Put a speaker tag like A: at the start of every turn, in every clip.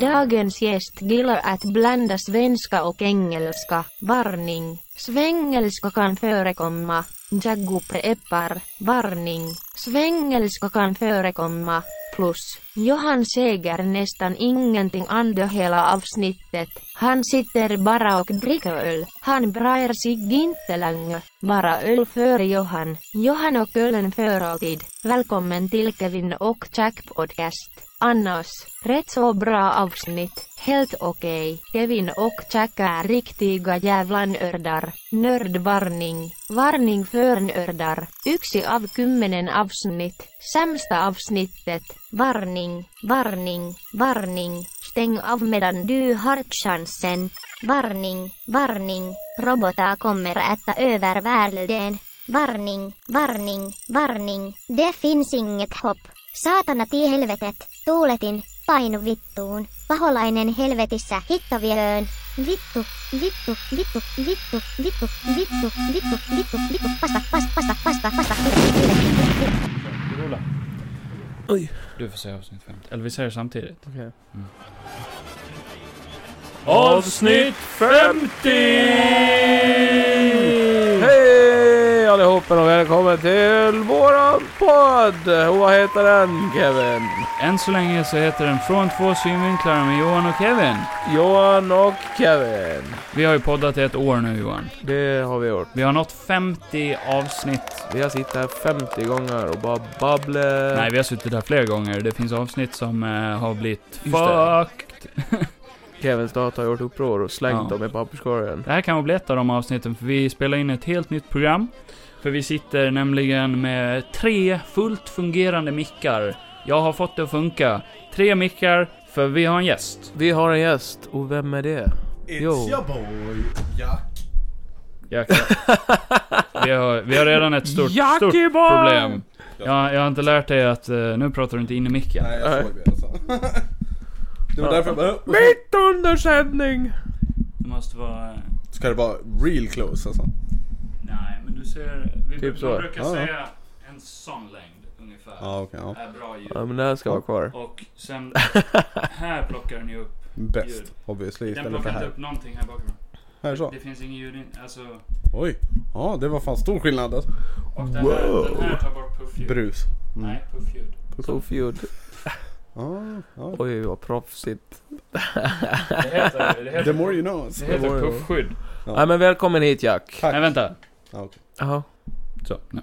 A: Dagens gäst gillar att blanda svenska och engelska. Varning. Svengelska kan förekomma. Jaggu preppar. Varning. Svengelska kan förekomma. Plus, Johan säger nästan ingenting under hela avsnittet. Han sitter bara och dricker öl. Han bryr sig inte längre. Bara öl för Johan. Johan och ölen för alltid. Välkommen till Kevin och Jack Podcast. Annars, rätt så bra avsnitt. Helt okej. Kevin och Jack är riktiga jävla nördar. Nördvarning. Varning för nördar. Yksi av kymmenen avsnitt. Sämsta avsnittet. Varning, varning, varning. Stäng av medan du har chansen.
B: Varning, varning, robotar kommer äta över världen. Varning, varning, varning, det finns inget hopp. Saatana tie helvetet, tuuletin, painu vittuun, paholainen helvetissä hittoviöön. Vittu, vittu, vittu, vittu, vittu, vittu, vittu, vittu, vittu, pasta, pasta, pasta, pasta, pasta,
C: Rulla.
D: Oj.
C: Du får säga avsnitt 50.
E: Eller vi säger samtidigt.
D: Okej.
E: Avsnitt 50!
D: Hej allihopa och välkommen till våran podd! Och Vad heter den Kevin?
E: Än så länge så heter den Från två synvinklar med Johan och Kevin.
D: Johan och Kevin.
E: Vi har ju poddat i ett år nu Johan.
D: Det har vi gjort.
E: Vi har nått 50 avsnitt.
D: Vi har suttit här 50 gånger och bara babblat.
C: Eh.
E: Nej, vi har suttit här flera gånger. Det finns avsnitt som eh, har blivit
D: det.
E: fuck.
D: Kevins dator har gjort uppror och slängt
E: Ja.
D: dem i papperskorgen.
E: Det här kan vara bli ett av de avsnitten, för vi spelar in ett helt nytt program. För vi sitter nämligen med tre fullt fungerande mickar. Jag har fått det att funka. Tre mickar, för vi har en gäst.
D: Vi har en gäst, och vem är det?
F: It's
D: Jo.
F: your boy, Jack.
E: Jäklar. Vi har, vi har redan ett stort, stort
D: Jackie Boy!
E: problem. Jag, jag har inte lärt dig att eh, nu pratar du inte in i micken.
F: Nej, jag såg det alltså. Det var därför jag bara... "Åh."
D: Mitt under sändning!
E: Det måste vara... eh,
F: Ska det vara real close alltså?
E: Nej, men du ser... Vi
D: Typ så.
E: brukar
F: Ja, ja.
E: säga en sån längd ungefär.
F: Ja, okej. ja.
E: Är bra ljud.
D: Ja men det här ska vara kvar.
E: Och sen här plockar den ju upp.
F: Bäst, obviously,
E: Den
F: istället för
E: plockar inte
F: här.
E: upp någonting här bakom.
F: Här så.
E: Det finns ingen ljud in, alltså.
F: Oj. Ja, det var fan stor skillnad alltså.
E: Och den, här,
D: Wow.
E: den här tar bort puffljud.
F: Brus.
E: Nej, puffljud.
D: Tofjord.
F: Ja, ja.
D: Oj vad proffsigt.
E: Det heter, det
F: The
E: heter,
F: more you know. alltså.
E: det
D: det var
E: heter
D: ju-
E: puffskydd.
D: Nej men välkommen hit Jack.
F: Tack.
E: Nej, vänta.
F: Ja, okej.
D: Jaha.
E: Så, nu.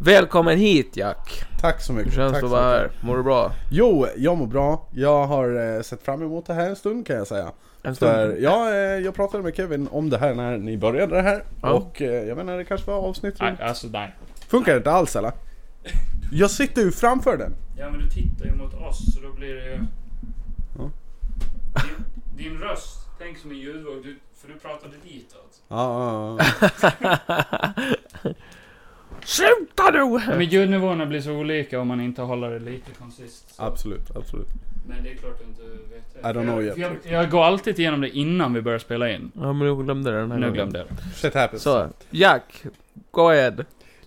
D: Välkommen hit Jack.
F: Tack så
D: Hur
F: mycket.
D: känns
F: Tack
D: det
F: så
D: att vara här?
F: mycket.
D: Mår du bra?
F: Jo, jag mår bra. Jag har eh, sett fram emot det här en stund kan jag säga.
D: En stund.
F: För jag, eh, jag pratade med Kevin om det här när ni började det här.
D: Ja.
F: Och eh, jag menar det kanske var avsnitt
E: Nej, alltså nej.
F: Funkar det inte alls eller? Jag sitter ju framför den.
E: Ja men du tittar ju mot oss så då blir det ju...
F: Ja.
E: Din, din röst, tänk som en ljudvåg, du, för du pratade ditåt.
F: Ja, ja, ja.
D: Sluta nu!
E: Men ljudnivåerna blir så olika om man inte håller det lite konsist. Så.
F: absolut, absolut.
E: Men det är klart du inte vet det.
F: I don't know
E: jag,
F: yet.
E: för jag, jag går alltid igenom det innan vi börjar spela in.
D: Ja men jag glömde det den här
E: Nu
F: Mm.
D: gången.
E: glömde jag det.
F: Shit happens.
D: Så, Jack. Go ahead.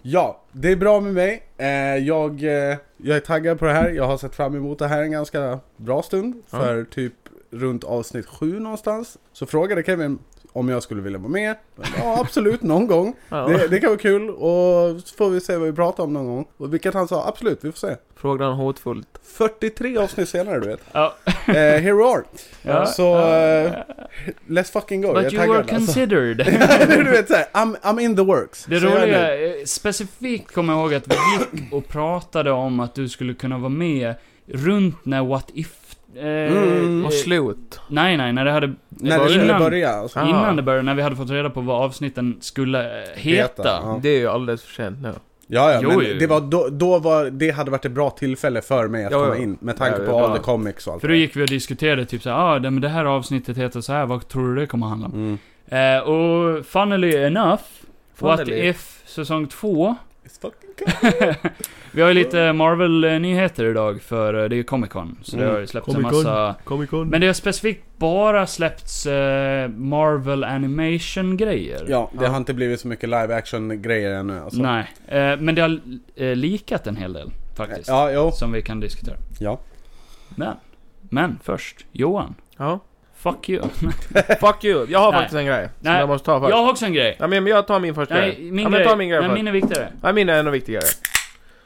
F: Ja, det är bra med mig. Eh, jag, eh, jag är taggad på det här. Jag har sett fram emot det här en ganska bra stund.
D: Ja.
F: För typ runt avsnitt sju någonstans. Så frågade Kevin om jag skulle vilja vara med. Ja, absolut, någon gång.
D: Ja.
F: Det, det kan vara kul och så får vi se vad vi pratar om någon gång. Och vilket han sa, absolut, vi får se.
D: Frågade han hotfullt.
F: 43 avsnitt senare du vet.
E: Ja.
F: Eh, here we are.
E: Ja.
F: Så eh, let's fucking go. jag
E: But
F: är
E: you
F: taggad
E: were
F: alltså.
E: considered.
F: du vet såhär, I'm, I'm in the works.
E: Det
F: Så jag är nöjd.
E: roliga, eh, specifikt kommer jag ihåg att vi gick och pratade om att du skulle kunna vara med runt när What If... Eh,
F: Mm.
E: eh,
D: Och slut.
E: Nej, nej, när det hade...
F: När det
E: var
F: skulle
E: innan-
F: börja alltså.
D: Ah.
E: Innan det började, när vi hade fått reda på vad avsnitten skulle eh, heta.
F: Heta, Ah, ja.
D: Det är ju alldeles för sent nu.
F: Ja, ja,
E: Jo,
F: men
E: jo.
F: det var då, då var, det hade varit ett bra tillfälle för mig att
D: Ja, ja.
F: komma in. Med tanke
D: Ja,
F: på
D: ja.
F: all the comics och allt
E: För
F: det
E: då
F: där.
E: gick vi och diskuterade typ såhär, ah, det, men det här avsnittet heter så här, vad tror du det kommer handla om?
F: Mm.
E: Eh, och funnily enough, What
D: Funnily.
E: If säsong 2.
F: It's fucking cool.
E: Vi har ju lite Marvel-nyheter idag, för eh, det är ju Comic Con. Så det
F: Mm.
E: har ju släppts en
D: Comic-Con.
E: massa...
D: Comic
E: Men det har specifikt bara släppts eh, Marvel Animation-grejer.
F: Ja, det
D: Ja.
F: har inte blivit så mycket live action grejer ännu alltså.
E: Nej, eh, men det har eh, likat en hel del faktiskt.
F: Ja, jo.
E: Som vi kan diskutera.
F: Ja.
E: Men, Men först, Johan.
D: Ja.
E: Fuck you.
D: Fuck you. Jag har
E: Nej.
D: faktiskt en grej. Som
E: Nej.
D: jag måste ta först.
E: Jag har också en grej.
D: Ja, men jag tar min första
E: Nej,
D: grej.
E: min
D: ja, men
E: grej.
D: ta min grej
E: Nej,
D: först.
E: min är viktigare.
D: Ja, min är ännu viktigare.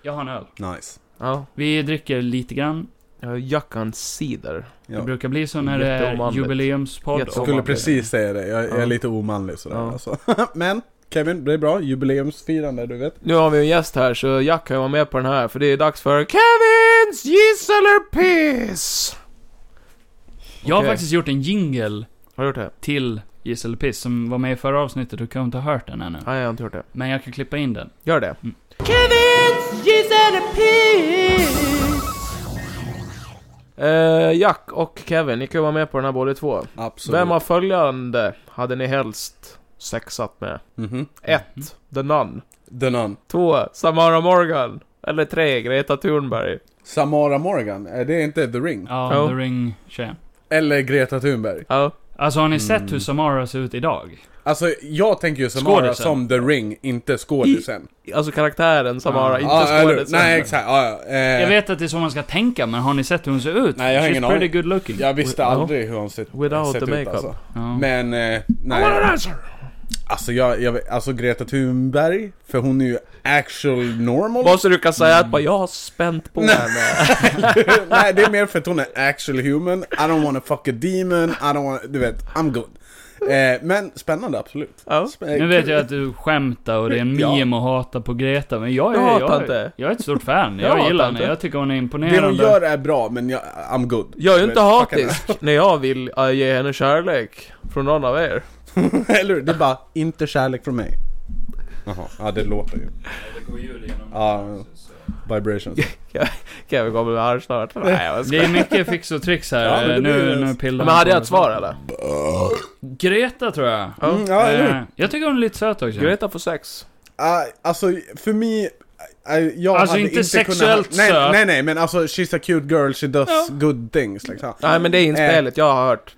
E: Jag har en öl.
F: Nice.
D: Ja.
E: Vi dricker lite grann.
D: Jag har Jackan Cider.
E: Det
F: Ja.
E: brukar bli så när det är
D: Jätteovanligt.
E: jubileumspodd.
F: Jag
D: Jätteovanligt.
F: skulle precis säga det, jag, jag är
D: Ja.
F: lite omanlig sådär
D: Ja.
F: alltså. Men Kevin, det är bra. Jubileumsfirande, du vet.
D: Nu har vi en gäst här, så Jack kan ju vara med på den här, för det är dags för Kevins Gissa eller Piss!
E: Jag har
D: Okej.
E: faktiskt gjort en jingle
D: Har du gjort det?
E: till Gisel Piss som var med i förra avsnittet. Du kan inte ha hört den ännu.
D: Nej, jag har inte gjort det.
E: Men jag kan klippa in den.
D: Gör det.
E: Mm.
D: Kevins Gissa eller Piss! Eh, Jack och Kevin, ni kan ju vara med på den här båda två.
F: Absolut.
D: Vem av följande hade ni helst sexat med?
F: Mhm.
D: 1. The Nun.
F: The Nun.
D: 2. Samara Morgan. Eller 3. Greta Thunberg.
F: Samara Morgan, är det inte The Ring?
E: Ja,
D: Ja.
E: The Ring-tjejen.
F: Eller Greta Thunberg?
D: Ja.
E: Alltså har ni
F: Mm.
E: sett hur Samara ser ut idag?
F: Alltså jag tänker ju Samara
E: Skådisen.
F: som The Ring, inte skådisen.
D: Alltså karaktären Samara,
E: Ja.
D: inte
F: Ja, Ah. eller-
D: skådespelaren.
F: Nej exakt, ja, ja. eh,
E: Jag vet att det är så man ska tänka, men har ni sett hur hon ser ut?
F: Nej, jag har
E: She's
F: ingen
E: pretty
F: aning.
E: good looking.
F: jag visste
D: Ja.
F: aldrig hur hon sett,
D: Without the
F: sett ut
D: makeup.
F: alltså.
E: Ja.
F: Men, eh, nej. Alltså jag, jag, vet- alltså Greta Thunberg, för hon är ju actual normal.
D: Måste du kan säga att bara, jag har spänt på henne.
F: nej det är mer för att hon är actual human, I don't wanna fuck a demon, I don't wanna, du vet, I'm good. Eh, men spännande absolut.
D: Ja.
F: Spä-
E: Nu vet jag att du skämtar och det är en
F: Ja.
E: meme att hata på Greta, men jag är,
D: Jag
E: jag,
D: hatar
E: jag,
D: inte.
E: är ett stort fan.
D: Jag
E: Jag,
D: hatar
E: gillar henne,
D: inte.
E: jag tycker hon är
F: Det hon
E: imponerande.
F: gör är bra, men jag, I'm good.
D: Jag är ju
F: Du
D: inte
F: vet, fuck henne.
D: hatisk när jag vill äh, ge henne kärlek från någon av er.
F: Eller hur? Det är bara, inte kärlek från mig. Jaha, ja det låter ju. Ja, vibrations.
D: Kevin kommer med arg snart. Nej, jag
E: Det
D: skojar.
E: är mycket fix och tricks här,
F: Ja, men det
E: eh,
F: blir
E: nu,
F: det.
E: nu pillar
D: Men hade
E: på
D: jag ett
E: det.
D: svar eller?
E: Greta tror jag.
D: Ja.
F: Mm, ja, eller hur?
E: Eh, jag tycker hon är lite söt också.
D: Greta får sex.
F: Ah, alltså för mig, ah, jag
E: Alltså,
F: hade
E: inte
F: inte
E: sexuellt
F: kunnat, nej,
E: söt.
F: nej nej men alltså she's a cute girl, she does good things liksom.
D: Nej men det är inspelet,
F: Eh.
D: jag har hört.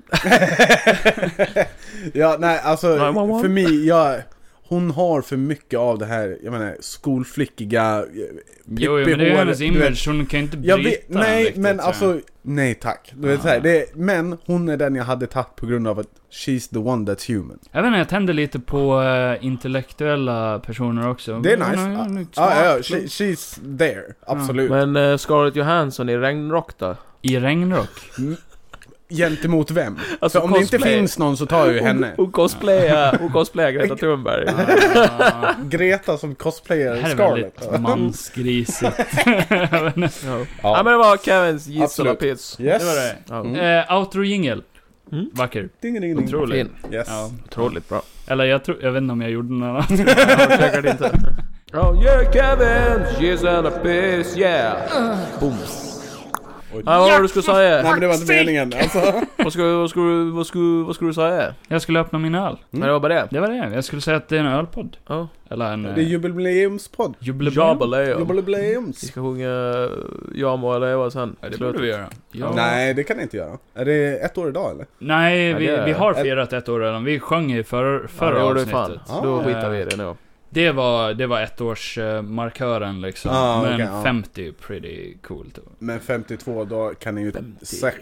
F: Ja nej alltså
D: 911.
F: för mig, jag, hon har för mycket av det här, jag menar skolflickiga,
E: Jo, jo, men det är ju
F: Pippihåret,
E: hennes
F: du vet.
E: image, hon kan inte bryta
F: jag vet,
E: den
F: nej
E: riktigt,
F: men
E: så.
F: alltså, nej tack. Du vet,
E: Ah.
F: så här, det, men hon är den jag hade tagit på grund av att she's the one that's human.
E: Jag vet inte, jag tänder lite på eh, intellektuella personer också.
F: Det är
E: Hon
F: nice.
E: hon
F: Ja,
E: är Mm, smart, mm.
F: ja, ja, she,
E: klok.
F: she's there. Absolut.
D: Men eh, Scarlett Johansson i Regnrock då?
E: I regnrock.
F: Gentemot vem?
D: Alltså,
F: För om det inte
D: cosplay.
F: finns någon så tar jag ju henne.
D: Hon cosplayar, hon cosplayar Greta Thunberg.
E: Ah,
F: Greta som
E: det
F: cosplayer
E: här är
F: Scarlett.
E: väldigt mansgrisigt. Jag vet inte.
D: Ja. Ja men det var Kevins gissel
F: Absolut.
D: och piss.
F: Yes. Mm.
E: det var det.
D: Ja.
E: Eh, outro jingle.
D: Mm.
E: Vacker.
F: Ding, ding, ding.
E: Otrolig.
D: Fin.
F: Yes.
E: Ja.
D: Otroligt bra.
E: Eller jag tror, jag vet inte om jag gjorde något annat.
D: Ja, säkert inte. Oh yeah Kevin, she's in a piss yeah. Booms.
F: Oj.
D: Ja, vad var det du skulle säga?
F: Nej men det var inte meningen. Alltså.
D: Vad skulle, vad skulle, vad skulle, vad skulle du säga?
E: Jag skulle öppna min öl.
F: Mm.
D: Nej, det var bara det.
E: Det var det. Jag skulle säga att det är en ölpodd.
D: Ja.
E: Eller en... eh,
F: Det är jubileumspodd.
E: Jubileum?
D: Jabaleo. Vi
F: Jubileums.
D: ska sjunga eh, Jag må leva sen.
E: Ja, det borde vi göra. Ja.
F: Nej det kan jag inte göra. Är det ett år idag eller?
E: Nej,
D: Ja,
E: vi,
D: det-
E: vi har firat ett år redan. Vi sjöng i för, förra
D: Förra ja, fan.
E: avsnittet.
F: Ja.
D: Då skitar vi i det nu.
E: Det var, det var ettårsmarkören liksom.
F: Ah,
E: Men
F: okej, ja.
E: 50 är pretty typ. coolt.
F: Men 52 då kan ni ju sagt,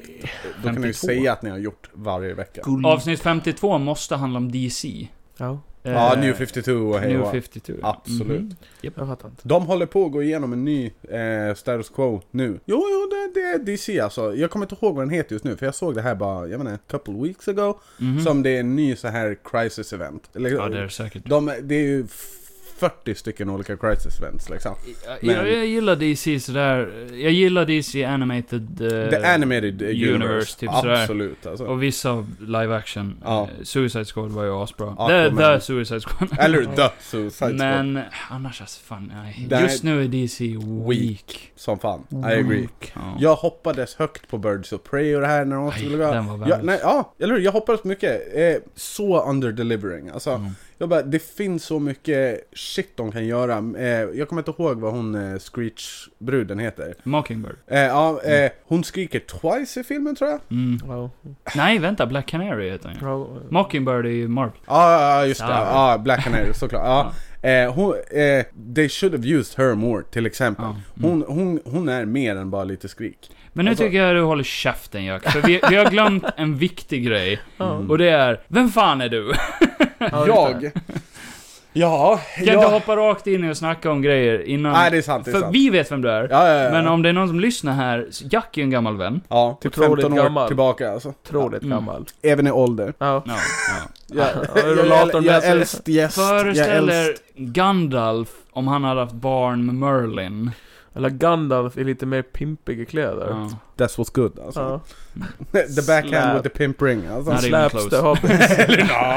F: då kan ni
E: 52.
F: ju säga att ni har gjort varje vecka.
E: Avsnitt 52 måste handla om DC.
D: Ja,
F: Ja,
E: Eh,
F: New 52 och hej
E: New
F: och hå.
E: 52.
F: Absolut.
E: Mhm.
D: jag fattar inte.
F: De håller på att gå igenom en ny eh, status quo nu. Jo, jo, det, det är DC alltså. Jag kommer inte ihåg vad den heter just nu, för jag såg det här bara, jag menar, couple weeks ago.
E: Mhm.
F: Som det är en ny så här crisis event. Eller,
E: Ja, det är det säkert.
F: de, det är ju 40 stycken olika crisis events liksom.
E: Jag,
F: Men-
E: jag, jag gillar DC sådär. Jag gillar DC Animated... eh,
F: The animated universe.
E: universe, typ sådär.
F: Absolut alltså.
E: Och vissa live action.
F: Ja.
E: Eh, Suicide Squad var ju asbra. The,
F: Aquaman.
E: the Suicide Squad.
F: Eller The Suicide Squad.
E: Men annars alltså fan, nej.
F: Det här-
E: Just nu är DC weak.
F: Som fan, I agree.
E: Ja.
F: Jag hoppades högt på Birds of Prey och det här när de
E: Mm. Aj,
F: skulle gå.
E: den var
F: Ja,
E: värdelös.
F: nej, ja, eller hur? Jag hoppades mycket. Eh, så under-delivering. Alltså,
E: Mm.
F: jag bara, det finns så mycket shit de kan göra. Eh, jag kommer inte ihåg vad hon eh, Screech-bruden heter.
E: Mockingbird.
F: Eh, ja, eh, hon skriker twice i filmen tror jag.
E: Mm.
D: Ja,
E: Nej, vänta. Black Canary heter han ju.
D: ja.
E: Mockingbird är ju Marvel.
F: Ja, ah, just det.
E: Sorry.
F: Ja, Black Canary såklart. Ja. Eh, hon, eh, they should have used her more till exempel.
E: Mm.
F: Hon, hon, hon är mer än bara lite skrik.
E: Men nu
F: Alltså-
E: tycker jag du håller käften Jack, för vi, vi har glömt en viktig grej. Och det är, vem fan är du?
F: Jag? Ja,
E: Kan
F: jag-
E: du hoppa rakt in och snacka om grejer innan?
F: Nej, det är sant, det är
E: För
F: sant.
E: vi vet vem du är.
F: Ja, ja, ja.
E: Men om det är någon som lyssnar här, så Jack är ju en gammal vän.
F: Ja, typ
D: Otroligt
F: 15 år
D: gammal.
F: tillbaka alltså.
D: Otroligt gammal.
F: Även i ålder.
D: Mm. Ja.
E: Ja, ja.
F: Jag, jag,
D: Rullatorn
F: jag, jag
D: med
F: är
D: sig.
F: äldst gäst. Jag är
E: Föreställ er
F: äldst.
E: Gandalf om han hade haft barn med Merlin.
D: Eller Gandalf i lite mer pimpiga kläder.
E: Ja.
F: That's what's good alltså.
D: Ja.
F: the backhand
D: Slap.
F: with the pimp ring alltså.
E: Nej, det är
D: Slaps
E: close.
D: det har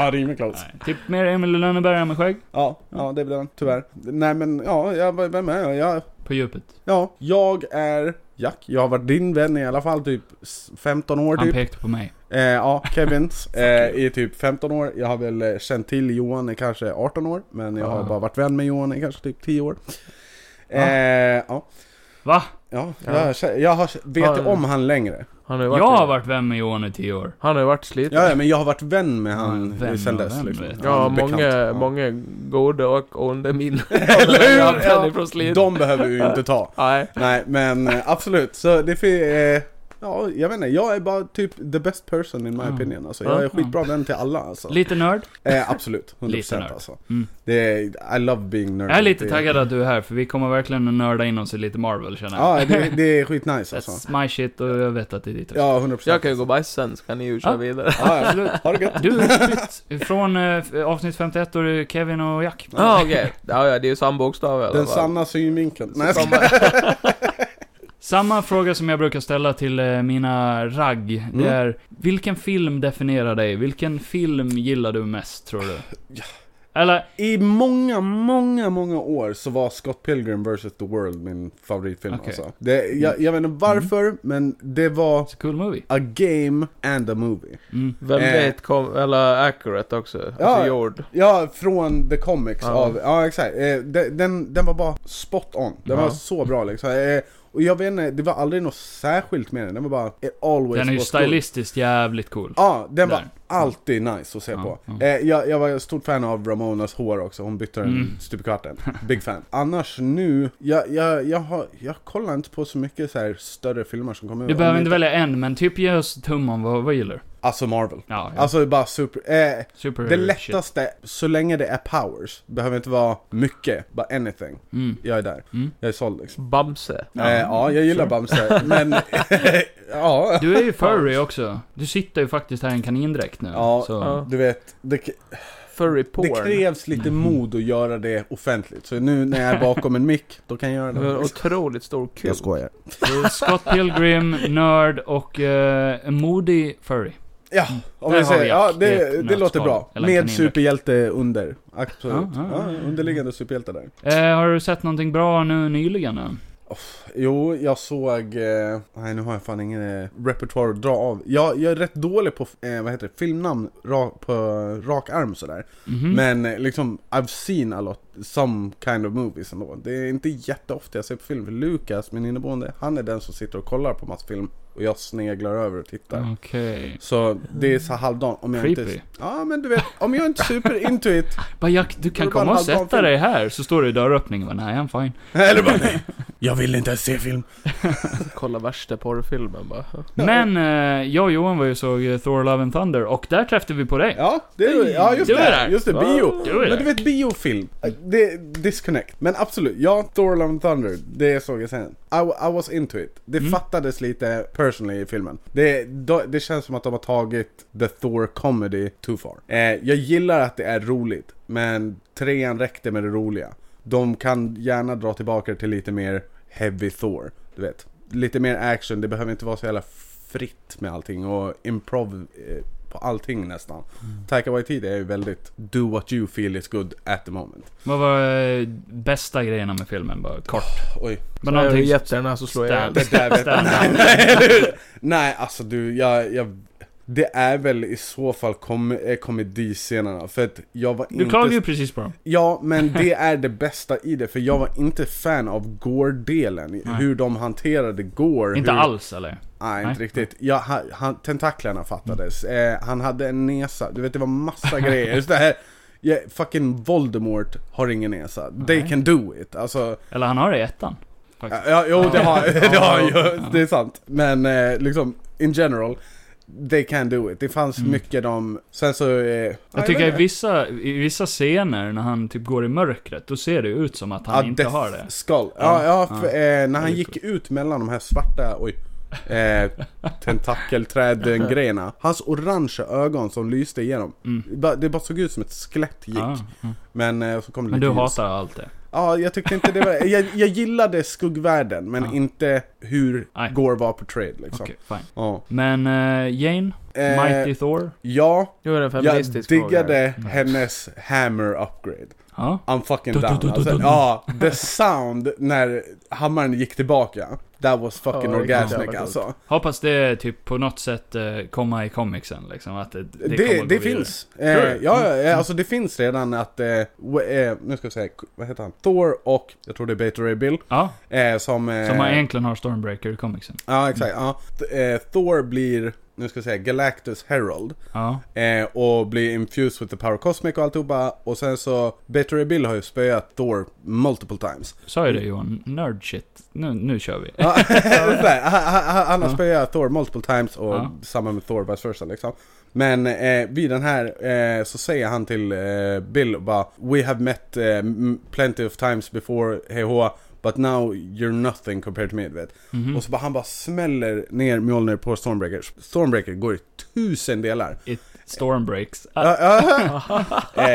F: Ja, det är med close.
E: Nej, Typ mer Emil i Lönneberga med skägg,
F: Ja, ja, det är den, tyvärr. Nej men, ja, jag, vem är jag? jag?
E: på djupet.
F: Ja, jag är Jack. Jag har varit din vän i alla fall typ s- 15 år
E: Han
F: typ.
E: pekade på mig.
F: Eh, ja, Kevins. eh, I typ 15 år. Jag har väl eh, känt till Johan i kanske 18 år. Men jag har
E: Ah.
F: bara varit vän med Johan i kanske typ 10 år. Eh, ja.
E: Va?
F: Ja,
D: Ja.
F: jag, har- jag har, vet
E: Ah.
D: Har-
F: om han längre.
D: Han har ju varit,
E: Jag
F: typ-
E: har varit vän med Johan i tio år.
D: Han har ju varit sliten.
F: Ja, ja, men jag har varit vän med han
E: Ja, vän
F: sen
E: och
F: dess.
E: vän,
F: liksom.
E: vet du.
D: Ja,
F: bekant.
D: många, många goda och onda minnen.
F: Eller hur?
D: Ja,
F: Ja.
D: från Slid.
F: De behöver vi ju inte ta.
D: Nej.
F: Nej, men eh, absolut. Så det är... Eh, ja, jag vet inte. Jag är bara typ the best person in my
E: Ja.
F: opinion. Alltså. Jag är
E: Mm. Ja.
F: skitbra vän till alla alltså.
E: Lite nörd.
F: Eh, absolut, 100%
E: Lite nörd.
F: alltså.
E: Mm.
F: Det är, I love being nerd.
E: Jag är lite
F: Det-
E: taggad att du är här, för vi kommer verkligen att nörda in oss i lite Marvel känner jag.
F: Ja, det, det är skitnice alltså.
E: That's my shit och jag vet att det är ditt också.
F: Ja, 100%.
D: Jag kan ju gå och bajsa sen, så kan ni ju köra
E: Ja.
D: vidare.
F: Ja, ja.
E: Absolut.
F: Ha det gött.
E: Du är utbytt från eh, f- avsnitt 51 då är det Kevin och Jack.
D: Ja, okej. Ja, ja, det är ju samma bokstav i alla
F: Den
D: fall.
F: sanna synvinkeln. Nej, jag ska...
D: Samma-
E: Samma fråga som jag brukar ställa till eh, mina ragg,
F: Mm.
E: det är Vilken film definierar dig? Vilken film gillar du mest, tror du? Eller,
F: I många, många, många år så var Scott Pilgrim vs. The World min favoritfilm
E: Okej. Mm.
F: alltså. Det, jag, jag vet inte varför, men det var
E: it's a cool movie.
F: a game and a movie.
E: Mm.
D: Väldigt kom, eller accurate också. Alltså
F: Eh. Ja.
D: jord.
F: Ja, från The Comics
D: Ja.
F: av, ja exakt. Eh, de- den, den var bara spot on. Den
D: Ja.
F: var så bra liksom. Eh, och jag vet inte, det var aldrig något särskilt med den. Den var bara, it always
E: Den är ju
F: was good.
E: stylistiskt jävligt cool.
F: Ja, den var
E: Där.
F: alltid nice att se
E: Ja,
F: på.
E: ja.
F: Eh, jag, jag var ett stort fan av Ramonas hår också, hon bytte den
E: Mm.
F: stup i kvarten. Big fan. Annars nu, jag, jag, jag, har, jag kollar inte på så mycket så här större filmer som kommer
E: Du
F: ut.
E: behöver
F: Om
E: inte välja en, men typ ge oss tum om vad, vad gillar du?
F: Alltså Marvel.
E: Ja, ja.
F: Alltså bara super... Eh,
E: super
F: det
E: shit.
F: lättaste, så länge det är powers, behöver inte vara mycket, bara anything.
E: Mm.
F: Jag är där.
E: Mm.
F: Jag är såld liksom.
D: Bamse.
F: Ja, eh, ja jag gillar Bamse, men... ja.
E: Du är ju furry också. Du sitter ju faktiskt här i en kanindräkt nu.
F: Ja,
E: så.
D: ja.
F: Du vet, det,
D: Furry
F: det
D: porn.
F: krävs lite
E: Mm.
F: mod att göra det offentligt. Så nu när jag är bakom en mick, då kan jag göra
D: En
F: det.
D: otroligt stor kuk.
F: Jag skojar.
E: Så Scott Pilgrim, nörd och eh, en modig furry.
F: Ja, om
E: Där
F: vi
E: har
F: säger,
E: vi
F: ja
E: Jack i ett
F: det, det
E: nötskal.
F: låter bra.
E: Eller en
F: Med
E: kanin. Ah,
F: superhjälte under. Absolut.
E: Ja,
F: Ja,
E: ja, ja.
F: underliggande superhjälte där.
E: Eh, har du sett någonting bra nu nyligen? eh? Då?
F: Jo, jag såg... Eh, nej, nu har jag fan ingen eh, repertoar att dra av. Jag, jag är rätt dålig på eh, vad heter det, filmnamn ra, på rak arm sådär.
E: Mhm.
F: Men eh, liksom, I've seen a lot, some kind of movies ändå. Det är inte jätteofta jag ser på film. För Lukas, min inneboende, han är den som sitter och kollar på massa film. Och jag sneglar över och tittar.
E: Okej.
F: Så det är så halvdan om jag
E: Creepy.
F: inte... Ja men du vet, om jag inte är super into it
E: Bara Jack, du kan
F: Det var
E: komma
F: en
E: och
F: halvdan
E: sätta
F: film.
E: dig här, så står du i dörröppningen och bara, nej, I'm fine.
F: Eller bara nej, jag vill inte ens se film
D: Kolla värsta porrfilmen bara.
E: Men eh, jag och Johan var ju och såg eh, Thor Love and Thunder, och där träffade vi på dig.
F: Ja, det är, ja just
E: Du är
F: det,
E: där.
F: just det, bio
E: Du är
F: Men
E: där.
F: du vet biofilm, det, disconnect Men absolut, ja, Thor Love and Thunder, det såg jag sen I, I was into it, det fattades lite personally i filmen det, då- det känns som att de har tagit the Thor comedy too far eh, Jag gillar att det är roligt, men trean räckte med det roliga De kan gärna dra tillbaka det till lite mer heavy Thor, du vet Lite mer action, det behöver inte vara så jävla fritt med allting och improv eh, på allting nästan. Taika Waititi är ju väldigt do what you feel is good at the moment.
E: Vad var eh, bästa grejerna med filmen, bara kort?
F: Oj.
E: Men
D: Så har jag
E: någonting...
D: gett sig den här så slår jag ihjäl.
E: Stand-
F: Det där vet jag.
E: stand out.
F: Nej, alltså du, jag, jag... Det är väl i så fall kom, eh, komediscenerna, för att jag var
E: Du
F: inte...
E: klagade ju precis på dem.
F: Ja, men det är det bästa i det, för jag var inte fan av Gore-delen. Hur de hanterade Gore.
E: Inte
F: hur...
E: alls, eller?
F: Nej, inte
E: Nej. Mm.
F: riktigt. Ja, han, han, tentaklerna fattades. Eh, han hade en näsa. Du vet, det var massa grejer. Så det här, ja, fucking Voldemort har ingen näsa. They can do it. Alltså,
E: Eller han har det i ettan.
F: ja, ja, jo det har det har ju, det är sant. Men eh, liksom, in general, they can do it. Det fanns mycket de, sen så... Eh, ja,
E: Mm. Jag tycker i
F: vet inte.
E: vissa, i vissa scener när han typ går i mörkret, då ser det ju ut som att han
F: Ja,
E: inte
F: Death
E: har det.
F: Skull.
E: Ja,
F: Ja, ja,
E: ja.
F: för, eh, när
E: är
F: han gick
E: coolt.
F: ut mellan de här svarta, oj, eh, tentakelträd-grejerna. Hans orangea ögon som lyste igenom.
E: Mm.
F: Det bara- Det bara såg ut som ett skelett gick.
E: Ja, ja.
F: Men eh, så kom det
E: Men
F: lite
E: du
F: ljus.
E: hatar allt det.
F: Ja, jag tyckte inte det var... Jag, jag gillade skuggvärlden, men
E: Ja.
F: inte hur
E: Ah. Nej.
F: Gore var portrayed liksom.
E: Okej, fine.
F: Ja.
E: Men eh, Jane,
F: Eh,
E: Mighty Thor?
F: Ja,
D: Nu är det en
F: jag
D: feministisk fråga.
F: diggade hennes hammer upgrade.
E: Ja.
F: I'm fucking
E: Du, du,
F: down.
E: du, du,
F: alltså,
E: du, du.
F: Ja, the sound när hammaren gick tillbaka. That was fucking
D: Ja, det är
F: orgasmic
D: jävla
F: alltså.
E: Hoppas det typ på något sätt eh, komma i comicsen liksom, att det,
F: Det,
E: det, kommer
F: det,
E: gå
F: finns. Eh,
E: Tror
F: ja,
E: du?
F: ja, eh, alltså det finns redan att, eh, w- eh, nu ska vi se, k- vad heter han? Thor och, jag tror det är Beta Ray Bill,
E: Ja,
F: eh, som... Eh,
E: som man egentligen har Stormbreaker i comicsen.
F: Ja, exakt. Ja. Th- eh, Thor blir, nu ska vi säga, Galactus Herald.
E: Ja,
F: Eh, och blir infused with the power cosmic och alltihopa. Och sen så, Beta Ray Bill har ju spöat Thor multiple times.
E: sa ju det Johan. Nerd shit. Nu, nu kör vi.
F: Ja, sådär. Han- han- Han har
E: Ja.
F: spöat Thor multiple times och
E: Ja.
F: samma med Thor vice versa liksom. Men eh, vid den här eh, så säger han till eh, Bill bara We have met eh, m- plenty of times before, hej hå, But now you're nothing compared to me, du vet.
E: Mhm.
F: Och så bara, han bara smäller ner Mjolnir på Stormbreaker. Stormbreaker går i tusen delar.
E: It Stormbreaks. Ah,
F: Ja, ja.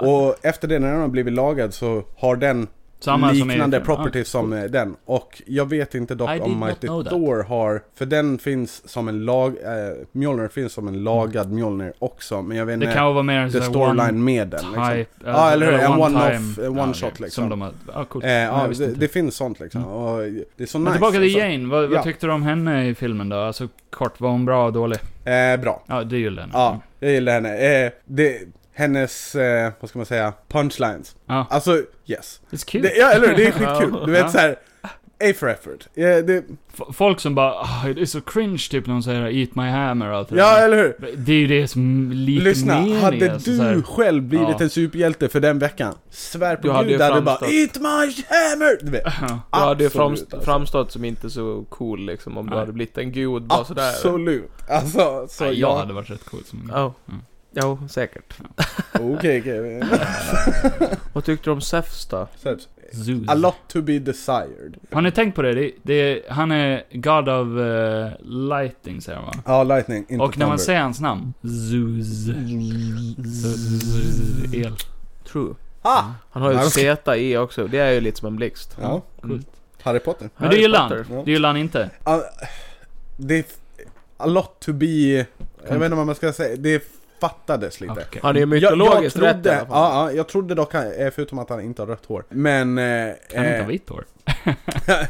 F: eh, och efter det, när den har blivit lagad så har den
E: samma som i
F: liknande
E: filmen.
F: properties som eh, den. Och jag vet inte
E: I
F: dock
E: did
F: om
E: not
F: Mighty
E: know that.
F: Thor har, för den finns som en lag, eh, Mjolnir finns som en lagad Mjolnir också. Men jag vet
E: Ja. Det
F: inte,
E: kan ju vara mer en
F: the
E: sån här one
F: storyline med den. Liksom.
E: type. eh,
F: Ja, eller hur? En
E: time-
F: one-off, en
E: ja,
F: one-shot,
E: okej.
F: liksom.
E: Som de har, ja, coolt.
F: Eh, ja,
E: jag visste
F: det,
E: inte. Mm.
F: det finns sånt liksom. Och det är så
E: Men
F: nice.
E: tillbaka till
F: alltså.
E: Jane, vad, vad
F: Ja.
E: tyckte du om henne i filmen då? Alltså kort, var hon bra och dålig?
F: Eh, bra.
E: Ja, det gillade henne.
F: Ja, jag gillar henne. Eh, det, hennes, eh, vad ska man säga, punchlines.
E: Ja.
F: Alltså, yes.
E: It's cute.
F: Det, ja, eller hur? Det är skitkul. Du
E: Ja.
F: vet såhär, A for effort. Eh, det,
E: F- Folk som bara "Ah, det är så cringe typ när de säger 'Eat my hammer' och allt det
F: ja,
E: där.
F: eller hur?
E: Det är ju det som lite
F: Lyssna,
E: mer är,
F: hade
E: alltså,
F: du
E: så här-
F: själv blivit
E: Ja.
F: en superhjälte för den veckan? Svär på
D: Du hade
F: gud,
D: ju
F: du hade bara
D: framstått.
F: Eat my hammer! Du vet,
E: Ja.
D: Du hade ju
F: Absolut,
D: framst-
F: alltså.
D: framstått som inte så cool liksom om du
E: Nej.
D: hade blivit en gud bara sådär.
F: absolut. Alltså, så
E: Nej, jag
F: jag-
E: hade varit rätt cool som
D: Ja.
E: Mm.
D: Jo, säkert.
F: Okej, okej.
D: Vad tyckte du om Zeus då?
F: Så,
E: Zeus.
F: A lot to be desired.
E: Har ni tänkt på det? det, det han är God of eh, Lighting säger han va?
F: Ja, lightning, inte
E: Och när man
F: thunder.
E: säger hans namn, Zeus. Zeus. El.
D: True.
F: Ah!
D: Han har ju
F: Ja,
D: ett
F: de ska-
D: Z i också, det är ju lite som en blixt. Mm.
F: Ja,
E: Coolt.
F: Harry Potter.
E: Men det gillar han.
D: Potter.
F: Ja.
E: Det gillar han inte.
F: Ah, det är f- a lot to be... Jag vet inte vad man ska säga, det fattades lite.
E: Okej.
D: Han är ju mytologiskt
F: jag, jag
D: rätt i
F: trodde,
D: alla fall.
F: ja, ja, jag trodde dock, han- eh, förutom att han inte har rött hår. Men... Eh,
E: Kan inte
F: eh,
E: ha vitt hår.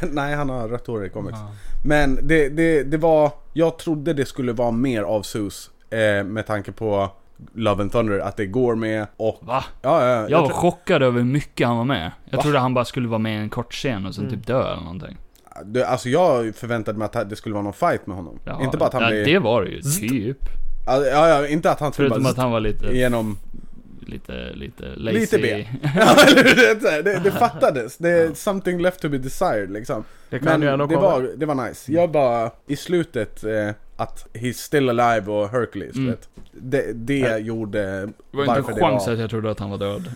F: Nej, han har rött hår i comics.
E: Ja.
F: Men det, det, det var... Jag trodde det skulle vara mer av Zeus eh, med tanke på Love and Thunder, att det går med och...
E: Va?
F: Ja, ja,
E: Jag var
F: tro-
E: chockad över hur mycket han var med. Jag
F: Va?
E: trodde han bara skulle vara med i en kort scen och sen
D: Mm.
E: typ dö eller någonting.
F: det, alltså jag förväntade mig att det skulle vara någon fight med honom.
E: Jaha,
F: inte bara att han
E: ja,
F: blir...
E: Det var det ju, typ.
F: Ja, ja, ja, inte att han skulle
E: Förutom
F: bara...
E: att han var lite,
F: Genom...
E: lite, lite lazy.
F: Lite B. Ja, eller hur? det, är så här, det, det fattades. Det är something left to be desired liksom.
D: Det kan
F: Men
D: ju ändå
F: det
D: komma.
F: var, det var nice.
E: Mm.
F: Jag bara, i slutet, eh, att He's still alive och Hercules,
E: Mm. Äh.
F: vet. Det, det
E: Ja.
F: gjorde
E: Det var inte
F: varför
E: en
F: det
E: chans
F: var-
E: att jag trodde att han var död.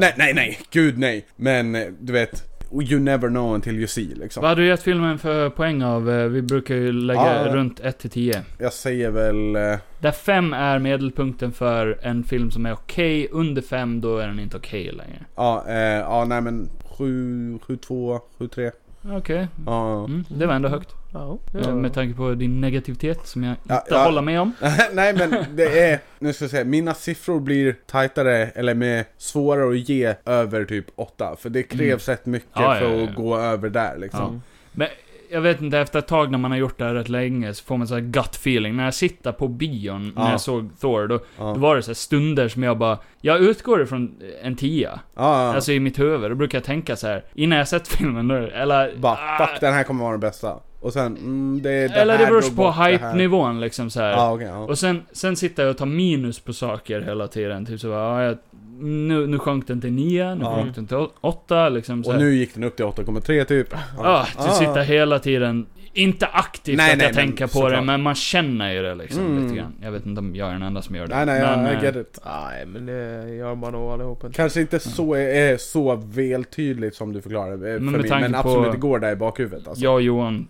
F: Nej, nej, nej, gud nej. Men eh, du vet, you never know until you see liksom.
E: Vad hade du gett filmen för poäng av? Eh, Vi brukar ju lägga
F: Ja.
E: runt 1 till 10.
F: Jag säger väl... eh,
E: Där 5 är medelpunkten för en film som är okej, under 5 då är den inte okej längre.
F: Ja, eh, ja, nej men 7, 7, 2, 7, 3.
E: Okej,
F: Ja.
E: mm, det var ändå högt.
D: Ja.
E: Eh, Med tanke på din negativitet som jag inte
F: Ja, ja.
E: håller med om.
F: nej men det är, nu ska jag säga, mina siffror blir tajtare eller med svårare att ge över typ 8. För det krävs rätt mycket
E: Mm. Ja, ja,
F: för
E: ja,
F: att
E: ja.
F: gå över där liksom.
E: Ja. Men jag vet inte, efter ett tag när man har gjort det här rätt länge så får man så här gut feeling. När jag sitter på bion, när
F: Ja.
E: jag såg Thor, då,
F: Ja.
E: då var det så här stunder som jag bara... Jag utgår ifrån en tia.
F: Ja, ja.
E: Alltså i mitt huvud, då brukar jag tänka så här innan jag sett filmen nu, eller... ah,
F: Bara, fuck den här kommer vara den bästa. Och sen, mm, det är det
E: eller det
F: här
E: beror
F: drog
E: på
F: bort det här.
E: hype-nivån liksom så här.
F: Ja, okej. ja.
E: Och sen, sen sitter jag och tar minus på saker hela tiden, typ så bara, ja, jag nu, nu sjönk den till 9, nu
F: Ja.
E: sjönk den till 8 liksom så
F: Och
E: här.
F: nu gick den upp till 8,3 typ.
E: Ja, att Ah, du sitter hela tiden, inte aktivt
F: Nej,
E: att
F: nej,
E: jag
F: men
E: tänker på det,
F: såklart.
E: men man känner ju det liksom
F: Mm.
E: lite grann. Jag vet inte om jag är den enda som gör det.
F: Nej nej,
E: men,
F: jag
E: eh,
F: I get it.
D: Nej, men det gör man nog allihopa.
F: Kanske inte så, är så vältydligt som du förklarar det eh,
E: Men
F: för
E: med
F: mig,
E: tanke
F: men absolut
E: på-
F: det går där i bakhuvudet alltså. Mm,
E: Jag och Johan,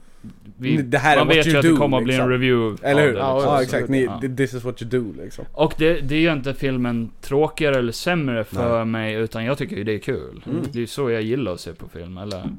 E: vi,
F: Det här är
E: man
F: what
E: vet ju
F: you
E: att det
F: do,
E: kommer att bli en
F: liksom.
E: review
F: Eller
E: av
F: hur?
E: det,
F: Ja,
E: liksom.
D: absolut.
F: exakt. Ni,
E: Ja.
F: This is what you do liksom.
E: Och det, det är ju inte filmen tråkigare eller sämre för mig, utan jag tycker ju det är kul. Det är ju så jag gillar att se på film, eller... Det,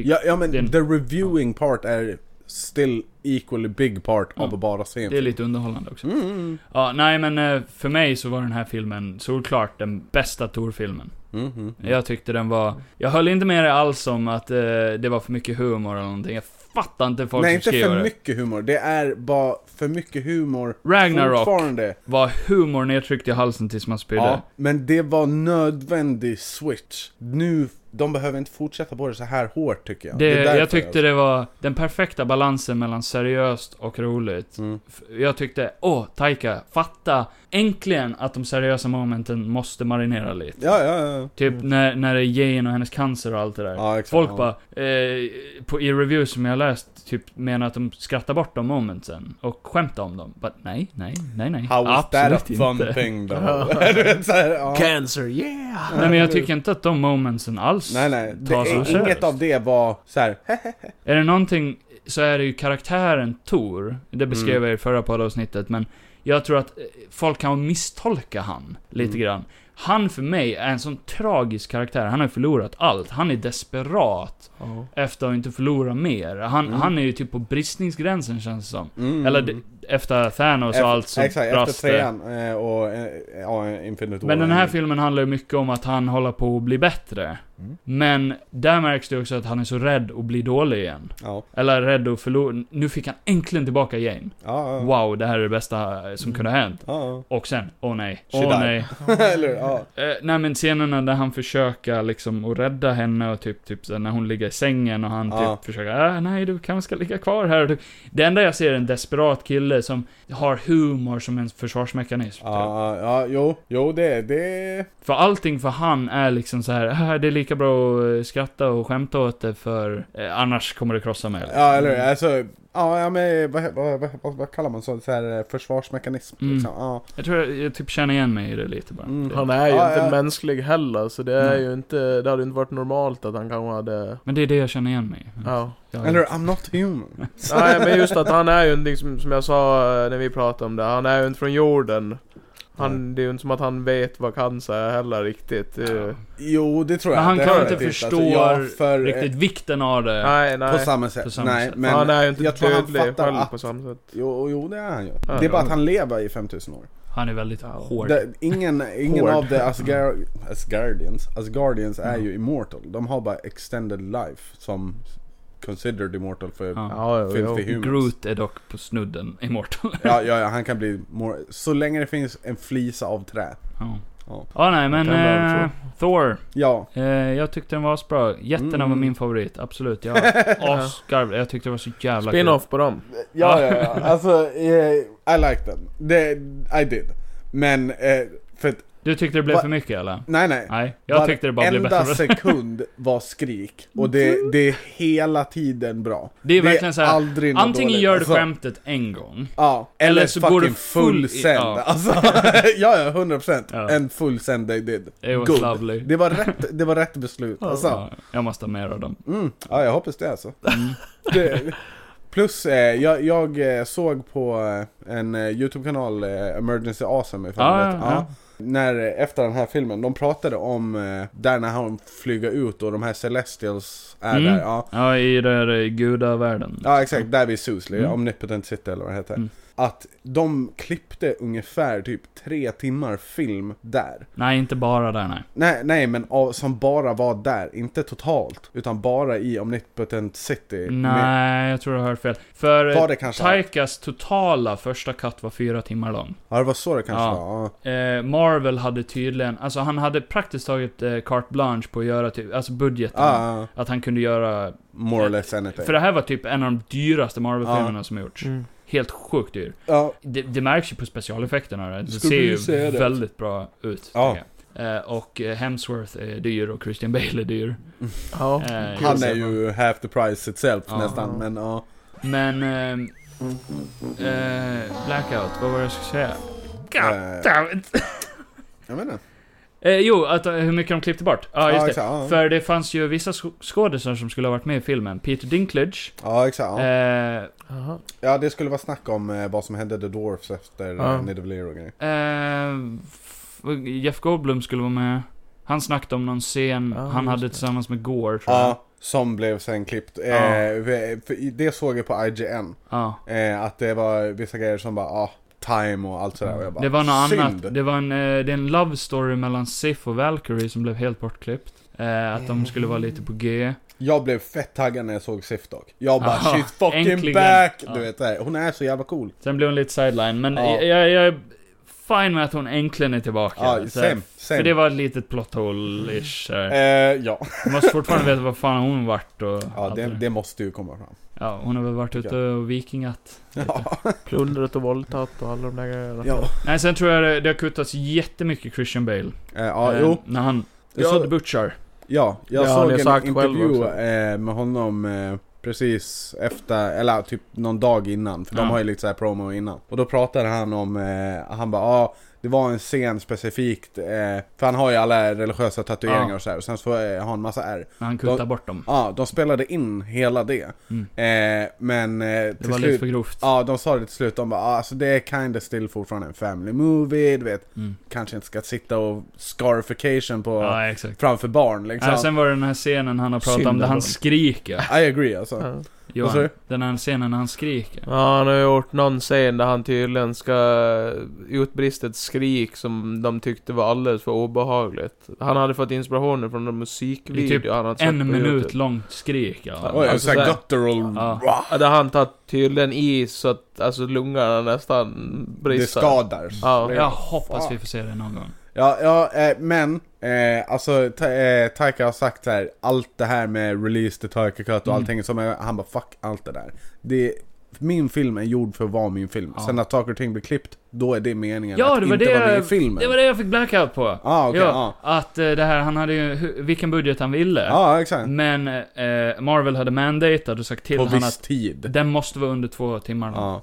F: Mm. Ja, ja men
E: Den-
F: the reviewing part är still equally big part
E: Ja.
F: av att bara se en
E: det är
F: film.
E: lite underhållande också.
F: Mm.
E: Ja, nej men eh, för mig så var den här filmen solklart den bästa Tor-filmen.
F: Mm. Mm.
E: Jag tyckte den var... Jag höll inte med dig alls om att eh, det var för mycket humor eller någonting. Jag fattar inte folk
F: Nej
E: som
F: inte
E: skriver
F: för
E: det.
F: mycket humor, det är bara för mycket humor
E: Ragnarok.
F: fortfarande.
E: Var humor nedtryckt i halsen tills man spydde.
F: Ja, men det var nödvändig switch. Nu, de behöver inte fortsätta på det så här hårt tycker jag.
E: Det,
F: är därför alltså.
E: jag tyckte det var den perfekta balansen mellan seriöst och roligt.
F: Mm.
E: F- Jag tyckte, åh, Taika, fatta äntligen att de seriösa momenten måste marinera lite.
F: Ja, ja, ja.
E: Typ när, när det är Jane och hennes cancer och allt det där.
F: Mm. ja exakt.
E: Folk
F: ja.
E: bara, eh, på, i reviews som jag läst, typ menar att de skrattar bort de momentsen och skämtar om dem. But nej, nej, nej, nej.
F: How is that a
E: Absolut
F: fun
E: inte.
F: thing though? du vet, så här, ja.
D: Cancer, yeah!
E: Nej men jag tycker inte att de momentsen alls
F: Nej nej, det
E: tas
F: är,
E: seriöst.
F: inget av det var så här.
E: Är det någonting så är det ju karaktären Tor. Det beskrev
F: Mm.
E: jag i förra poddavsnittet, men jag tror att eh, folk kan misstolka han lite
F: Mm.
E: grann. Han för mig är en sån tragisk karaktär. Han har förlorat allt. Han är desperat efter att inte förlora mer. Han,
F: Mm.
E: han är ju typ på bristningsgränsen känns det som.
F: Mm.
E: Eller d- efter Thanos
F: Ef-
E: och allt så
F: Exakt,
E: brast
F: efter
E: det.
F: trean eh, och eh, ja, Infinite
E: Men
F: War.
E: den här filmen handlar ju mycket om att han håller på att bli bättre.
F: Mm.
E: Men där märks det också att han är så rädd att bli dålig igen.
F: Ja,
E: Eller rädd att förlora. Nu fick han äntligen tillbaka Jane.
F: ja, ja.
E: Wow, det här är det bästa eh, som kunde ha hänt.
F: Ja,
E: Och sen, åh oh, nej,
F: She
E: åh oh,
F: died.
E: nej.
F: ja. Eller hur? ja.
E: Eh, nej men scenerna där han försöker liksom att rädda henne och typ, typ så här när hon ligger i sängen och han
F: Ja.
E: typ försöker, äh, nej du kanske ska ligga kvar här. Typ. Det enda jag ser är en desperat kille som har humor som en försvarsmekanism. Typ.
F: Ja, ja, jo, jo det, det...
E: För allting för han är liksom så här, äh, det är lika bra att eh, skratta och skämta åt det för eh, annars kommer det krossa mig.
F: Ja, eller hur? alltså... Ja, ja men vad, vad, vad, vad, vad kallar man så? så här, eh, försvarsmekanism
E: Mm.
F: liksom. Ja.
E: Jag tror jag, jag typ känner igen mig i det lite bara.
F: Mm.
E: Det.
D: Han är ju
F: Ja,
D: inte
F: ja.
D: mänsklig heller, så det är
E: typ. Nej.
D: ju inte... Det hade ju inte varit normalt att han kanske hade...
E: Men det är det jag känner igen mig i.
D: Ja.
E: Jag-
F: Eller I'm not human.
D: Nej men just att han är ju inte, liksom, som jag sa eh, när vi pratade om det, han är ju inte från jorden. Han, det är ju inte som att han vet vad cancer är heller riktigt. Det är ju-
F: Jo, det tror jag.
E: Men han
F: Det
E: kan
F: tror
E: inte
F: jag faktiskt.
E: förstå
F: för, eh,
E: Riktigt vikten av det.
D: Nej
F: På
D: nej.
F: samma sätt.
E: På samma
F: Nej,
E: sätt.
F: men
D: han är ju inte
F: jag tror han
D: dödlig
F: fattar
D: själv
F: att...
D: på samma sätt.
F: Jo, jo, det är han ju.
D: Ja,
F: det är bara
D: ja.
F: att han lever i 5000 år.
E: Han är väldigt
D: Ja.
E: hård.
F: Det, ingen ingen
D: Hård.
F: av de Asgar Asgardians, Asgardians är ju immortal. De har bara extended life som considered immortal för
E: Ja.
D: Ja, jo, jo.
F: filthy humans.
E: Groot är dock på snudden immortal.
F: Ja, ja, ja, han kan bli more, Så länge det finns en flisa av trä.
E: ja.
F: Ja.
E: ja, nej men
D: Kan vara
E: eh, Thor.
F: Ja.
E: Eh, jag tyckte den var asbra. Jätterna var
F: Mm.
E: min favorit, absolut. Jag asgarv. Jag tyckte det var så jävla
D: Spin-off på dem.
F: Ja, ja, ja. Alltså, eh, I like them. Det, I did. Men, eh, för att,
E: kul. Du tyckte det blev
F: Va-
E: för mycket eller?
F: nej nej.
E: Nej, jag tyckte det bara blev
F: Varenda
E: bättre.
F: sekund var skrik. Och det, det är hela tiden bra.
E: Det är verkligen så här,
F: aldrig något
E: Antingen
F: dåligt,
E: gör du
F: alltså.
E: skämtet en gång.
F: Ja,
E: Eller
F: eller,
E: så
F: fucking
E: går du full
F: full
E: i-
F: send.
E: ja.
F: Alltså, ja, ja, 100 procent.
E: Ja.
F: En full send they did.
E: It was
F: Good.
E: lovely.
F: Det var rätt, det var rätt beslut. Alltså.
E: Ja, jag måste ha mer av dem.
F: Mm. Ja, jag hoppas det alltså. Det, plus, eh, jag, jag eh, såg på eh, en eh, YouTube-kanal, eh, Emergency Awesome ifall
E: Ja,
F: ni vet.
E: Ah, ja, ja.
F: När, eh, efter den här filmen, de pratade om eh, där när han flyger ut och de här Celestials är
E: Mm.
F: där. Ja.
E: Ja, i den där gudavärlden.
F: Ja exakt, där vid Susley,
E: Mm.
F: Omnipotent City eller vad det heter.
E: Mm.
F: Att de klippte ungefär typ tre timmar film där.
E: Nej, inte bara där nej.
F: Nej, nej men av, som bara var där, inte totalt. Utan bara i Omnipotent City. Med,
E: Nej, jag tror jag hörde fel. För eh,
F: var det kanske?
E: Taikas totala första cut var fyra timmar lång.
F: ja det var så det kanske
E: Ja.
F: var. Ja.
E: Eh, Marvel hade tydligen, alltså han hade praktiskt taget eh, carte blanche på att göra typ, alltså budgeten.
F: Ah, ah,
E: Att han kunde göra,
F: more or less anything.
E: för det här var typ en av de dyraste Marvel-filmerna
F: Ah.
E: som gjorts.
D: Mm.
E: Helt sjukt dyr.
F: ja,
E: Det, det märks ju på specialeffekterna, det
F: Skulle
E: ser
F: du säga
E: ju
F: det?
E: väldigt bra ut.
F: Ja.
E: tycker Eh, och eh, Hemsworth är dyr och Christian Bale är dyr.
D: Ja.
E: Eh,
F: Han är ju half the price itself
E: Ja.
F: nästan, men ja.
E: Men... ehm, eh, blackout, vad var det jag skulle säga? God
F: Eh.
E: damn it.
F: Jag menar.
E: Eh, jo, att, eh, hur mycket de klippte bort. Ja, just det.
F: exakt, ja.
E: För det fanns ju vissa sk- skådespelare som skulle ha varit med i filmen. Peter Dinklage.
F: Ja, exakt. Ja.
E: Eh,
D: Jaha.
F: ja, det skulle vara snack om eh, vad som hände The Dwarfs efter
D: Ja.
F: ja. Nidavellir och grejer.
E: eh, f- Jeff Goldblum skulle vara med. Han snackade om någon scen
D: Ja,
E: han
D: just
E: hade
D: det.
E: tillsammans med Gore, tror jag.
F: Ja, som blev sen klippt. Eh,
E: Ja.
F: vi- för Det såg jag på IGN.
E: Ja.
F: Eh, att det var vissa grejer som bara, ah, time och allt sådär. Och jag bara,
E: Det var något
F: synd.
E: annat. Det var en, eh, det är en love story mellan Sif och Valkyrie som blev helt bortklippt. Eh, att de skulle vara lite på G.
F: Jag blev fett taggad när jag såg Sif dock. Jag bara,
E: Aha,
F: she's fucking
E: äntligen.
F: back!
E: Ja.
F: Du vet det här. Hon är så jävla cool.
E: Sen blev hon lite sideline, men
F: Ja.
E: jag, jag är fine med att hon äntligen är tillbaka.
F: Ja,
E: Så-
F: same, same.
E: För det var ett litet plot hole-ish. så här.
F: Eh, ja,
E: Jag måste fortfarande veta vad fan hon vart och
F: ja
E: allt
F: det,
E: det där.
F: det måste ju komma fram.
E: Ja, hon har väl varit ute och vikingat.
F: Ja,
D: Plundrat och våldtagit och alla de där grejerna.
F: ja.
E: Nej, sen tror jag det, det har kuttats jättemycket Christian Bale.
F: Eh, ja
E: Eh,
F: jo.
E: När han... Du
F: Jag-
E: sa The Butcher.
F: Ja, jag
D: Det har
F: såg
D: ni
F: en
D: sagt själv
F: intervju
D: också.
F: eh, med honom eh, precis efter, eller typ någon dag innan. För
E: Ja.
F: de har ju lite så här promo innan. Och då pratade han om, eh, han bara ah, det var en scen specifikt, eh, för han har ju alla religiösa tatueringar
E: Ja.
F: och så här. Och sen så eh, har han massa ärr.
E: När han kuttar
F: Då-
E: bort dem.
F: Ja, de spelade in hela det.
E: Mm.
F: Eh, men eh,
E: Det
F: till
E: var lite
F: slut,
E: för grovt.
F: Ja, de sa det till slut. De bara, ah, alltså det är kinda still fortfarande en family movie, du vet.
E: Mm.
F: Kanske inte ska sitta och scarification på
E: Ja, exakt.
F: framför barn liksom.
E: Ja, sen var det den här scenen han har pratat om
D: Synd
E: där han
D: ändå.
E: skriker.
F: I agree alltså.
D: Ja.
E: Johan,
F: sa du?
E: den här scenen när han skriker.
D: Ja, han har gjort någon scen där han tydligen ska eh, utbrista ett skrik som de tyckte var alldeles för obehagligt. Han hade fått inspirationen från en musikvideo
E: I typ
D: han hade sett på
E: En minut
D: YouTube.
E: långt skrik, ja.
F: Oj,
D: Alltså,
F: såhär
D: så här-
F: guttural...
E: Ja.
F: Wah!
D: Ja, Där han tagit tydligen i så att alltså lungorna nästan
F: Det
D: brister.
F: skadar.
D: Ja.
E: Jag hoppas vi får se det någon gång.
F: Ja, ja eh, men eh, alltså ta, eh, Taika har sagt så här, allt det här med release the Taika Cut och
E: Mm.
F: allting som är, han bara fuck allt det där. Det, min film är gjord för att vara min film.
E: Ja.
F: Sen när saker och ting blir klippt, då är det meningen
E: Ja,
F: att
E: det var
F: inte
E: det
F: vara med i
E: jag-
F: filmen.
E: Det var det jag fick blackout på.
F: Ah, okej,
E: ja, Att eh, det här, han hade ju hu- vilken budget han ville.
F: Ja, ah. exakt.
E: Men eh, Marvel hade mandatat och sagt till
F: På
E: honom
F: viss
E: att
F: tid. Ah.
E: den måste vara under två timmar nu.
F: Ja.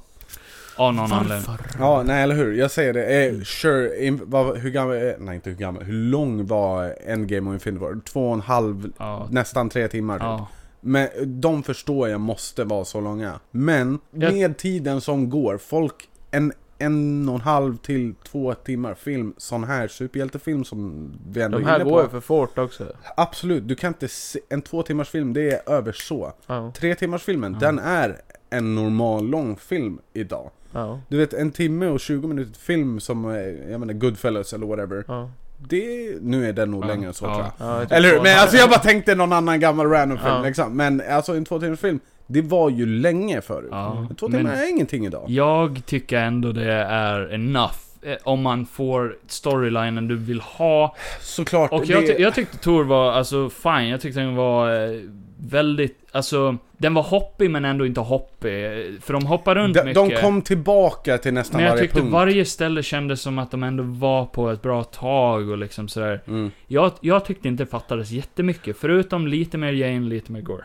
E: Av någon anledning.
F: ja, nej eller hur. Jag säger det.
D: Mm.
F: Eh, sure, in, vad, hur gammal, eh, nej inte hur gammal, hur lång var Endgame och Infinity War? Två och en halv,
E: Ja.
F: nästan tre timmar typ.
E: ja.
F: Men de förstår jag måste vara så långa. Men
E: Jag-
F: med tiden som går, folk en, en och en halv till två timmar film, sån här superhjältefilm som vi ändå
D: De
F: är
D: här
F: inne
D: går ju
F: på.
D: för fort också.
F: Absolut, du kan inte se, en två timmars film det är över så.
D: Ja.
F: Tre timmars filmen, den är en normal lång film idag.
D: Ja.
F: Du vet en timme och 20 minuter film som, eh, jag menar Goodfellas eller whatever.
D: Ja.
F: Det, nu är den nog
E: Ja.
F: längre än så
E: Ja. Typ
F: tror jag.
D: Ja, jag tycker
F: Eller hur?
D: så.
F: Men alltså jag bara tänkte någon annan gammal random film
D: Ja.
F: liksom. Men alltså en två timmars film, det var ju länge förut.
E: Ja,
F: Två
E: men-
F: timmar är ingenting idag.
E: Jag tycker ändå det är enough. eh, Om man får storylinen du vill ha.
F: Såklart.
E: Och
F: det,
E: jag, ty- jag tyckte Tor var, alltså, fine. Jag tyckte den var eh, väldigt, alltså, den var hoppig men ändå inte hoppig. eh, För de hoppar runt
F: de,
E: mycket.
F: de kom tillbaka till nästan
E: Men jag
F: varje
E: tyckte
F: punkt.
E: varje ställe kändes som att de ändå var på ett bra tag och liksom sådär.
F: Mm.
E: Jag, jag tyckte inte det fattades jättemycket, förutom lite mer Jane, lite mer Gore.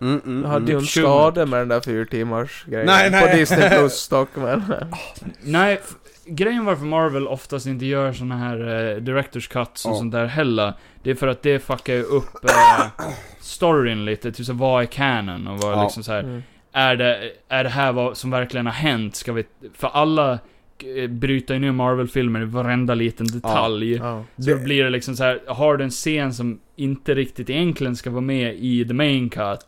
F: Mm, mm,
D: Jag
F: mm.
D: hade ju en
E: Tjugo
D: skada med den där fyrtimmars grejen
F: Nej, nej.
D: på Disney Plus dock men...
E: Nej, f- grejen varför Marvel oftast inte gör såna här eh, Directors Cuts och
F: Ja.
E: sånt där heller, det är för att det fuckar ju upp eh, storyn lite, typ så vad är canon och vad
F: Ja.
E: liksom så här.
D: Mm.
E: är det, är det här vad som verkligen har hänt? Ska vi, för alla eh, bryter ju ner Marvel-filmer i varenda liten detalj.
D: Ja.
E: Så då blir det liksom så här, har du en scen som inte riktigt egentligen ska vara med i the main cut,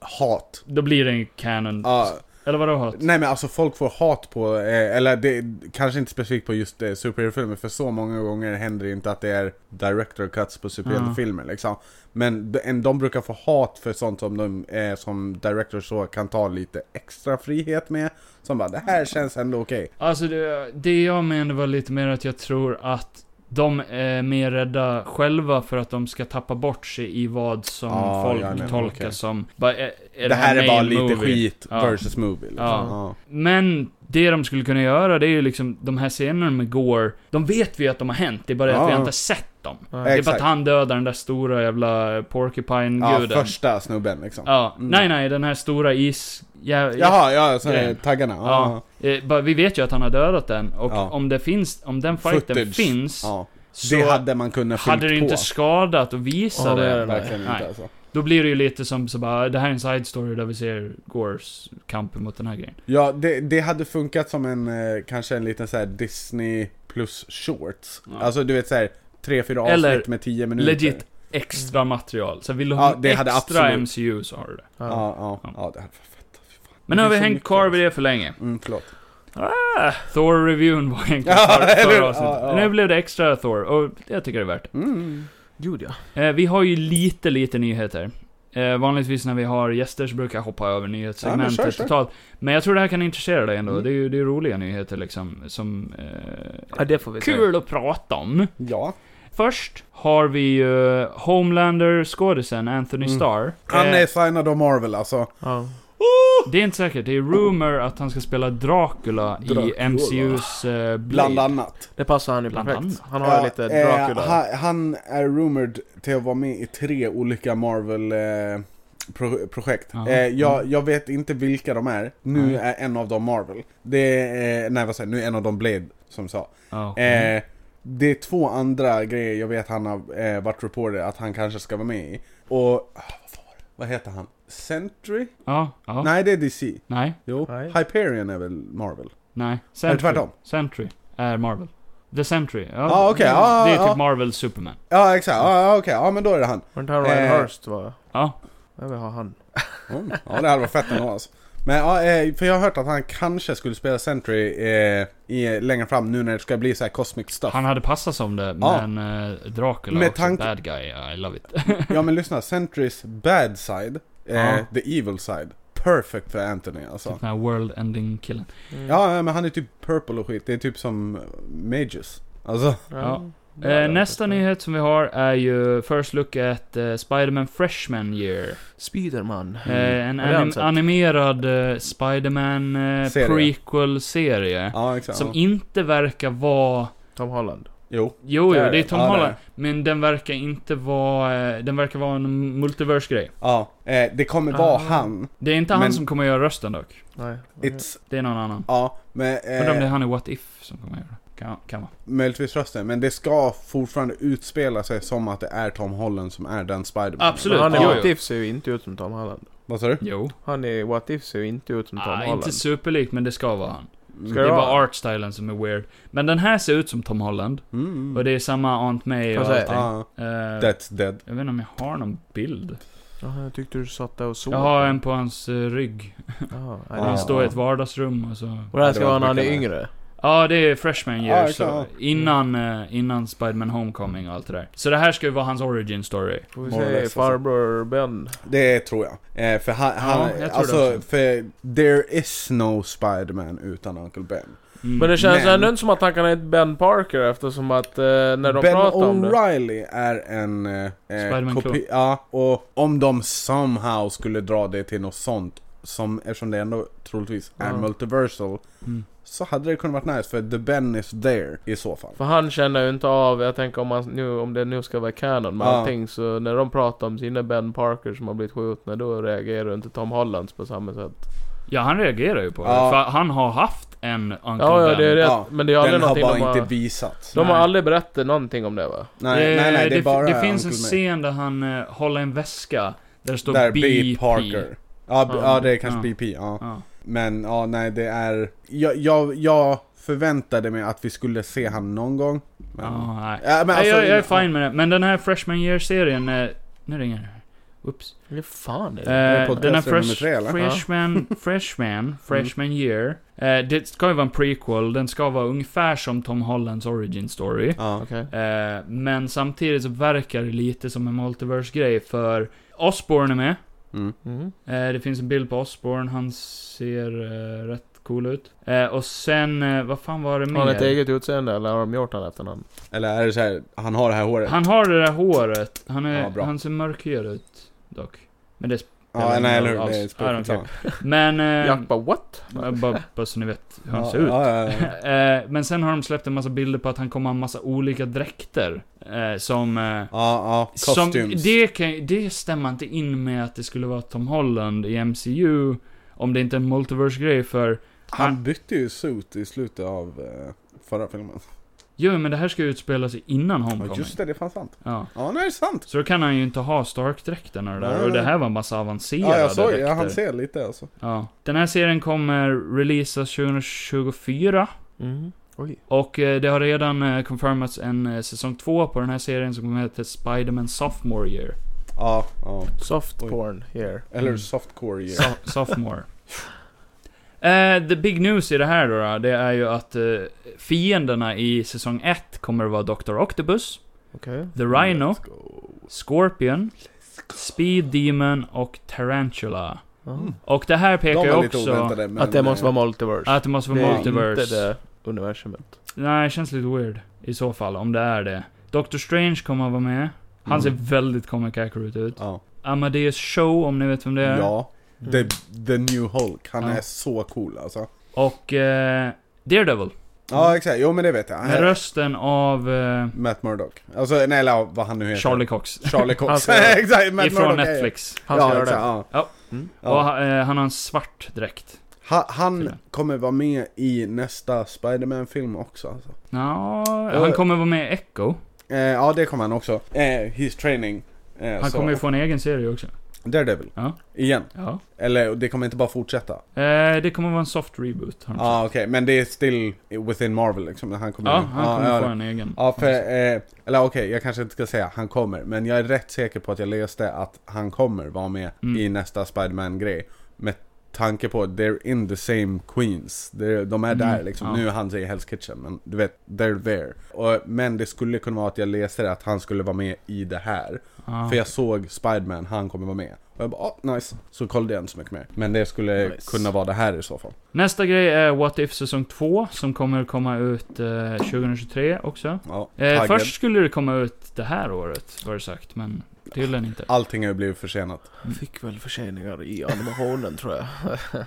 F: Hat.
E: då blir det en canon.
F: Ja.
E: Eller vadå hat?
F: Nej men alltså folk får hat på, eh, eller det, kanske inte specifikt på just eh, superhjältefilmer för så många gånger händer det inte att det är director cuts på superhjältefilmer
E: Mm.
F: liksom. Men de, en- de brukar få hat för sånt som de eh, som directors så kan ta lite extra frihet med. Som bara det här känns ändå okej.
E: Alltså det, det jag menade var lite mer att jag tror att de är mer rädda själva för att de ska tappa bort sig i vad som
F: Ja,
E: folk
F: jag menar,
E: tolkar
F: okej.
E: som... Bara, är, är
F: Det här är bara
E: main
F: lite
E: movie?
F: skit
E: Ja.
F: versus movie. Liksom.
E: Ja. Men Det de skulle kunna göra, det är ju liksom de här scenerna med Gore. De vet vi att de har hänt, det är bara det att vi
F: Ja.
E: inte har sett dem.
D: Ja.
E: Det är bara
F: Exakt.
E: att han dödar den där stora jävla Porcupine-guden.
F: Ja, första snubben liksom.
E: Ja,
F: Mm.
E: nej nej, den här stora is... Ja,
F: Jaha, ja, så är
E: Grejen.
F: det taggarna.
E: Ja.
F: Ja.
E: Eh, bara, vi vet ju att han har dödat den, och
F: Ja.
E: om det finns, om den fighten
F: Footage.
E: finns,
F: ja.
E: så
F: Det
E: hade,
F: hade man kunnat
E: det
F: fyllt
E: inte
F: på.
E: skadat att visa
D: Ja,
E: det.
D: det är det.
F: Verkligen
E: Nej.
F: inte alltså.
E: Då blir det ju lite som så bara, det här är en side story där vi ser Gores kamp mot den här grejen.
F: Ja, det, det hade funkat som en, eh, kanske en liten så här Disney plus shorts.
E: Ja.
F: Alltså du vet så här tre, fyra avsnitt
E: Eller
F: med tio minuter.
E: Legit
D: Mm.
E: extra material. Så vill du
F: Ja,
E: ha
F: det hade
E: extra
F: absolut-
E: MCU så har du det.
F: Ja,
D: Ja.
F: ja,
E: Ja.
F: ja, det hade varit fett. Fy fan.
E: Men nu
F: Det
E: har vi
F: är så
E: hängt
F: mycket,
E: kvar
F: alltså.
E: vid det för länge.
F: Mm, förlåt.
D: Ah.
E: Thor-reviewn var egentligen
F: Ja,
E: för,
F: eller hur?
E: förra
F: Ja,
E: avsnittet.
F: ja.
E: Nu blev det extra Thor, och jag tycker det är värt det.
F: Mm.
D: Gud ja.
E: Eh, vi har ju lite, lite nyheter. Eh, vanligtvis när vi har gäster så brukar jag hoppa över nyhetssegmentet
F: Ja, men kör, kör.
E: totalt. Men jag tror det här kan intressera dig ändå.
F: Mm.
E: Det är ju det är roliga nyheter liksom, som... Eh,
D: Ja, det får vi se.
E: kul att prata om.
F: Ja.
E: Först har vi ju Homelander-skådisen Anthony
F: Mm.
E: Starr.
F: Han
E: Eh,
F: är signad av Marvel alltså.
D: Ja.
E: Det är inte säkert, det är rumor att han ska spela Dracula, i
F: Dracula.
E: MCUs eh, Blade.
F: Bland annat.
D: Det passar han ju
E: Bland
D: perfekt.
E: annat.
D: Han har ju
F: Ja,
D: lite
F: eh,
D: Dracula.
F: ha- han är rumored till att vara med i tre olika Marvel eh, pro- projekt.
E: Jaha.
F: Eh, jag, jag vet inte vilka de är. Nu
E: Mm. Nej.
F: är en av dem Marvel. Det är, eh, nej vad säger jag, nu är en av dem Blade som sa.
E: Ja, Ah, okej.
F: Eh, det är två andra grejer jag vet han har eh, varit reporter att han kanske ska vara med i. Och, ah, vad fan var det? vad heter han? Sentry?
E: ja, ja. Nej.
F: Nej det är DC.
E: Nej.
F: Jo.
D: Nej.
F: Hyperion är väl Marvel?
E: Nej.
F: Eller tvärtom.
E: Sentry är Marvel. The Sentry. Ja,
F: Ah, okej.
E: det,
F: Ah,
E: det är
F: ah,
E: typ
F: ah.
E: Marvel Superman.
F: Ja exakt, ja ah, okej, ja men då är det han.
D: Var inte han Ryan
F: Eh.
D: Hurst va?
E: Ja.
D: Jag vill ha han.
F: Mm. Ja det hade varit fett ändå alltså. Men ja, eh, för jag har hört att han kanske skulle spela Sentry eh, i, längre fram nu när det ska bli så här cosmic stuff.
E: Han hade passat som det,
F: Ja.
E: men eh, Dracula
F: Med
E: också,
F: tanke-
E: bad guy, I love it.
F: Ja men lyssna, Sentrys bad side, eh,
E: Ja.
F: the evil side. Perfect för Anthony alltså.
E: Typ den här world ending killen.
D: Mm.
F: Ja, ja, men han är typ purple och skit. Det är typ som eh, Mages. Alltså,
E: Ja.
D: Ja, det
E: Eh,
D: är
E: nästa
D: perfekt.
E: nyhet som vi har är ju First Look at eh, Spider-Man Freshman Year.
D: Spiderman.
E: Eh, en
D: Mm. Ja, det har jag
E: anim-
D: inte sett.
E: animerad eh, Spider-Man eh,
F: Serie.
E: prequel-serie.
F: ja exakt.
E: Som
F: ja.
E: inte verkar vara...
D: Tom Holland.
F: Jo.
E: Jo, jo,
F: Där.
E: det är Tom
F: Ja,
E: Holland.
F: där.
E: Men den verkar inte vara... eh, Den verkar vara en multiverse-grej.
F: Ja, eh, det kommer vara
D: Ah.
F: han.
E: Det är inte han
F: Men-
E: som kommer göra rösten dock.
D: Nej.
F: It's,
E: Det är någon annan.
F: ja, men
E: Undrar om det är
F: eh,
E: han i What If som kommer göra det. Kan, kan vara.
F: möjligtvis rösten. Men det ska fortfarande utspela sig som att det är Tom Holland som är den Spiderman.
E: Absolut.
D: Men han i
E: Jo,
D: What
E: jo.
D: If ser ju inte ut som Tom Holland.
F: Vad sa du?
E: Jo.
D: Han i What If ser ju inte ut som Tom
E: Ah,
D: Holland.
E: inte superlikt, men det ska vara han.
D: Ska
E: Det är
D: det vara?
E: bara artstylen som är weird. Men den här ser ut som Tom Holland.
F: Mm.
E: Och det är samma Aunt May och
D: Vad säger
E: allting.
D: jag?
F: Ah,
E: Eh,
F: that's dead.
E: jag vet inte om jag har någon bild.
D: Jaha, jag tyckte du satt där och såg.
E: Jag har en på hans eh, rygg.
D: Jaha, nej,
F: Ja.
E: Han
D: det-
E: står i ett vardagsrum och så...
D: Och det här ska
F: Det var
D: vara när han är
F: mycket
D: yngre?
E: Ja, det är Freshman Year,
F: Ja, det
E: så
F: kan-
E: innan, eh, innan Spiderman Homecoming och allt det där. Så det här ska ju vara hans origin story.
D: Får vi
F: More or
D: se
F: less, alltså.
D: farbror Ben.
F: Det tror jag. Eh, för han, han
E: jag tror det
F: alltså,
E: också.
F: för there is no Spiderman utan Uncle Ben.
E: Mm.
D: Men det känns
F: Men-
D: ändå inte som att han kan heta Ben Parker eftersom att eh, när de
F: ben
D: pratar om det.
F: O'Reilly är en... Eh, eh,
E: Spider-Man-klon.
F: kopi- ja, och om de somehow skulle dra det till något sånt, som, eftersom det ändå troligtvis är
D: Ja.
F: multiversal,
E: Mm.
F: så hade det kunnat varit nice för the Ben is there i så fall.
D: För han känner ju inte av, jag tänker om, han nu, om det nu ska vara canon med
F: Ja.
D: allting, så när de pratar om sina Ben Parker som har blivit skjutna, då reagerar inte Tom Hollands på samma sätt.
E: Mm. Ja, han reagerar ju på det.
F: Ja.
E: För han har haft en Uncle
D: Ja, ja,
E: Ben.
D: det är det.
F: Ja,
D: Men det är aldrig
F: Den har
D: någonting
F: bara
D: de har...
F: inte visats.
D: De har
E: Nej.
D: aldrig berättat någonting om det va?
F: Nej,
E: Eh,
F: nej, nej, det, är
E: fi-
F: bara
E: det finns en
F: Uncle May.
E: scen där han eh, håller en väska. Där det står
F: Där
E: BP.
F: B. Parker. Ja, b- ja, det är kanske
E: Ja.
F: BP, ja.
E: Ja.
F: Men ja, nej det är... Jag, jag, jag förväntade mig att vi skulle se han någon gång. Men...
E: Ja, nej.
F: Ja, men
E: Nej,
F: alltså-
E: jag, jag är fine med det. Men den här Freshman Year-serien... eh, Nu ringer det. Oops.
D: Vad fan är
E: Eh,
D: det?
F: podcast
E: den här
F: nummer
E: fresh,
F: tre, eller? Mm.
E: Freshman, Freshman, Freshman Year. Eh, det ska ju vara en prequel, den ska vara ungefär som Tom Hollands origin story.
F: Ja.
D: Okej.
E: Eh, men samtidigt så verkar det lite som en multiverse-grej för Osborn är med.
F: Mm.
D: Mhm.
E: Eh, det finns en bild på Osborn, han ser eh, rätt cool ut. Eh, och sen, eh, vad fan var det mer?
D: Har han ett eget utseende eller har de gjort han efter någon?
F: Eller är det så här, han har det här håret?
E: Han har det där håret. Han, är,
F: Ja, bra.
E: han ser mörkhyad ut, dock. Men det
F: Ja, nej, eller hur.
E: alls.
F: Det är
E: I don't
F: spöket.
E: care.
F: samma.
E: Men... eh,
D: Jack bara what?
E: bara, bara så ni vet hur han
F: Ja,
E: ser ut.
F: ja, ja, ja.
E: Eh, Men sen har de släppt en massa bilder på att han kommer ha en massa olika dräkter. eh, Som... eh,
F: Ja, ja.
E: Som,
F: Costumes.
E: det, kan, det stämmer inte in med att det skulle vara Tom Holland i MCU. Om det inte är en multiverse-grej för...
F: Han bytte ju suit i slutet av eh, förra filmen.
E: Jo, men det här ska ju utspela sig innan
F: Ja,
E: Homecoming.
F: just det, det är fan sant.
E: Ja.
F: Ja, nej, det är sant.
E: Så då kan han ju inte ha Stark-dräkten och det där.
F: Nej,
E: Och det
F: nej.
E: här var en massa avancerade
F: Ja, jag såg
E: dräkter.
F: ja, han ser lite alltså.
E: Ja. Den här serien kommer releasas 2024.
D: Mm. Oj.
E: Och eh, det har redan eh, confirmats en eh, säsong två på den här serien som kommer heta Spider-Man Sophomore Year.
F: Ja, ja.
D: Soft
F: Oj.
D: porn here.
F: Eller
E: Mm.
F: softcore year.
E: So- sophomore. Eh, the big news i det här då, då det är ju att eh, fienderna i säsong 1 kommer att vara Dr. Octopus,
D: Okej.
E: The Rhino,
F: Let's go.
E: Scorpion, Speed Demon och Tarantula.
D: Ja.
F: Mm.
E: Och det här
F: De
E: pekar ju
F: var lite
E: också
F: oväntade, men...
D: Att det måste
F: eh,
D: vara multiverse.
E: att det måste vara
D: det är
E: multiverse.
D: inte det universumet.
E: Nej, det känns lite weird i så fall, om det är det. Doctor Strange kommer att vara med. Han ser
F: Mm.
E: väldigt comic accurate ut.
F: Ja.
E: Amadeus Show, om ni vet vem det är.
F: ja. The, the New Hulk. Han
E: Eh. Mm. Ja.
F: är så cool alltså.
E: Och eh, Daredevil.
F: Ja, exakt. Jo, men det vet jag. Han
E: Med
F: är
E: rösten av eh,
F: Matt Murdock. Alltså, nej, eller ja, vad han nu heter.
E: Charlie Cox.
F: Charlie Cox.
D: Alltså,
F: exakt, Matt
E: ifrån
F: Murdock är-
E: Netflix.
D: Han ska
F: ja,
D: göra
F: exakt,
D: det.
F: ja.
E: Ja.
D: Mm.
E: Och
F: Ja.
E: han, eh, han har en svart dräkt.
F: Ha, han
E: Filmen.
F: kommer vara med i nästa Spider-Man-film också alltså.
E: Ja,
D: Ja.
E: han kommer vara med i Echo.
F: Eh, ja, det kommer han också. Eh, his training. Eh,
E: Han
F: så.
E: kommer ju få en egen serie också.
F: Daredevil.
E: Ja.
F: Igen.
E: Ja.
F: Eller, det kommer inte bara fortsätta.
E: Eh, det kommer vara en soft reboot. har
F: Ja,
E: de
F: ah, okej. Men det är still within Marvel liksom. Han
E: sagt.
F: kommer
E: ja,
F: in.
E: han
F: Ja,
E: kommer
F: ja,
E: få
F: det.
E: en egen.
F: Ja, för, eh, eller okej, jag kanske inte ska säga han kommer, men jag är rätt säker på att jag läste att han kommer vara med
E: Mm.
F: i nästa Spiderman-grej. Med tanke på, they're in the same Queens. They're, de är
E: Mm,
F: där liksom.
E: ja.
F: Nu är han i Hell's Kitchen, men du vet, they're there. Och, men det skulle kunna vara att jag läste att han skulle vara med i det här.
E: Ja.
F: För jag såg Spiderman, han kommer vara med. Och jag bara, ah, nice. Så kollade jag inte så mycket mer. Men det skulle
D: Nice.
F: kunna vara det här i så fall.
E: Nästa grej är What If säsong 2, som kommer att komma ut eh, 2023 också.
F: Ja,
E: Eh,
F: taggad.
E: först skulle det komma ut det här året, var det sagt, men tydligen inte.
F: Allting har ju blivit försenat.
D: Fick väl förseningar i animationen tror jag.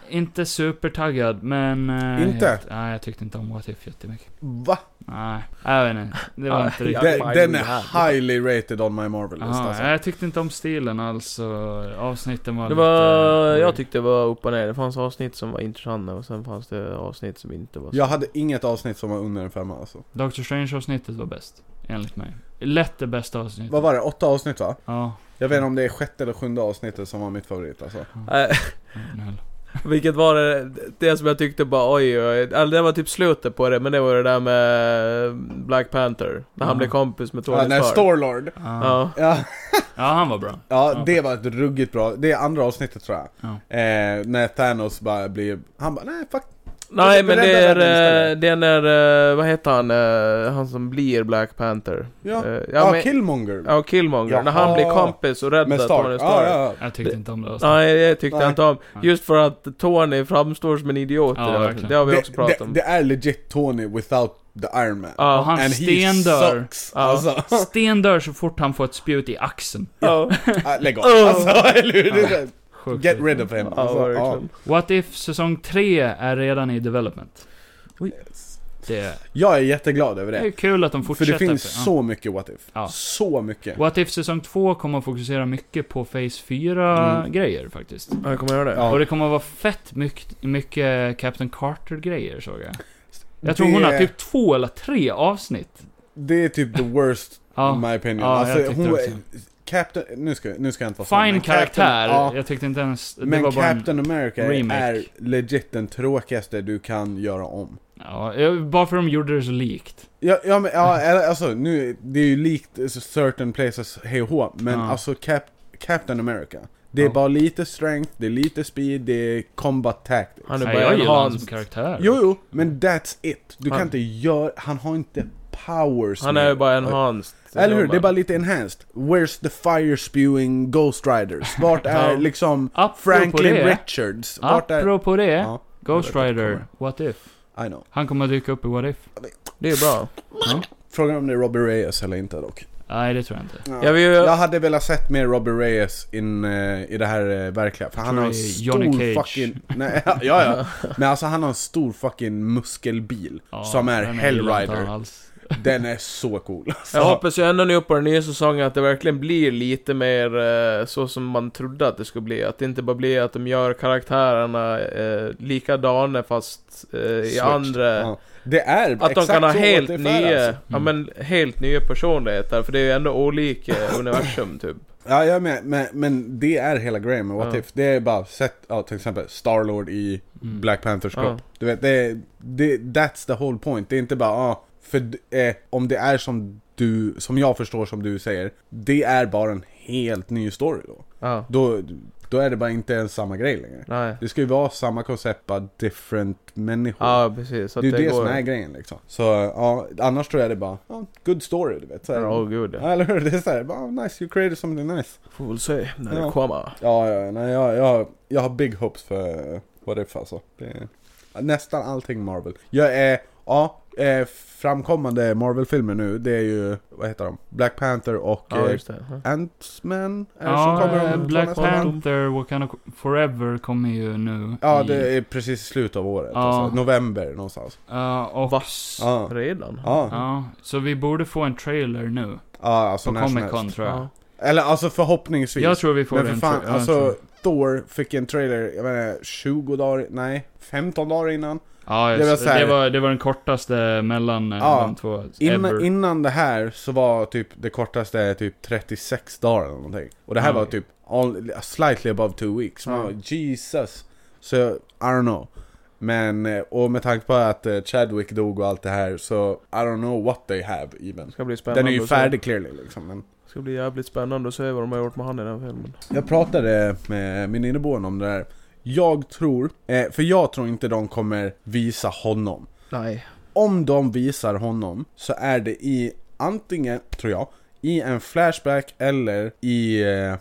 E: Inte supertaggad, men... eh,
F: Inte?
E: helt- Nej, jag tyckte inte om What If jättemycket.
F: Va?
E: Nej, jag vet inte. Det var
D: Ja,
E: inte riktigt...
D: jag-
F: Den,
D: finally
F: den är
D: had.
F: highly rated on my Marvel list
E: Ja,
F: alltså.
E: Jag tyckte inte om stilen alls, och avsnitten var
D: Det var,
E: lite...
D: jag tyckte det var upp och ner. Det fanns avsnitt som var intressanta och sen fanns det avsnitt som inte var så.
F: Jag hade inget avsnitt som var under en femma alltså.
E: Doctor Strange-avsnittet var bäst, enligt mig. Lätt det bästa avsnittet.
F: Vad var det? Åtta avsnitt va?
E: Ja.
F: Jag vet inte om det är sjätte eller sjunde avsnittet som var mitt favorit alltså.
D: Eh,
E: nej.
D: vilket var det, det som jag tyckte bara oj, oj. Alltså, det var typ slutet på det, men det var det där med mm, Black Panther. När han
E: Ja.
D: blev kompis med Tony
F: Ja, när
D: Stark.
F: Storlord.
E: Ja.
D: Ja.
F: Ja,
E: ja, han var bra.
F: ja, det var ett ruggigt bra. Det är andra avsnittet tror jag.
E: Ja.
F: Eh, när Thanos bara blir... Han bara nej fuck.
D: Nej men det är,
F: Rädda världen
D: eh, det är när, eh, vad heter han, eh, han som blir Black Panther?
F: Ja.
D: Eh,
F: Ja,
D: ja, men,
F: Killmonger.
D: ja Killmonger. När han
F: Jaha.
D: blir kompis och räddar
F: med
D: Tony
F: Stark.
D: Stark.
F: Ja, ja, ja.
E: Jag tyckte inte om det avsnittet.
D: Nej, det tyckte jag
F: Nej.
D: inte om.
E: Nej.
D: Just för att Tony framstår som en idiot i
E: Ja,
D: det här.
E: verkligen.
D: Det har vi
F: Det-
D: också pratat om.
F: Det, det är legit Tony without the Iron Man.
D: Ja.
E: Och han
F: And he
E: stendör.
F: sucks.
D: Ja.
F: Alltså.
E: Sten dör så fort han får ett spjut i axeln.
D: Ja.
F: Ah, Lägg av. Alltså, eller hur? Det är så-
E: Sjukt.
F: Get rid of him.
D: Oh. Ja,
F: Alltså, ja.
D: verkligen.
E: What If säsong 3 är redan i development. Det är,
F: Jag är jätteglad över
E: det
F: det.
E: är kul att de
F: För
E: fortsätter.
F: det finns
E: ja.
F: så mycket What If.
E: Ja.
F: Så mycket.
E: What If säsong 2 kommer att fokusera mycket på Phase 4-grejer faktiskt.
D: Ja, jag kommer göra det.
F: Mm. Ja.
E: Och det kommer att vara fett mycket, mycket Captain Carter-grejer såg jag. Jag tror hon
F: Det-
E: har typ två eller tre avsnitt.
F: Det är typ the worst
E: Ja.
F: in my opinion.
E: Ja, jag
F: alltså,
E: tyckte
F: hon,
E: det också.
F: Captain, nu ska, nu ska jag inte vara sån,
E: Fine
F: men
E: karaktär.
F: Captain, ja,
E: Jag tyckte inte ens... Det
F: men
E: var bara en-
F: Captain America
E: remake.
F: är legit den tråkigaste du kan göra om.
E: Ja, jag- bara för de gjorde det så likt.
F: Ja, ja men ja, eller, alltså nu, det är ju likt certain places hej och hå, men
E: Ja.
F: alltså Cap, Captain America. Det är
E: Ja.
F: bara lite strength, det är lite speed, det är combat tactics.
D: Han är
E: Nej, jag
D: bara en
E: gillar honom som
D: Hans.
E: karaktär.
F: Jo, jo, men that's it. Du
D: Han-
F: kan inte göra, han har inte powers
D: Han är ju
F: nu.
D: bara en Hans.
F: Eller hur? Det är bara lite enhanced. Where's the fire spewing Ghost Riders? Vart är
E: Ja.
F: liksom
E: Apropå
F: Franklin
E: det.
F: Richards? Vart är...
E: Apropå det,
F: Ja,
E: Ghost
F: jag vet att det
E: Rider,
F: kommer.
E: What If.
F: I know.
E: Han kommer att dyka upp i What If.
D: Det är bra.
E: Ja.
F: Frågan om det är Robbie Reyes eller inte dock.
E: Nej, det tror jag inte.
F: Ja.
D: Jag vill ju-
F: Jag hade velat sett mer Robbie Reyes in, eh, i det här eh, verkliga. För han
E: tror
F: har en
E: det är
F: stor
E: Johnny Cage.
F: fucking... Nej, ja, ja. Men alltså han har en stor fucking muskelbil.
E: Ja,
F: som är
E: den gillar inte han
F: Hellrider.
E: alls.
F: Den är så cool. alltså.
D: Jag hoppas ju ändå nu på den nya säsongen att det verkligen blir lite mer eh, så som man trodde att det skulle bli. Att det inte bara blir att de gör karaktärerna eh, likadana fast eh, i
F: Switch.
D: andra...
F: Ja. Det är
D: Att de
F: exakt
D: kan ha
F: så
D: helt
F: återfär,
D: nya,
F: alltså.
D: ja men helt nya personligheter för det är ju ändå olika universum typ.
F: Ja, jag med, men, men det är hela grejen med What
D: Ja.
F: If. Det är bara sett, ja, till exempel Starlord i
E: Mm.
F: Black Panthers
D: Ja.
F: kropp. Du vet, det, är- det, that's the whole point. Det är inte bara, ah, för d- eh, om det är som du, som jag förstår som du säger, det är bara en helt ny story då.
D: Ja,
F: Då, då är det bara inte ens samma grej längre.
D: nej.
F: Det ska ju vara samma koncept, bara different människor.
D: Ja precis. Så
F: det är
D: att
F: ju det
D: går...
F: som är grejen liksom. Så ja, annars tror jag det är bara, ja, good story du vet. Så här,
D: Åh gud ja.
F: Ja, eller hur? Det är såhär, bara, "Ah, nice, you created something nice.
D: Får väl se när
F: Ja.
D: det kommer.
F: Ja, ja, nej, jag, jag, jag har big hopes för eh, What If alltså. Det är, nästan allting Marvel. Jag är, ja, eh, framkommande Marvel-filmer nu, det är ju, vad heter de? Black Panther och
D: Ja
F: eh,
D: just det. Ja.
F: Ant-Man? är det som
E: Ja,
F: Äh, kommer om
E: eh,
F: två
E: Black
F: nästa månad?
E: Panther, Wakanda Forever kommer ju nu.
F: Ja,
E: i-
F: det är precis i slutet av året.
E: Ja.
F: Alltså, november någonstans.
E: Ja, och...
D: Va?
E: s- Ja.
F: Ja,
D: Redan?
F: ja.
E: så vi borde få en trailer nu.
F: ja alltså
E: På
F: när som
E: Comic
F: helst.
E: Con, tror jag.
F: Eller alltså förhoppningsvis.
E: Jag tror vi får
F: Men
E: en
F: för fan,
E: tra- ja, jag tror-
F: alltså Thor fick en trailer, jag menar 20 dagar, nej 15 dagar innan.
E: Ja,
F: det var
E: jag,
F: så här-
E: det, var, det var den kortaste mellan eh,
F: Ja.
E: de två. ever.
F: Innan, innan det här så var typ det kortaste typ 36 dagar eller någonting. Och det här
E: Ja.
F: var typ all, slightly above two weeks. Man
D: Ja.
F: bara, Jesus. Så I don't know. Men, eh, och med tanke på att eh, Chadwick dog och allt det här så I don't know what they have even.
D: Ska bli spännande
F: Den är ju
D: att se.
F: färdig clearly liksom. Men
D: Ska bli jävligt spännande att se vad de har gjort med han i den filmen.
F: Jag pratade med min inneboende om det där. Jag tror, eh, för jag tror inte de kommer visa honom.
D: Nej.
F: Om de visar honom så är det i antingen, tror jag, i en flashback eller i, eh,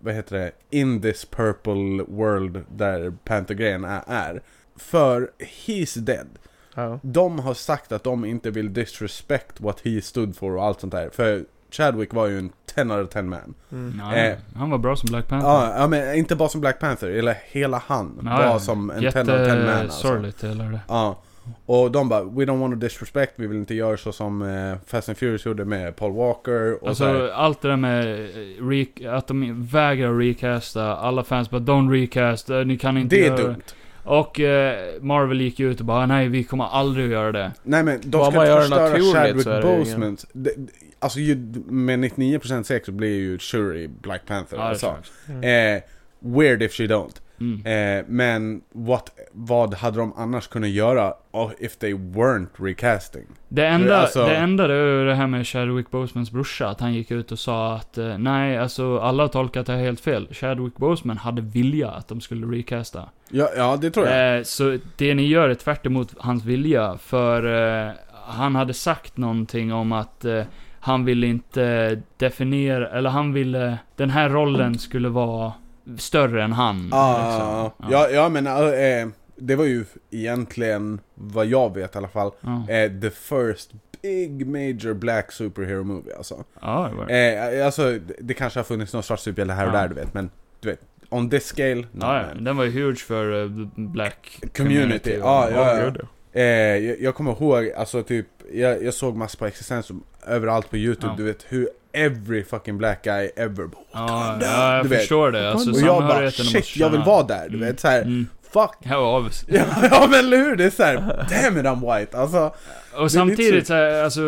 F: vad heter det, in this purple world där Panther-grejen är- är. För he's dead.
D: Ja.
F: De har sagt att de inte vill disrespect what he stood for och allt sånt där. För Chadwick var ju en 10 out of 10 man.
D: Mm.
E: Nej,
F: eh,
E: han var bra som Black Panther.
F: Ja, ja, men inte bara som Black Panther, eller hela han.
E: Ja,
F: bara
E: ja.
F: som en 10
E: Jätte-
F: out of 10 man alltså.
E: sorgligt, eller det.
F: Ja. Och de bara, we don't want to disrespect, vi vill inte göra så som eh, Fast and Furious gjorde med Paul Walker och så här.
E: Alltså, allt det där med eh, re- att de vägrar recasta, alla fans bara 'Don't recast, eh, ni kan inte
F: Det är
E: göra
F: dumt.
E: Och eh, Marvel gick ju ut och bara 'Nej, vi kommer aldrig att göra det'
F: Nej men de
D: Bara
F: ska
D: man gör
F: inte
D: det
F: förstöra
D: naturligt
F: Chadwick
D: så är det ju ingen-
F: Boseman. Det- det- Alltså ju, med 99% säker så blir ju Shuri Black Panther.
E: Ja, det
F: alltså.
E: tror
F: eh, weird if she don't.
E: jag. Mm.
F: Eh, men what, vad hade de annars kunnat göra oh, if they weren't recasting?
E: Det enda,
F: Alltså-
E: det enda det är ju det här med Chadwick Bosemans brorsa, att han gick ut och sa att eh, nej, alltså alla har tolkat det här helt fel. Chadwick Boseman hade vilja att de skulle recasta.
F: Ja, ja det tror jag.
E: Eh, så det ni gör är tvärt emot hans vilja, för eh, han hade sagt någonting om att eh, han ville inte definiera, eller han ville, den här rollen skulle vara större än han.
F: ah,
E: liksom.
F: ja, ja men eh, det var ju egentligen, vad jag vet i alla fall,
E: Ja,
F: eh, the first big major black superhero movie alltså.
E: ja det var det.
F: Eh, alltså det- det kanske har funnits någon sorts superhjälte här och
E: Ja.
F: där du vet, men du vet, on this scale, no,
E: Ja, ja,
F: man.
E: den var ju huge för eh, Black
F: Community, ja, ja, ja.
D: gud, ja.
F: Eh, jag, jag kommer ihåg, alltså typ, jag, jag såg massor på existens överallt på youtube,
E: Ja.
F: du vet hur every fucking black guy ever
E: Ja, ja jag
F: Du vet.
E: förstår det. Alltså,
F: Och jag bara
E: samhörigheten
F: shit, jag vill vara där, du
E: Mm.
F: vet såhär,
E: Mm.
F: fuck!
E: Ja, av.
F: Ja, ja men eller hur? Det är såhär, damn it I'm white, alltså
E: Och
F: lite
E: samtidigt,
F: så.
E: så här, alltså,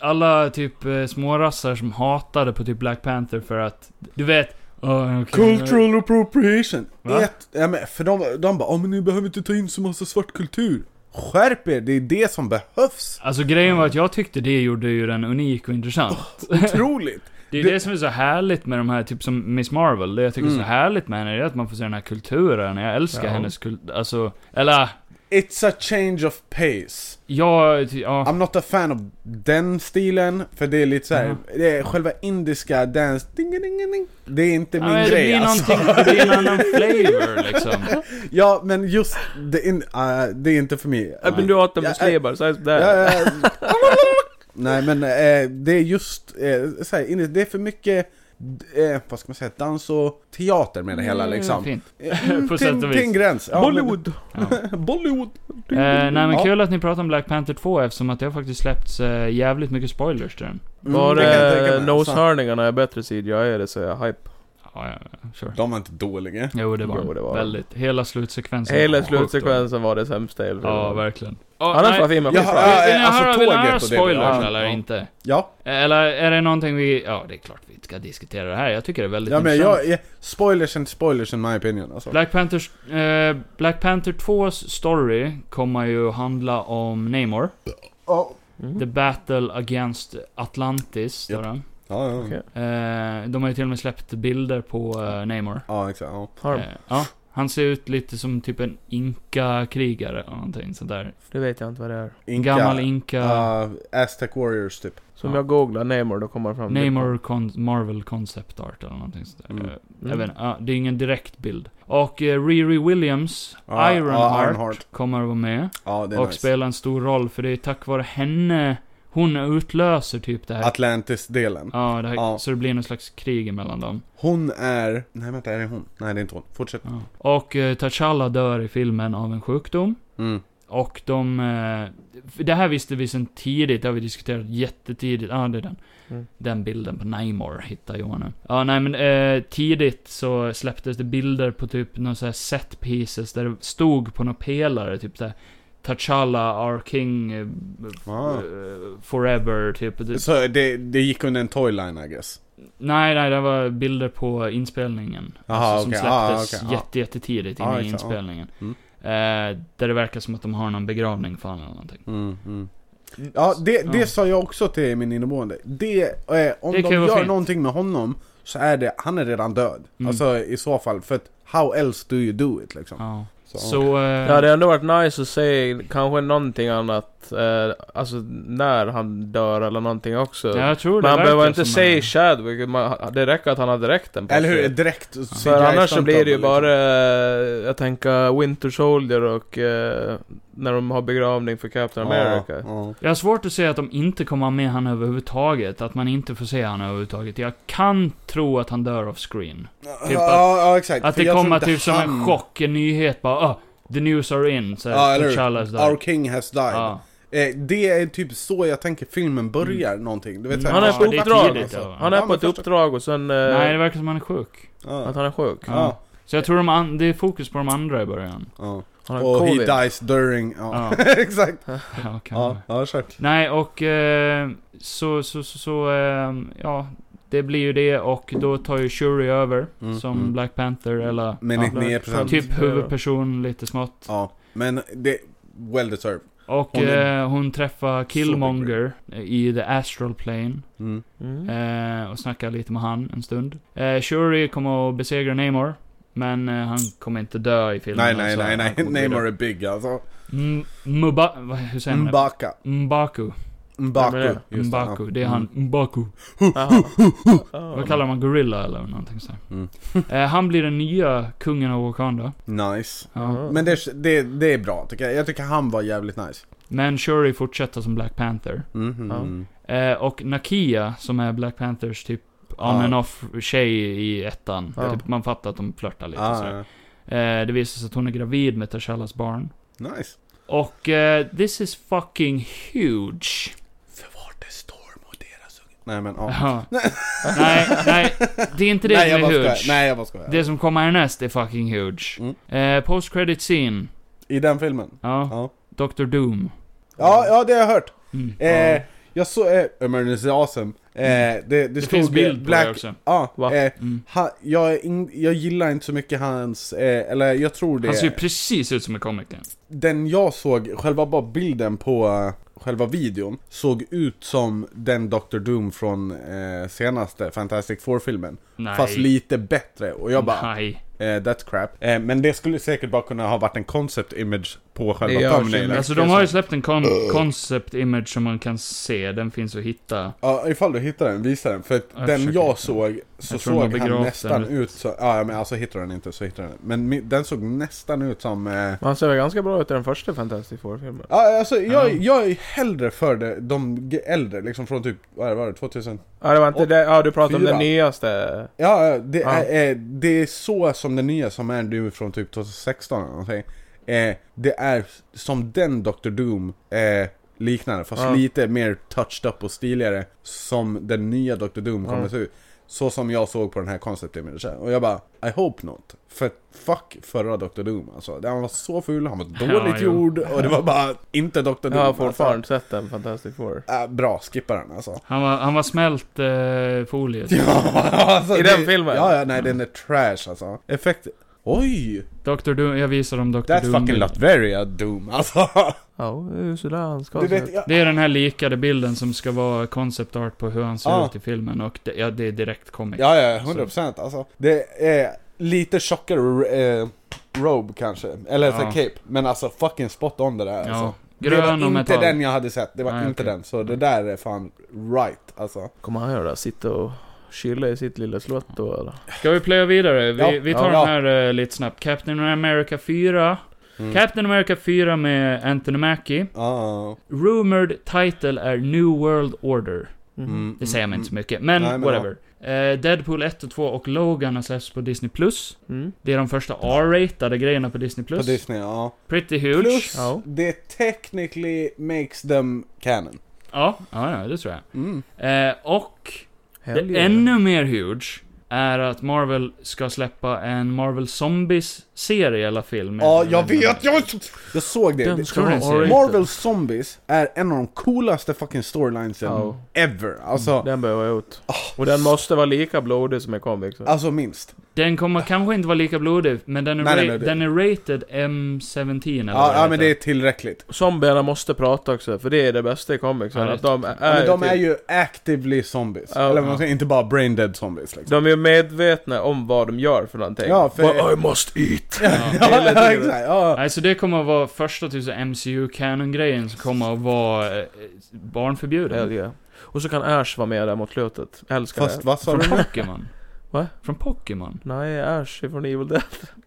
E: alla typ eh, smårassar som hatade på typ Black Panther för att, du vet... Oh,
F: Cultural appropriation!
E: Va?
F: Ett, ja, men för de, de bara, oh, men ni behöver inte ta in så massa svart kultur Skärp er, det är det som behövs!
E: Alltså grejen var att jag tyckte det gjorde ju den unik och intressant.
F: Otroligt!
E: det är
F: det-
E: det som är så härligt med de här, typ som Miss Marvel. Det jag tycker är
F: Mm.
E: så härligt med henne är att man får se den här kulturen. Jag älskar
D: Ja.
E: hennes kultur, alltså, eller...
F: It's a change of pace
E: Jag, ty- ja,
F: I'm not a fan av den stilen, för det är lite såhär,
E: Mhm.
F: det är själva indiska dans, ding, ding, ding, ding. Det är inte min
E: ja, det
F: grej
E: blir
F: alltså.
E: någonting, det blir en annan flavor liksom.
F: Ja men just, det, in, ah, det är inte för mig
D: Även du hatar
F: Ja,
D: muslimer, säg sådär.
F: Ja, ja, ja. Nej men eh, det är just, eh, så här, inne- det är för mycket Eh, vad ska man säga? Dans och teater med det hela
E: Mm,
F: liksom.
E: Fint.
F: Eh, mm,
E: På
F: till-
E: sätt och vis.
F: Till en gräns. Ja, men- Mm,
D: Bollywood!
E: Ja.
D: Bollywood!
E: Eh, nej men
F: Ja.
E: kul att ni pratar om Black Panther 2 eftersom att det har faktiskt släppts eh, jävligt mycket spoilers till den.
F: Mm,
D: Var
F: det kan jag tänka
D: det
F: mig. Så-
D: noshörningarna är bättre sid, jag är det så jag hype.
E: Ja, ja, sure.
F: De var inte dåliga.
E: Jo, det var,
D: Jo, det var-
E: väldigt. Hela slutsekvensen. var
D: Hela
E: sjukt dålig.
D: slutsekvensen var det sämsta i hela
E: Ja,
D: filmen.
E: verkligen. Oh,
D: Annars var filmen
F: Jag
D: skitbra.
F: har-
E: Vill ni
F: alltså,
E: höra, vill ni
F: tåget
E: höra
F: och det-
E: spoilers
F: ja,
E: eller
F: ja.
E: inte? Eh,
F: Ja,
E: Eller är det någonting vi... Ja, det är klart vi ska diskutera det här. Jag tycker det är väldigt
F: ja men
E: intressant.
F: jag, jag, spoilers and spoilers in my opinion alltså.
E: Black, Panthers, eh, Black Panther 2s story kommer ju handla om Namor.
F: Ja.
D: Mm.
E: The Battle Against Atlantis,
F: Japp.
E: yep. den.
F: Ja, ja.
D: Okej.
E: Eh, de har ju till och med släppt bilder på eh, Namor.
F: ja exakt. Ja.
D: Har de?
E: Eh, ja, han ser ut lite som typ en inka-krigare eller någonting sånt där.
D: Det vet jag inte vad det är.
E: En gammal inka...
F: Ja, Aztec Warriors typ.
D: Så om
E: Ja.
D: jag googlar Namor då kommer det fram.
E: Namor con Marvel Concept Art eller någonting sånt där.
F: Mm.
E: Eh,
D: typ.
E: Jag vet inte, ja, det är ingen direkt bild. Och eh, Riri Williams,
F: Ja, ja,
E: Ironheart,
F: Ironheart.
E: kommer att vara med.
F: Ja, det är
E: Och
F: nice.
E: spela en stor roll, för det är tack vare henne hon utlöser typ det här.
F: Atlantis-delen.
E: ja, det här
F: Ja.
E: så det blir någon slags krig emellan dem.
F: Hon är... Nej vänta, är det hon? Nej det är inte hon. Fortsätt.
E: Ja. Och eh, T'Challa dör i filmen av en sjukdom.
F: Mm.
E: Och de... eh, Det här visste vi sen tidigt, det har vi diskuterat jättetidigt. Ja, ah, det är den.
D: Mm.
E: Den bilden på Namor hittar jag nu. Ja, nej men eh, tidigt så släpptes det bilder på typ några så här set pieces där det stod på några pelare, typ såhär T'Challa, our king, eh,
F: Ah.
E: eh, forever, typ. Det,
F: Så det, det gick under en toyline I guess?
E: nej, nej, det var bilder på inspelningen. Alltså,
F: Aha,
E: som
F: okej. Ah,
E: släpptes
F: okej, ah.
E: jätte, jättetidigt
F: Ah,
E: inne i
F: exakt, ah.
E: inspelningen.
F: Mm.
E: Eh, där det verkar som att de har någon begravning för honom eller någonting.
F: Mm, mm. Ja, det, det
E: Ja.
F: sa jag också till min inneboende. Det, eh, om
E: Det
F: de
E: kan ju vara
F: gör
E: fint.
F: någonting med honom så är det, han är redan död.
E: Mm.
F: Alltså i så fall, för att how else do you do it liksom?
E: Ja.
F: Så,
E: Så, eh,
D: Det hade ändå varit nice att se kanske någonting annat, eh, alltså när han dör eller någonting också.
E: ja, jag tror det
D: Man
E: verkar
D: behöver inte
E: som
D: säga
E: en-
D: Chadwick, man, det räcker att han hade dräkten på
F: Eller hur?
D: sig.
F: Direkt
D: För
F: CGI
D: annars så
F: stunt
D: blir det ju
F: double,
D: bara,
F: liksom.
D: eh, jag tänker Winter Soldier och eh, när de har begravning för Captain America.
F: Ja,
E: Jag har svårt att se att de inte kommer ha med han överhuvudtaget. Att man inte får se han överhuvudtaget. Jag kan tro att han dör off screen.
F: ja.
E: Typ
F: ja, ja exakt.
E: Att
F: För
E: det
F: jag tror
E: kommer
F: inte
E: typ som en
F: han-
E: chock, en nyhet bara oh, the news are in. Så
F: Ja,
E: här,
F: eller
E: T'Challas
F: hur?
E: dör.
F: Our king has died.
E: Ja.
F: Eh, det är typ så jag tänker filmen börjar någonting. Du vet, så här-
D: Han är på
E: Mm. det
D: uppdrag,
E: tidigt,
F: alltså.
E: ja.
D: Han är
F: Ja,
D: på
F: men
D: ett
F: första-
D: uppdrag och sen... eh,
E: Nej, det verkar som han är sjuk.
F: Ja.
D: Att han är sjuk.
E: Ja.
F: Ja.
E: Så jag tror de an- det är fokus på de andra i början.
F: Ja.
D: Han har
F: Och
D: covid.
F: he dies during, ja.
E: Ja.
F: Exakt.
E: Ja, kan
F: Ja, ja, kört.
E: Nej, och eh, så, så, så, så eh, ja. Det blir ju det och då tar ju Shuri över
F: Mm,
E: som
F: mm.
E: Black Panther eller...
F: Men
E: ja,
F: 99%.
E: Typ huvudperson lite smått.
F: Ja. Men det, well deserved.
E: Och
F: Hon
E: hon,
F: är-
E: eh, hon träffar Killmonger i The Astral Plane.
F: Mm.
D: Mm.
E: Eh, och snackar lite med han en stund. Eh, Shuri kommer att besegra Namor. Men eh, han kommer inte dö i filmen.
F: Nej, nej,
E: alltså.
F: nej, nej.
E: Han kommer att gå
F: Namor är big alltså.
E: vidare. M- Muba... vad- Hur säger man det?
F: Mbaka.
E: Mbaku.
F: Mbaku.
D: Vem är
F: just det,
E: Mbaku.
F: ja. Mm.
E: Det är han. Mbaku.
D: Jaha.
E: Vad kallar man? Gorilla eller någonting sånt.
F: Mm.
E: eh, han blir den nya kungen av Wakanda.
F: Mm. Nice.
E: Ja.
F: Men det, det, det är bra tycker jag. Jag tycker han var jävligt nice.
E: Men Shuri fortsätter som Black Panther.
F: Mhm.
D: Ja.
E: Eh, och Nakia, som är Black Panthers typ on
F: Ja.
E: and off tjej i ettan.
D: Ja.
E: Typ, man fattar att de flörtar lite
F: Ah,
E: sådär.
F: ja.
E: Eh, det visar sig att hon är gravid med Tashallas barn.
F: Nice.
E: Och eh, this is fucking huge.
F: För vart är Storm och deras unge? Nej men ja.
E: Ja. nej, nej. Det är inte det
F: nej, jag
E: som
F: bara
E: är
F: skojar.
E: huge.
F: Nej jag bara skojar.
E: Det som kommer härnäst är fucking huge.
F: Mm.
E: Eh, post credit scene.
F: I den filmen?
E: Ja.
F: Ja.
E: Dr. Doom.
F: Ja, ja det har jag hört.
E: Mm.
F: Eh, jag såg, eh, Emergency Awesome. Eh, det, det,
E: Mm. Det
F: stod
E: finns
F: eh,
E: bild på
F: Black,
E: det också.
F: Ja,
D: Va?
F: eh,
E: Mm.
F: ha, jag, är in, jag gillar inte så mycket hans, eh, eller jag tror det,
E: Han ser ju precis ut som en komiker.
F: den jag såg, själva bara bilden på eh, själva videon, såg ut som den Dr. Doom från eh, senaste Fantastic Four-filmen.
E: Nej.
F: Fast lite bättre, och jag bara,
E: Nej.
F: eh, that's crap. Eh, men det skulle säkert bara kunna ha varit en concept image på själva
D: Ja,
F: thumbnailen.
E: Alltså de har ju släppt en con- concept image som man kan se, den finns att hitta.
F: Ja, ifall du hittar den, visa den. För att
E: Jag
F: den
E: försöker
F: jag
E: hitta.
F: såg, så
E: Jag tror den var
F: såg han
E: begravd
F: nästan
E: där.
F: ut som... Ja, men alltså hittar du den inte så hittar du den. Men mi- den såg nästan ut som... Eh,
D: Men han ser väl ganska bra ut i den första Fantastic Four-filmen?
F: ja, alltså jag,
E: Ja.
F: jag är hellre för det, de g- äldre, liksom från typ, vad var det, 2000?
D: Ja, det var inte
F: Och-
D: det. Ja, du pratar om
F: fyra.
D: den nyaste.
F: Ja, ja, det,
D: Ja.
F: Är, eh, det är så som den nya som är nu från typ 2016 eller någonting. Eh, det är som den Dr. Doom eh, liknande, fast
D: Ja.
F: lite mer touched up och stiligare. Som den nya Dr. Doom
D: Ja.
F: kommer se ut. Så som jag såg på den här concept imagen. Och jag bara, I hope not. För fuck förra Dr. Doom alltså. Han var så ful, han var
E: Ja,
F: dåligt
E: jo.
F: gjord och det var bara inte Dr. Doom.
D: Jag har
F: alltså.
D: fortfarande inte sett den Fantastic Four.
F: Eh, bra, skippa den alltså.
E: Han var, han var smält eh, foliet.
F: Ja, alltså,
D: I den filmen?
F: Ja, ja, nej den är trash alltså. Effekt... Oj!
E: Dr. Doom, jag visar dem Dr.
F: That's
E: Doom.
F: fucking Latveria Doom alltså.
D: Ja, det är ju sådär han ska
F: Du
D: se
F: vet,
D: ut.
F: jag,
E: Det är den här likade bilden som ska vara concept art på hur han ser
F: Ja.
E: ut i filmen och det, ja, det är direkt comic.
F: Ah. ja, ja, 100% procent alltså. Det är lite tjockare eh, robe kanske, eller
E: Ja.
F: ja. cape. Men alltså fucking spot on det där
E: Ja.
F: alltså. det var
E: Grön och
F: inte
E: metall.
F: den jag hade sett, det var
E: Nej,
F: inte
E: okej.
F: den. Så det där är fan right alltså.
D: Kommer han göra? Sitta och kyla i sitt lilla slott då eller?
E: Ska vi plöja vidare? Vi,
F: Ja,
E: vi tar
F: ja,
E: den
F: ja.
E: här eh, lite snabbt. Captain America 4.
F: Mm.
E: Captain America 4 med Anthony Mackie.
F: Ja.
E: Rumored title är New World Order.
F: Mm,
E: Det säger
F: mm,
E: man inte så
F: mm.
E: mycket, men,
F: Nej, men
E: whatever. Eh, Deadpool 1 och 2 och Logan har släppts på Disney+. Plus.
D: Mm.
E: Det är de första R-ratade grejerna på Disney+.
F: mm. På
E: Plus.
F: Disney, ja.
E: Pretty huge.
F: Plus,
D: Ja.
F: det technically makes them canon.
E: Ja, ja, ja, det tror jag.
F: Mm.
E: Eh, och
D: Helg,
E: det
D: eller?
E: ännu mer huge är att Marvel ska släppa en Marvel Zombies-serie eller film.
F: Ja, jag vet! Jag, jag såg det!
D: Den
F: Det-
D: ska
E: Tror
D: vara
E: den ser-
D: R-rated.
F: Marvel Zombies är en av de coolaste fucking storylinesen
D: Ja.
F: ever. Alltså,
D: Den behöver jag ut. Och den måste vara lika blodig som i comics.
F: alltså minst.
E: Den kommer kanske inte vara lika blodig, men den är,
F: Nej,
E: ra-
F: nej, nej, det-
E: den är rated M17 eller vad
F: Ja, ja men det är
E: heter.
F: tillräckligt.
D: Zombierna måste prata också, för det är det bästa i comics.
E: Ja, det är
D: att de
F: Ja,
D: är,
F: men de är
D: typ-
F: ju actively zombies.
D: Ja,
F: Eller vad
E: ja.
F: man säger, inte bara brain dead zombies liksom.
D: de är ju medvetna om vad de gör för någonting.
F: Ja, för-
D: But I must eat!
F: Ja,
D: hela
F: ja,
D: tiden.
F: exakt. Ja.
E: Nej, så det kommer att vara första typ tusen MCU-canon-grejen som kommer att vara eh, barnförbjuden.
D: Hell yeah. Och så kan Ash vara med där mot slutet. Älskar
F: Fast
D: det.
F: vad sa
E: Från
F: du?
E: Pokémon.
D: Va?
E: Från Pokémon.
D: Nej, Ash ifrån Evil Dead.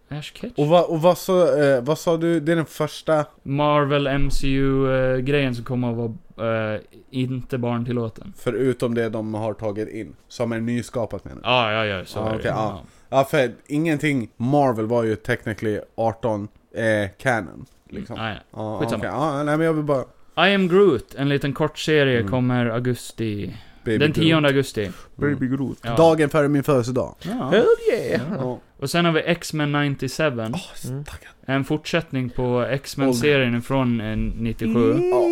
E: Ash Ketchum.
F: Och, vad, och vad, sa, eh, vad sa du? Det är den första...
E: Marvel MCU-grejen eh, som kommer att vara eh, inte barntillåten.
F: Förutom det de har tagit in. Som är nyskapat menar jag.
E: Ja, ja, ja, så
F: Ja,
E: är det.
F: okej, ja. Ja, för ingenting Marvel var ju technically 18 eh, canon. Liksom.
E: Nej, nej.
F: Ja,
E: Skitsamma.
F: okej. Ja, nej men jag vill bara...
E: I am Groot, en liten kort serie,
F: Mm.
E: kommer augusti.
F: Baby
E: den 10
F: Groot.
E: augusti.
D: Baby Groot.
E: Mm. Ja.
F: Dagen före min födelsedag.
E: Ja. Ah,
D: Hell yeah!
F: Ja.
E: Och sen har vi X-Men 97.
D: Mm.
F: Ah.
E: En fortsättning på X-Men-serien från eh, 97.
F: Ja.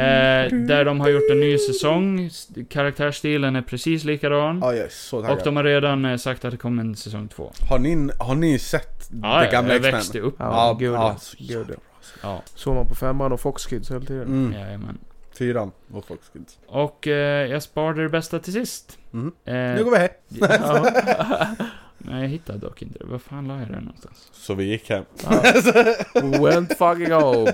E: Eh, där de har gjort en ny säsong. S- Karaktärsstilen är precis likadan.
F: Ja, jag är så
E: Och
F: taggad.
E: de har redan eh, sagt att det kommer en säsong två.
F: Har, ni, har ni sett
E: Ja,
F: det
E: ja,
F: gamla
E: jag
F: X-Men?
E: växte upp.
D: Ja,
F: Ja,
D: gud
F: ja.
D: ja. Gud, ja.
E: Ja,
D: Såg man på femman och Fox Kids hela tiden.
F: Mm.
E: jajamän.
F: Fyran och Foxkids.
E: Och eh, jag sparade det bästa till sist.
F: Mm.
E: Eh,
F: Nu går vi hem!
E: ja. Nej, jag hittade dock inte det. Var fan la jag det någonstans?
F: Så vi gick hem.
D: Went fucking home!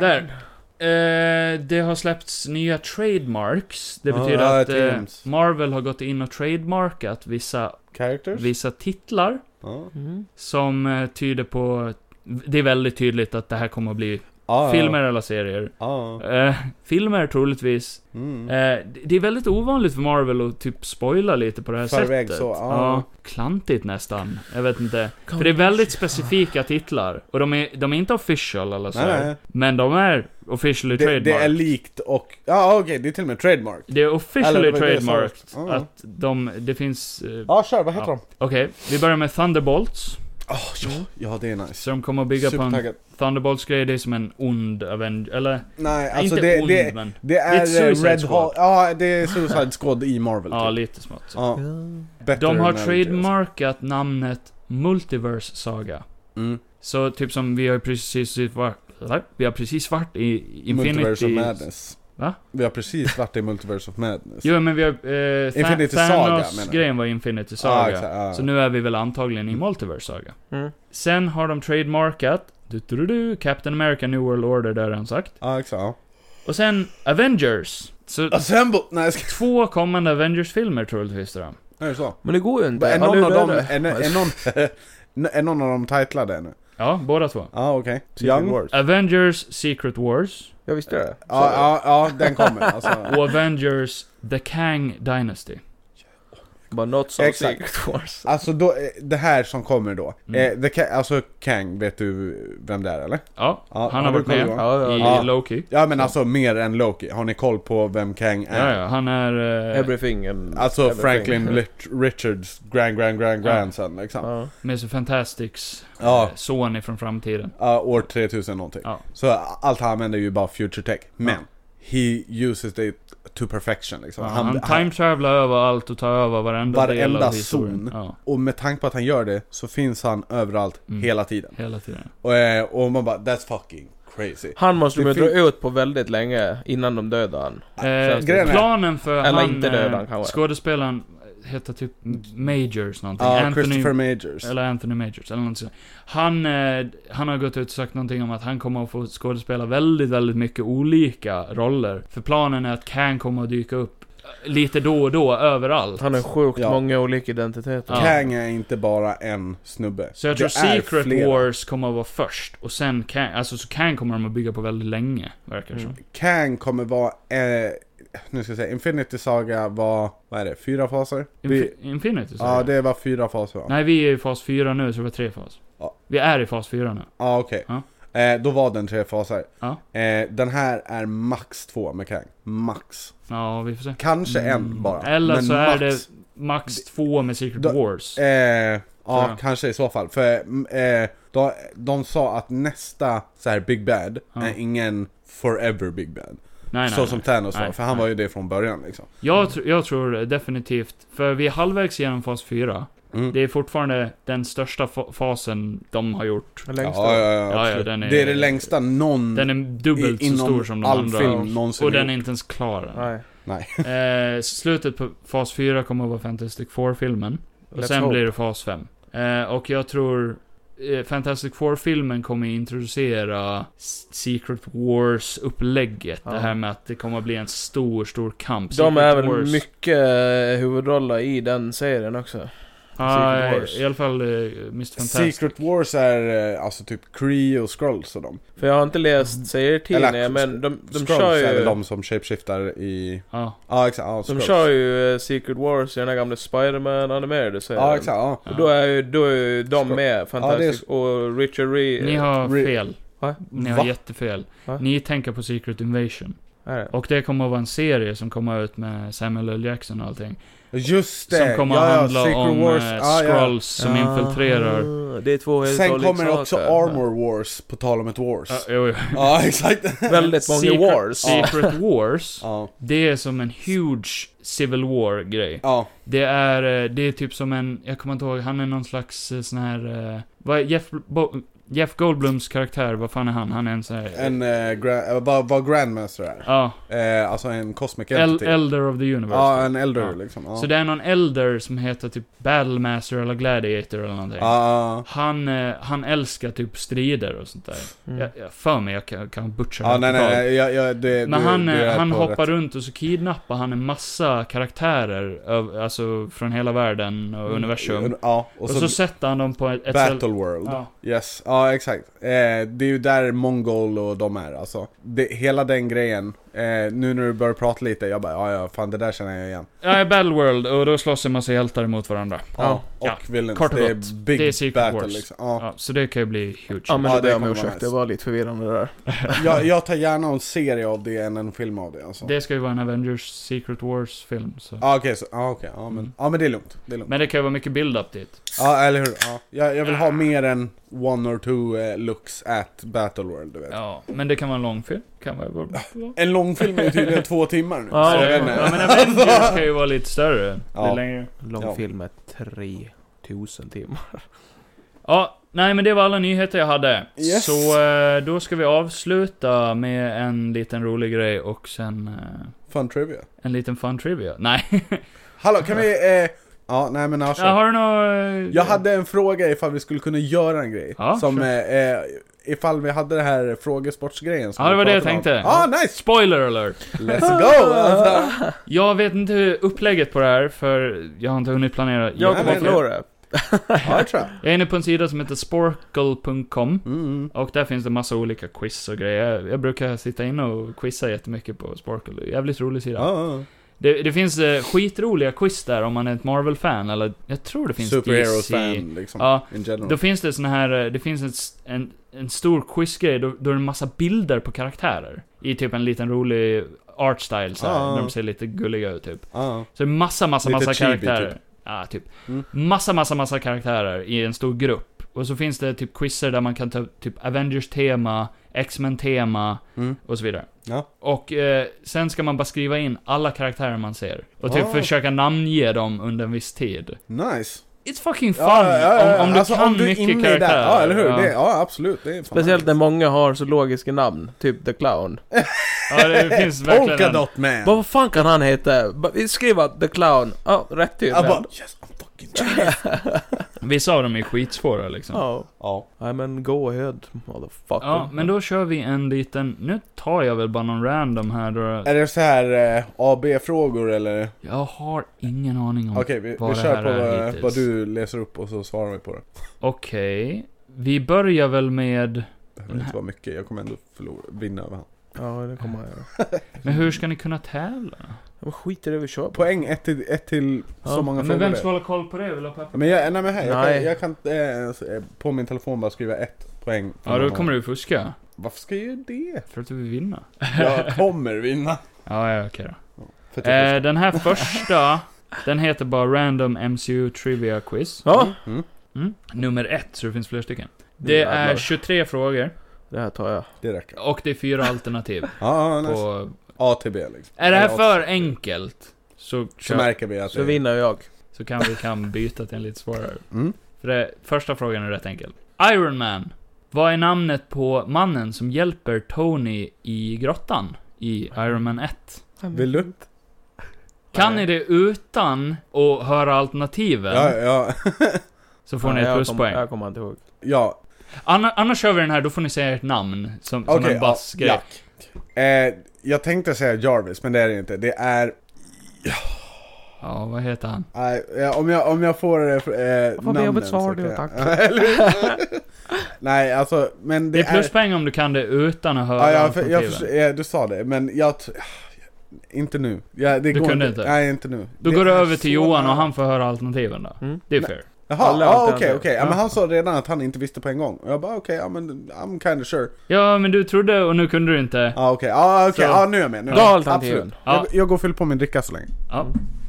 E: Där! Eh, det har släppts nya trademarks. Det
F: Ja,
E: betyder
F: ja,
E: att eh,
F: Ah, teams.
E: Marvel har gått in och trademarkat vissa,
F: Characters?
E: vissa titlar
F: Ja.
D: Mm.
E: som eh, tyder på... Det är väldigt tydligt att det här kommer att bli
F: Ah, Ja, ja.
E: filmer eller serier.
F: Ja.
E: Eh, filmer troligtvis.
F: Mm.
E: Eh, det- det är väldigt ovanligt för Marvel att typ spoila lite på det här
F: Förväg
E: sättet.
F: så, ja.
E: klantigt nästan. Jag vet inte. För det är väldigt specifika titlar. Och de är, de är inte official eller så.
F: Nej,
E: här.
F: nej.
E: Men de är officially
F: Det,
E: trademarked.
F: det är likt och... Ja okej, det är till och med trademark.
E: Det är officially
F: Eller vad är det som-
E: trademarked
F: Ja.
E: att de, det finns... eh,
F: Ja kör, vad heter
E: Ja.
F: de?
E: Okej, vi börjar med Thunderbolts.
F: Oh, ja. ja, det är nice.
E: Så de kommer att bygga på en
F: Supertaggad.
E: Thunderbolts-grej, det är som en ond Avenger, eller?
F: Nej, alltså
E: inte
F: det,
E: ond,
F: det,
E: men...
F: det
E: är ett
F: är eh,
E: Suicide
F: Red
E: Squad.
F: Hall... Ja, det är Suicide Squad i Marvel.
E: Ja,
F: typ.
E: lite smått så.
F: ja. Better
E: De har
F: than
E: trademarkat namnet Multiverse Saga.
F: Mm.
E: Så typ som vi har precis varit, vi har precis varit i Infinity...
F: Multiverse of Madness.
E: Va?
F: Vi har precis varit i Multiverse of Madness.
E: Jo men vi har... Eh, Tha-
F: Infinity Saga,
E: Thanos
F: menar du?
E: grejen var Infinity
F: Ja,
E: Saga.
F: exakt, ah. Mm. ja.
E: Så nu är vi väl antagligen i Multiverse Saga.
D: Mm.
E: Sen har de trademarkat Du, du, du, du, Captain America New World Order, där har han sagt.
F: Ja, exakt. ja.
E: Och sen Avengers. Så
F: Assemble! Nej, jag ska...
E: två kommande Avengers-filmer troligtvis då.
F: Är det så?
D: Men det går ju inte.
F: Är
D: Ja,
F: någon,
D: nu
F: av
D: dör
F: dem,
D: det.
F: är, är, någon, är någon av dem titlade ännu?
E: Ja, båda två.
F: Ja, ah, okej.
D: Secret
F: Young? Ja,
D: Wars.
E: Avengers Secret Wars
D: Jag visste det. Så-
F: ja, ja, den kommer alltså.
E: och Avengers The Kang Dynasty.
D: Bara något sa
F: Exakt.
D: Secret Wars.
F: Alltså då, eh, det här som kommer då.
E: Mm.
F: Eh, the Ka- alltså Kang, vet du vem det är eller?
E: Ja,
F: Ja,
E: han
F: har
E: har
F: du
E: varit
F: koll,
E: med
F: Johan?
D: Ja, ja,
E: i
F: ja.
E: Loki.
F: Ja men alltså mer än Loki, har ni koll på vem Kang är?
E: Ja, ja, han är... eh,
D: Everything. and
F: Alltså
D: everything.
F: Franklin Lit- Richards grand grand grand
E: Ja.
F: grandson liksom. Ja,
D: Ja.
E: Mr. Fantastics
F: Ja.
E: eh, son ifrån framtiden.
F: Ja, år 3000 någonting.
E: Ja.
F: Så allt han använder är ju bara future tech. Men, he uses it to perfection liksom.
E: Ja, han time travelar överallt och tar över varenda, del
F: Varenda
E: av historien.
F: zon.
E: Ja,
F: Och med tanke på att han gör det så finns han överallt
E: Mm.
F: hela tiden.
E: hela tiden.
F: Och, eh, och man bara that's fucking crazy.
D: Han måste de
F: Det
D: ju dra
F: fin-
D: ut på väldigt länge innan de dödar han.
F: Ah,
E: Eh,
F: grejen är-
E: planen för
D: Eller
E: han,
D: inte döda,
E: eh,
D: kanske.
E: skådespelaren heter typ Majors någonting.
F: Ja,
E: Anthony
F: Christopher Majors.
E: Eller Anthony Majors, eller något sånt. Han, eh, han har gått ut och sagt någonting om att han kommer att få skådespela väldigt, väldigt mycket olika roller. För planen är att Kang kommer att dyka upp eh, lite då och då, överallt.
D: Han har sjukt
F: Ja.
D: många olika identiteter.
E: Ja.
F: Kang är inte bara en snubbe.
E: Så jag
F: Det
E: tror
F: är
E: Secret
F: flera.
E: Wars kommer att vara först, och sen Kang, alltså så Kang kommer de att bygga på väldigt länge, verkar det som.
F: Mm. Kang kommer vara, eh, nu ska jag säga, Infinity Saga var, vad är det, fyra faser? Vi,
E: Infi- Infinity
F: ja,
E: sa jag.
F: det var fyra faser va?
E: Nej, vi är i fas 4 nu, så det var tre fas.
F: Ja.
E: Vi är i fas 4 nu.
F: Ja, okej.
E: Ja.
F: Eh, då var den tre faser.
E: Ja.
F: Eh, den här är max två med Kang. Max.
E: Ja, vi får se.
F: Kanske en
E: Mm.
F: bara.
E: Eller
F: men
E: så
F: max.
E: är det max två med Secret
F: Då-
E: Wars.
F: Eh, ja,
E: Tror jag.
F: kanske i så fall. För mm, eh, de, de sa att nästa så här Big Bad
E: Ja.
F: är ingen forever Big Bad.
E: nej,
F: så som Thanos var,
E: Nej,
F: för han
E: nej.
F: var ju det från början liksom.
E: Jag, tr- jag tror definitivt, för vi är halvvägs genom fas 4.
F: Mm.
E: Det är fortfarande den största fa- fasen de har gjort.
D: Den
F: ja,
D: längsta.
F: ja, ja,
E: ja,
F: absolut.
E: den är-
F: det är det längsta någon
E: Den är dubbelt
F: Mm. i-
E: så
F: inom
E: stor som de
F: all
E: andra.
F: film någonsin
E: och den är
F: gjort.
E: inte ens klar än.
D: Nej.
E: Eh, slutet på fas 4 kommer att vara Fantastic Four-filmen. Och
D: Let's
E: sen
D: hope.
E: blir det fas 5. Eh, och jag tror eh, Fantastic Four-filmen kommer introducera S- Secret Wars-upplägget.
D: Ja.
E: Det här med att det kommer att bli en stor, stor kamp.
D: De
E: Secret
D: är väl
E: Wars-
D: mycket eh, huvudroller i den serien också.
E: Ja,
D: Secret Wars.
E: i alla fall eh, Mr. Fantastic.
F: Secret Wars är eh, alltså typ Kree och Skrulls och dem.
D: För jag har inte läst serietidningar
F: Mm. Eller,
D: men de, de
F: Skrulls
D: kör
F: är
D: ju...
F: väl
D: De,
F: de som shapeshiftar i...
E: Ja.
F: Ja exakt, ja, Skrulls.
D: kör ju eh, Secret Wars i den här gamla Spider-Man animerade serien.
F: Ja exakt, ja.
D: Och då är ju då är ju de
F: Skrull.
D: med, Fantastic och Richard Ree.
E: Ni har
F: Re-
E: fel.
D: eh, Va?
E: Ni har
F: Va?
E: jättefel.
D: Va?
E: Ni tänker på Secret Invasion.
D: Är det?
E: Och det kommer att vara en serie som kommer ut med Samuel L. Jackson och allting.
F: Just det!
E: Som kommer
F: ja,
E: att
F: ja,
E: handla
F: Secret
E: om
F: Wars. Ah,
E: eh,
F: ja, ja.
E: Skrulls som infiltrerar...
D: Ah, Det är två helt
F: Sen
D: olika
F: kommer också
D: saker.
F: Armor Wars, på tal om ett Wars.
E: Ja,
F: Ja,
E: Ah, jo, jo.
F: exakt.
D: Väldigt många
E: Secret-
D: wars.
E: Secret Wars.
F: ja.
E: Det är som en huge Civil War-grej.
F: ja.
E: Det är, eh, det är typ som en, jag kommer inte ihåg, han är någon slags eh, sån här, eh, vad är Jeff, Bo, Jeff Goldblums karaktär, vad fan är han? Han är en sån här...
F: En, eh, gra- eh, vad, vad Grandmaster är.
E: ja,
F: Eh, alltså en Cosmic
E: El,
F: Entity.
E: Elder of the Universe.
F: ja, en Elder
E: Ja.
F: liksom. Ja.
E: Så det är någon elder som heter typ Battlemaster eller Gladiator eller någonting.
F: Ja,
E: Han, eh, han älskar typ strider och sånt där.
D: Mm.
E: Jag, jag för mig, jag kan, kan butcha
F: ja,
E: det
F: nej nej,
E: totalt.
F: nej jag, jag, det,
E: Men
F: du,
E: han,
F: du
E: eh,
F: är
E: han
F: på
E: hoppar
F: rätt.
E: runt och så kidnappar han en massa karaktärer, öv- alltså från hela världen och universum.
F: Ja,
E: och,
F: Mm, och,
E: så, sätter han dem på ett... ett
F: Battle
E: ställ-
F: World.
E: Ja.
F: Yes, ja exakt. Eh, det är ju där mongol och de är alltså. Det, hela den grejen. Eh, nu när du börjar prata lite, jag bara ja ja, fan det där känner jag igen.
E: Ja, i Battleworld, och då slåss en massa hjältar mot varandra.
F: Ja,
E: Ja,
F: och villains.
E: kort och
F: det
E: gott.
F: är big
E: Det är Secret
F: battle
E: Wars.
F: liksom. Ja.
E: Ja, så det kan ju bli huge.
D: Ja men
F: Ja,
D: det ber
F: det
D: jag om
F: kommer vara
D: ursäkt,
F: nice.
D: det var lite förvirrande det där.
F: Jag, jag tar gärna en serie av det än en film av det alltså.
E: Det ska ju vara en Avengers Secret Wars-film, så.
F: Ja okej, så- ja okej, ja men, ja men det är lugnt. Det är lugnt.
E: Mm. Men det kan ju vara mycket build-up dit.
F: Ja eller hur. Ja. Jag, jag vill ha mer än one or two eh, looks at battle world du vet.
E: Ja, men det kan vara en lång film. Kan vara... Ja,
F: En lång film är ju tydligen två timmar nu.
D: Ja,
F: så jag
E: ja,
F: vet inte.
E: men Avengers kan ju vara lite större.
F: Ja.
E: Lite längre.
D: Långfilm är 3000 timmar.
E: Ja, nej men det var alla nyheter jag hade.
F: Yes.
E: Så eh, då ska vi avsluta med en liten rolig grej och sen eh,
F: Fun trivia.
E: en liten fun trivia. Nej.
F: Hallå, kan vi... Eh, ja, nej men alltså.
E: Ja, har du något...
F: Jag hade en fråga ifall vi skulle kunna göra en grej.
E: Ja,
F: som
E: sure.
F: eh, eh, ifall vi hade det här frågesportsgrejen som
E: Ja, det
F: vi
E: var det jag
F: pratade om.
E: tänkte.
F: Ah, nice!
E: Spoiler alert!
F: Let's go! Alltså.
E: Jag vet inte hur upplägget på det här, för jag har inte hunnit planera.
D: Jag kommer
F: men-
D: att förlora.
F: Ja, det tror jag.
E: Jag är inne på en sida som heter sporkle.com
F: Mm.
E: och där finns det massa olika quiz och grejer. Jag brukar sitta inne och quizza jättemycket på Sporkle. Jävligt rolig sida.
F: Ah.
E: Det, det finns eh, skitroliga quiz där om man är ett Marvel-fan, eller jag tror det finns
F: Superhero-fan liksom.
E: Ja,
F: In general.
E: Då finns det sån här, eh, det finns en, s- en, en stor quizgrej, då, då är det en massa bilder på karaktärer. I typ en liten rolig art style så här,
F: Ah.
E: när de ser lite gulliga ut typ.
F: Ah.
E: Så det är massa, massa,
F: Lite
E: massa
F: chibi,
E: karaktärer. Ja, typ.
F: Mm.
E: Massa, massa, massa karaktärer i en stor grupp. Och så finns det typ quizzer där man kan ta upp typ Avengers-tema, X-Men-tema
F: Mm.
E: och så vidare.
F: Ja.
E: Och eh, sen ska man bara skriva in alla karaktärer man ser. Och typ
F: Ah.
E: försöka namnge dem under en viss tid.
F: Nice.
E: It's fucking fun!
F: Ja, ja, ja, ja.
E: Om, om du
F: Alltså,
E: kan
F: om du är inne i
E: mycket
F: det.
E: karaktärer.
F: Ja, eller hur? Det, ja, absolut. Det är fan
D: Speciellt
F: nice.
D: när många har så logiska namn, typ The Clown.
E: Ja, det finns verkligen en...
F: Polkadot man!
D: Vad fan kan han heta? Bara, Vi skriver The Clown. Ja, rätt typ.
F: Jag bara, yes, I'm fucking Jack."
E: Vissa av dem är skitsvåra liksom. Ja,
D: Ja.
F: Ja.
D: Nej men go ahead, motherfucker.
E: men då kör vi en liten... Nu tar jag väl bara någon random här då.
F: Är det så här eh, AB-frågor eller?
E: Jag har ingen aning om...
F: Okej, vi, vi
E: Mm. vad det
F: kör
E: här
F: på
E: är
F: vad,
E: hittills.
F: vad du läser upp och så svarar vi på det.
E: Okej. Vi börjar väl med...
F: Det behöver
E: Mm.
F: inte vara mycket, jag kommer ändå förlora, vinna över honom.
D: Ja, det kommer han göra.
E: Men hur ska ni kunna tävla?
D: Men skit i det vi kör på.
F: Poäng ett till, ett till så
D: Ja,
F: många
E: Men
F: frågor.
E: vem
F: det är.
E: ska hålla koll på det? Vill du ha papper?
F: Men jag, nej men här,
D: Nej.
F: jag kan, jag kan eh, på min telefon bara skriva ett poäng.
E: Ja, då kommer du fuska.
F: Varför ska jag göra det?
E: För att du vill vinna.
F: Jag kommer vinna.
E: Ja, ja okej då.
F: För typ att jag
E: Eh, den här första, den heter bara Random MCU Trivia Quiz.
D: Ja,
F: fuskar. mm,
E: Mm. Nummer ett, så det finns fler stycken.
D: Nu
E: Det är
D: jävlar.
E: 23 frågor,
D: det här tar jag.
F: det räcker.
E: och det är fyra alternativ.
F: Ja, ah, nice.
E: på...
F: A till B liksom.
E: Är det här
F: Eller
E: för
F: A-
E: enkelt, så,
F: Så
E: kör,
F: märker vi att
D: Så
F: det är...
D: vinner jag.
E: så kan vi kan byta till en lite svårare.
F: Mm.
E: För det, första frågan är rätt enkel. Iron Man. Vad är namnet på mannen som hjälper Tony i grottan i Iron Man 1?
F: Vill du?
E: Kan
D: Nej.
E: ni det utan att höra alternativen,
F: Ja, ja,
E: så får ni
D: Nej,
E: ett
D: jag
E: pluspoäng.
D: Kommer, jag kommer inte ihåg.
F: ja.
E: Anna, annars kör vi den här, då får ni säga ert namn, som, som
F: Okej,
E: en buzzgrej.
F: ja, Jack. Eh, jag tänkte säga Jarvis, men det är det inte. Det är...
E: ja, vad heter han?
F: Nej, eh, om, jag, om jag får eh, eh,
D: Vad jobbigt svar
F: så
D: du,
F: kan jag-
D: tack.
F: Eller hur? Nej, alltså, men
E: Det
F: det,
E: är pluspoäng om du kan det utan att höra
F: Ja, jag, jag,
E: alternativen.
F: förstår- eh, du sa det, men jag... t- Inte nu. Ja, det
E: Du
F: går
E: kunde
F: inte.
E: inte?
F: Nej, inte nu.
E: Då
F: Det
E: går det
F: är
E: över till
F: så
E: Johan
F: nära.
E: och han får höra alternativen då.
D: Mm.
E: Det är fair.
F: Jaha,
D: Alla
F: ja,
D: alternativ.
F: okej, okej. Ja,
E: Ja.
F: men han sa redan att han inte visste på en gång. Och jag bara, okej, ja men I'm kinda sure.
E: Ja, men du trodde och nu kunde du inte.
F: Ja, okej. Ja, okej.
E: Så-
F: Ja, nu är jag med. Nu är jag
D: Dra
F: med.
D: alternativen.
F: Absolut.
E: Ja.
F: Jag, jag går och fyller på min dricka så länge.
E: Ja.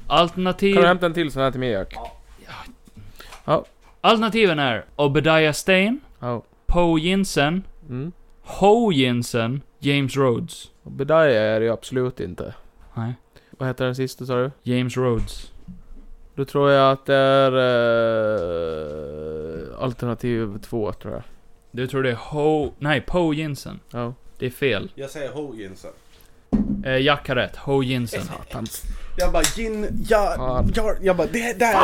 E: Alternativ...
D: Kan du hämta en till sån här till mig Jack?
E: Alternativen är Obadiah Stane,
D: Ja.
E: Poe Jensen,
D: Mm.
E: Ho Jensen, James Rhodes.
D: Och Bedaya är det ju absolut inte.
E: Nej,
D: Vad heter den sista sa du?
E: James Rhodes.
D: Då tror jag att det är... eh, alternativ två tror jag.
E: Du tror det är Ho... Nej, Poe Jensen.
D: Ja.
E: Det är fel.
F: Jag säger Hoginsen.
E: Eh, Jack har rätt. Ho Jensen.
F: Jag bara, gin, ja,
D: Fan.
F: ja, jag bara, det där!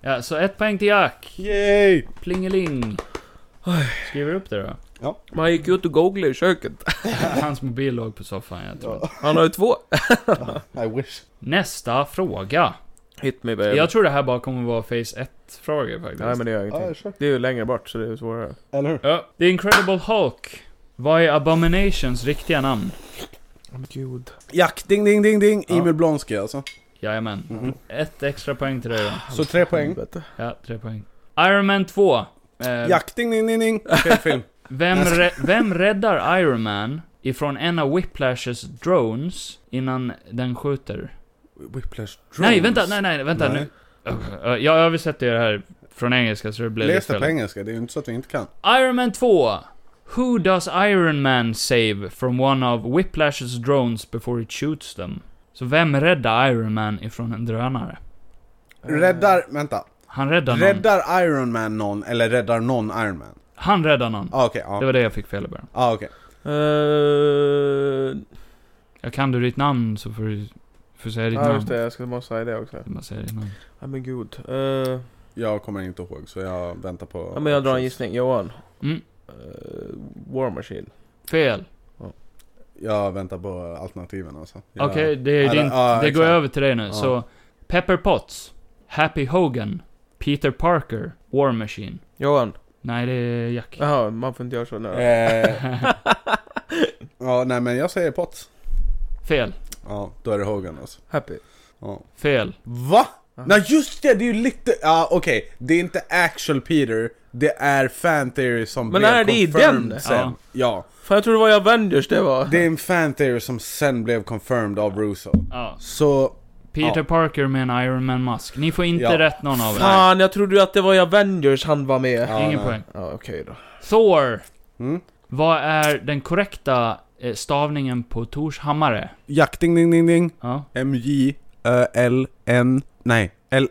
E: Ja, så ett poäng till Jack.
F: Yay!
E: Plingeling. Skriver du upp det då?
D: Man gick ut och googlade i köket.
E: Hans mobil låg på soffan, jag tror.
D: Han har ju två.
F: I wish.
E: Nästa fråga.
D: Hit me
F: Eh,
D: baby.
E: Jag tror det här bara kommer vara Phase 1-frågor faktiskt.
D: Nej men det gör ingenting.
F: Ah, sure.
D: Det är ju längre bort så det är ju svårare.
F: Eller hur?
E: Ja, The Incredible Hulk. Vad är Abominations riktiga namn?
D: Oh, gud.
F: Jack, ding, ding, ding, ding.
E: Ja.
F: Emil Blonsky alltså.
E: Jajamän.
F: Mhm.
E: Ett extra poäng till dig då.
F: Så tre poäng.
D: Helvete.
E: Ja, tre poäng. Iron Man 2. Eh,
F: Mm. Jack, ding, ding, ding, ding. Fel film.
E: vem, rä- vem räddar Iron Man ifrån en av Whiplashes drones innan den skjuter?
F: Whiplash Drones.
E: Nej, vänta, nej, nej, vänta
F: Nej.
E: nu. Uh, uh, Jag översätter ju det här från engelska så det blir
F: Läs det
E: fel.
F: på engelska, det är ju inte så att vi inte kan.
E: Iron Man 2. Who does Iron Man save from one of Whiplash's drones before it shoots them? Så vem räddar Iron Man ifrån en drönare?
F: Eh. Räddar, vänta.
E: Han räddar någon.
F: Räddar Iron Man någon eller räddar någon Iron Man?
E: Han räddar någon.
F: Ah, okej,
E: Det
F: ja.
E: var det jag fick fel i början.
F: Ah, okej.
D: Eh,
E: Jag kan du ditt namn så får du får säga ditt
D: Ja
E: namn.
D: just det, jag ska, måste säga det också.
E: Man säger ditt namn.
D: Ja men gud. Eh,
F: Jag kommer inte ihåg så jag väntar på...
D: Ja, men jag drar en gissning. Johan.
E: Mm.
D: Eh, War Machine.
E: Fel.
F: Jag väntar på alternativen alltså. Jag-
E: Okej, det är
F: Ja,
E: din...
F: ja,
E: det går
F: exakt.
E: över till dig nu.
F: Ja.
E: Så, Pepper Potts, Happy Hogan, Peter Parker, War Machine.
D: Johan.
E: Nej, det är Jack.
D: Jaha, man får inte göra så nu.
F: Eh, ja, nej men jag säger Potts.
E: Fel,
F: Ja, då är det Hogan alltså.
D: Happy.
F: Ja.
E: fel.
F: Va? Nej just det, det är ju lite... Ja okej, det är inte actual Peter, det är fan theory som
D: Men
F: blev
D: är det i
F: confirmed
D: den?
F: sen.
E: Ja.
F: Ja.
D: Fan, jag trodde det var i Avengers det var.
F: Det är en fan theory som sen blev confirmed av Russo.
E: Ja.
F: Så...
E: Peter
F: Ja.
E: Parker med en Iron Man-mask. Ni får inte
F: Ja.
E: rätt någon av er.
D: Fan, jag trodde ju att det var i Avengers han var med. Ja,
F: Ja,
E: Ingen
F: nej.
E: poäng.
D: okej då.
E: Thor!
F: Mm.
E: Vad är den korrekta eh, stavningen på Tors hammare?
F: Jack, ding ding ding ding.
E: Ja.
F: MJ, ö, L, N, nej, L.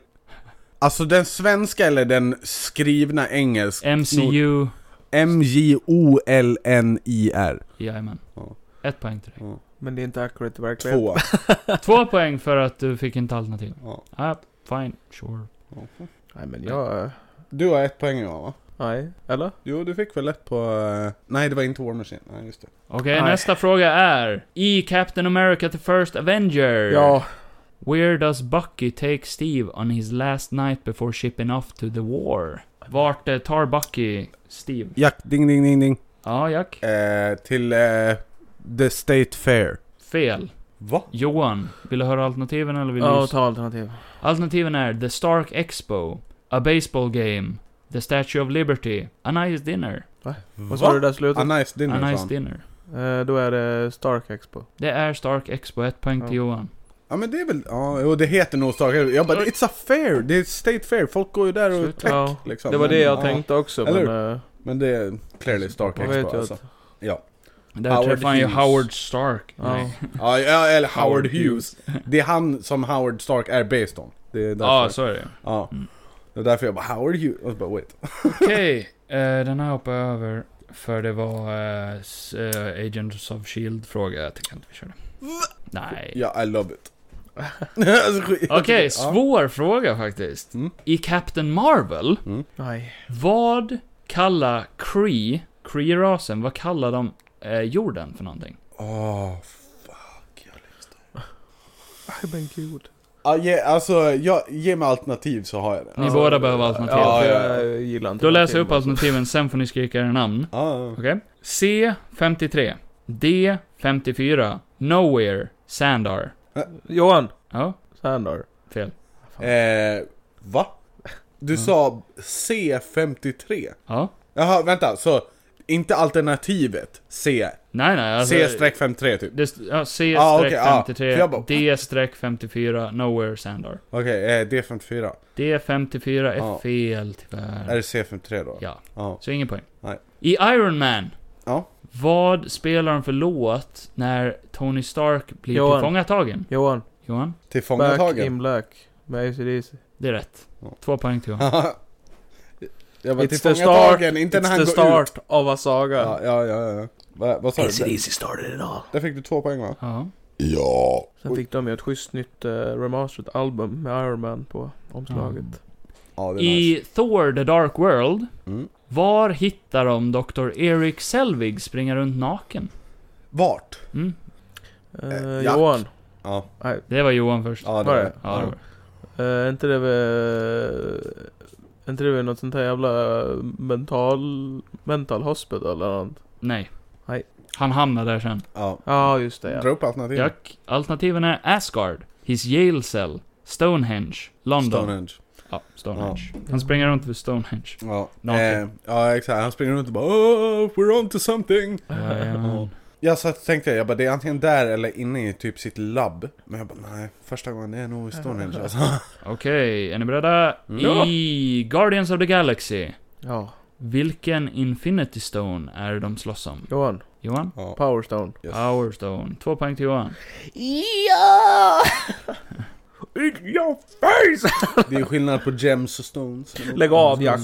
F: Alltså den svenska eller den skrivna engelsk?
E: MCU...
F: M-J-O-L-N-I-R.
E: Jajamän.
F: Ja.
E: Ett poäng till dig.
D: Men det är inte accurate i verkligheten.
F: Två.
E: Två poäng för att du fick inte alternativ.
F: Ja.
E: Ah, fine, sure.
D: Nej men jag... eh,
F: Du har ett poäng Johan va?
D: Nej, eller?
F: Jo, du fick väl ett på... eh, nej, det var inte War Machine. Nej, just det.
E: Okej,
D: Nej.
E: nästa fråga är... I Captain America the First
F: Eh,
E: Avenger...
D: Ja.
E: Where does Bucky take Steve on his last night before shipping off to the war? Vart eh, tar Bucky Steve?
F: Jack, ding ding ding ding.
E: Ja, Jack.
F: Eh, till eh, The State Fair.
E: Fel.
F: Va?
E: Johan, vill du höra alternativen eller vill
D: Ja,
E: du...
D: ta alternativ.
E: Alternativen är The Stark Expo, A Baseball Game, The Statue of Liberty, A Nice Dinner.
D: Vad sa du där i slutet?
F: A Ah, nice dinner,
E: a
F: sa
E: Ah, Nice
F: han.
E: Dinner.
D: Eh, då är det Stark Expo.
E: Det är Stark Expo, ett poäng till
D: Ja.
E: Johan.
F: Ja men det är väl, ja jo, det heter nog Stark Jag bara, it's a fair, det är State Fair, folk går ju där och
E: Slut.
F: tech
D: Ja,
F: liksom.
D: det var
F: Men,
D: det jag
F: ja.
D: tänkte också
F: Eller
D: men... eh,
F: Men det är clearly Stark
D: Man vet
F: Expo
D: ju
F: alltså.
D: att...
F: Ja.
E: Där
F: Howard
E: träffar han ju
F: Hughes.
E: Howard Stark.
D: Ja.
E: Nej.
F: ja, ja, eller
E: Howard
F: Howard Hughes. Det är han som Howard Stark är based on. Det är därför.
E: Ja, så är det.
F: ja.
E: Mm.
F: Det är därför jag bara, Howard Hughes, och så bara wait.
E: Okej, eh, den här hoppar jag över. För det var eh, s- eh, Agents of Shield-fråga. Jag tycker inte vi körde. Nej.
F: Ja, I love it. Alltså, skit-
E: Okej,
F: Ja.
E: svår fråga faktiskt.
F: Mm.
E: I Captain Marvel,
D: Nej.
E: vad kallar Cree, Cree-rasen, vad kallar de eh, jorden för någonting?
F: Åh, fuck. Jag lyssnar.
D: Nej men gud.
F: Ja, ge, alltså, jag, ge mig alternativ så har jag det.
E: Ni båda behöver alternativ.
D: Ja,
F: Alltså, Ja, ja.
D: jag gillar inte
E: Då läser jag upp
D: alternativ.
E: alternativen, sen får ni skrika era namn.
F: Ja,
E: Okej? C, 53. D, 54. Nowhere, Sandar.
D: Johan!
E: Ja,
D: Sandor.
E: fel.
F: eh, va? Du
D: Mm.
F: sa C53?
E: Ja.
F: Jaha, vänta, så inte alternativet C?
E: Nej, nej, alltså...
F: C-53 typ?
E: Det, st- ja,
F: Ah, okej, ah. För jag
E: C-53,
F: bara-
E: D-54, Nowhere Sandar.
F: Okej, eh, D54.
E: D-54 är
F: Ja.
E: fel
F: Är
E: tyvärr.
F: det C53 då?
E: Ja,
F: Ja.
E: så ingen poäng.
F: Nej.
E: I Iron Man,
F: Ja.
E: vad spelar de för låt när Tony Stark blir
D: Johan.
E: tillfångatagen?
D: Johan.
E: Johan?
D: Back
F: Tillfångatagen?
D: in black. Med ACDC.
E: Det är rätt.
F: Ja.
E: Två poäng till Johan.
F: jag var
D: It's the start,
F: tillfångatagen, inte när
D: it's
F: han
D: the
F: går ut.
D: start of a saga.
F: Ja, ja, ja. ja. Va, vad sa du? Där,
D: started it all.
F: där fick du två poäng va?
E: Ja.
F: Ja.
D: Sen fick de ju ett schysst nytt eh, remastered album med Iron Man på omslaget.
F: ja det är nice.
E: I Thor The Dark World,
F: Mm.
E: var hittar de Dr. Eric Selvig springa runt naken?
F: Vart?
E: Mm.
D: Eh,
F: Jack.
D: Johan.
F: Ja,
E: Det var Johan först.
F: ja
D: Var
F: det var
D: det?
F: det.
E: Ja, det var.
D: Eh, Är inte det väl... Är inte det väl något sånt här jävla eh, mental... Mental hospital eller något?
E: Nej.
D: Nej.
E: Han hamnade där sen.
F: Ja.
D: Ja, just det
F: Dra
D: ja.
F: upp alternativen.
E: Jack, alternativen är Asgard, His Yale Cell, Stonehenge, London.
F: Stonehenge.
E: Ja, Stonehenge. Han springer runt vid Stonehenge.
F: Ja.
E: Naken.
F: Eh, ja, exakt. Han springer runt och bara oh, we're on to something.
E: Jajamän.
F: Jag satt och tänkte, jag bara det är antingen där eller inne i typ sitt labb. Men jag bara nej, första gången det är nog i Stonehenge alltså.
E: Okej, är ni beredda?
D: Ja.
E: I Guardians of the Galaxy,
D: Ja.
E: vilken Infinity Stone är det de slåss om?
D: Johan.
E: Johan?
F: Ja.
D: Powerstone.
F: Yes.
E: Power Stone. Två poäng till Johan.
D: Ja! In your face!
F: Det är skillnad på gems och stones. Men-
D: Lägg av, Jack.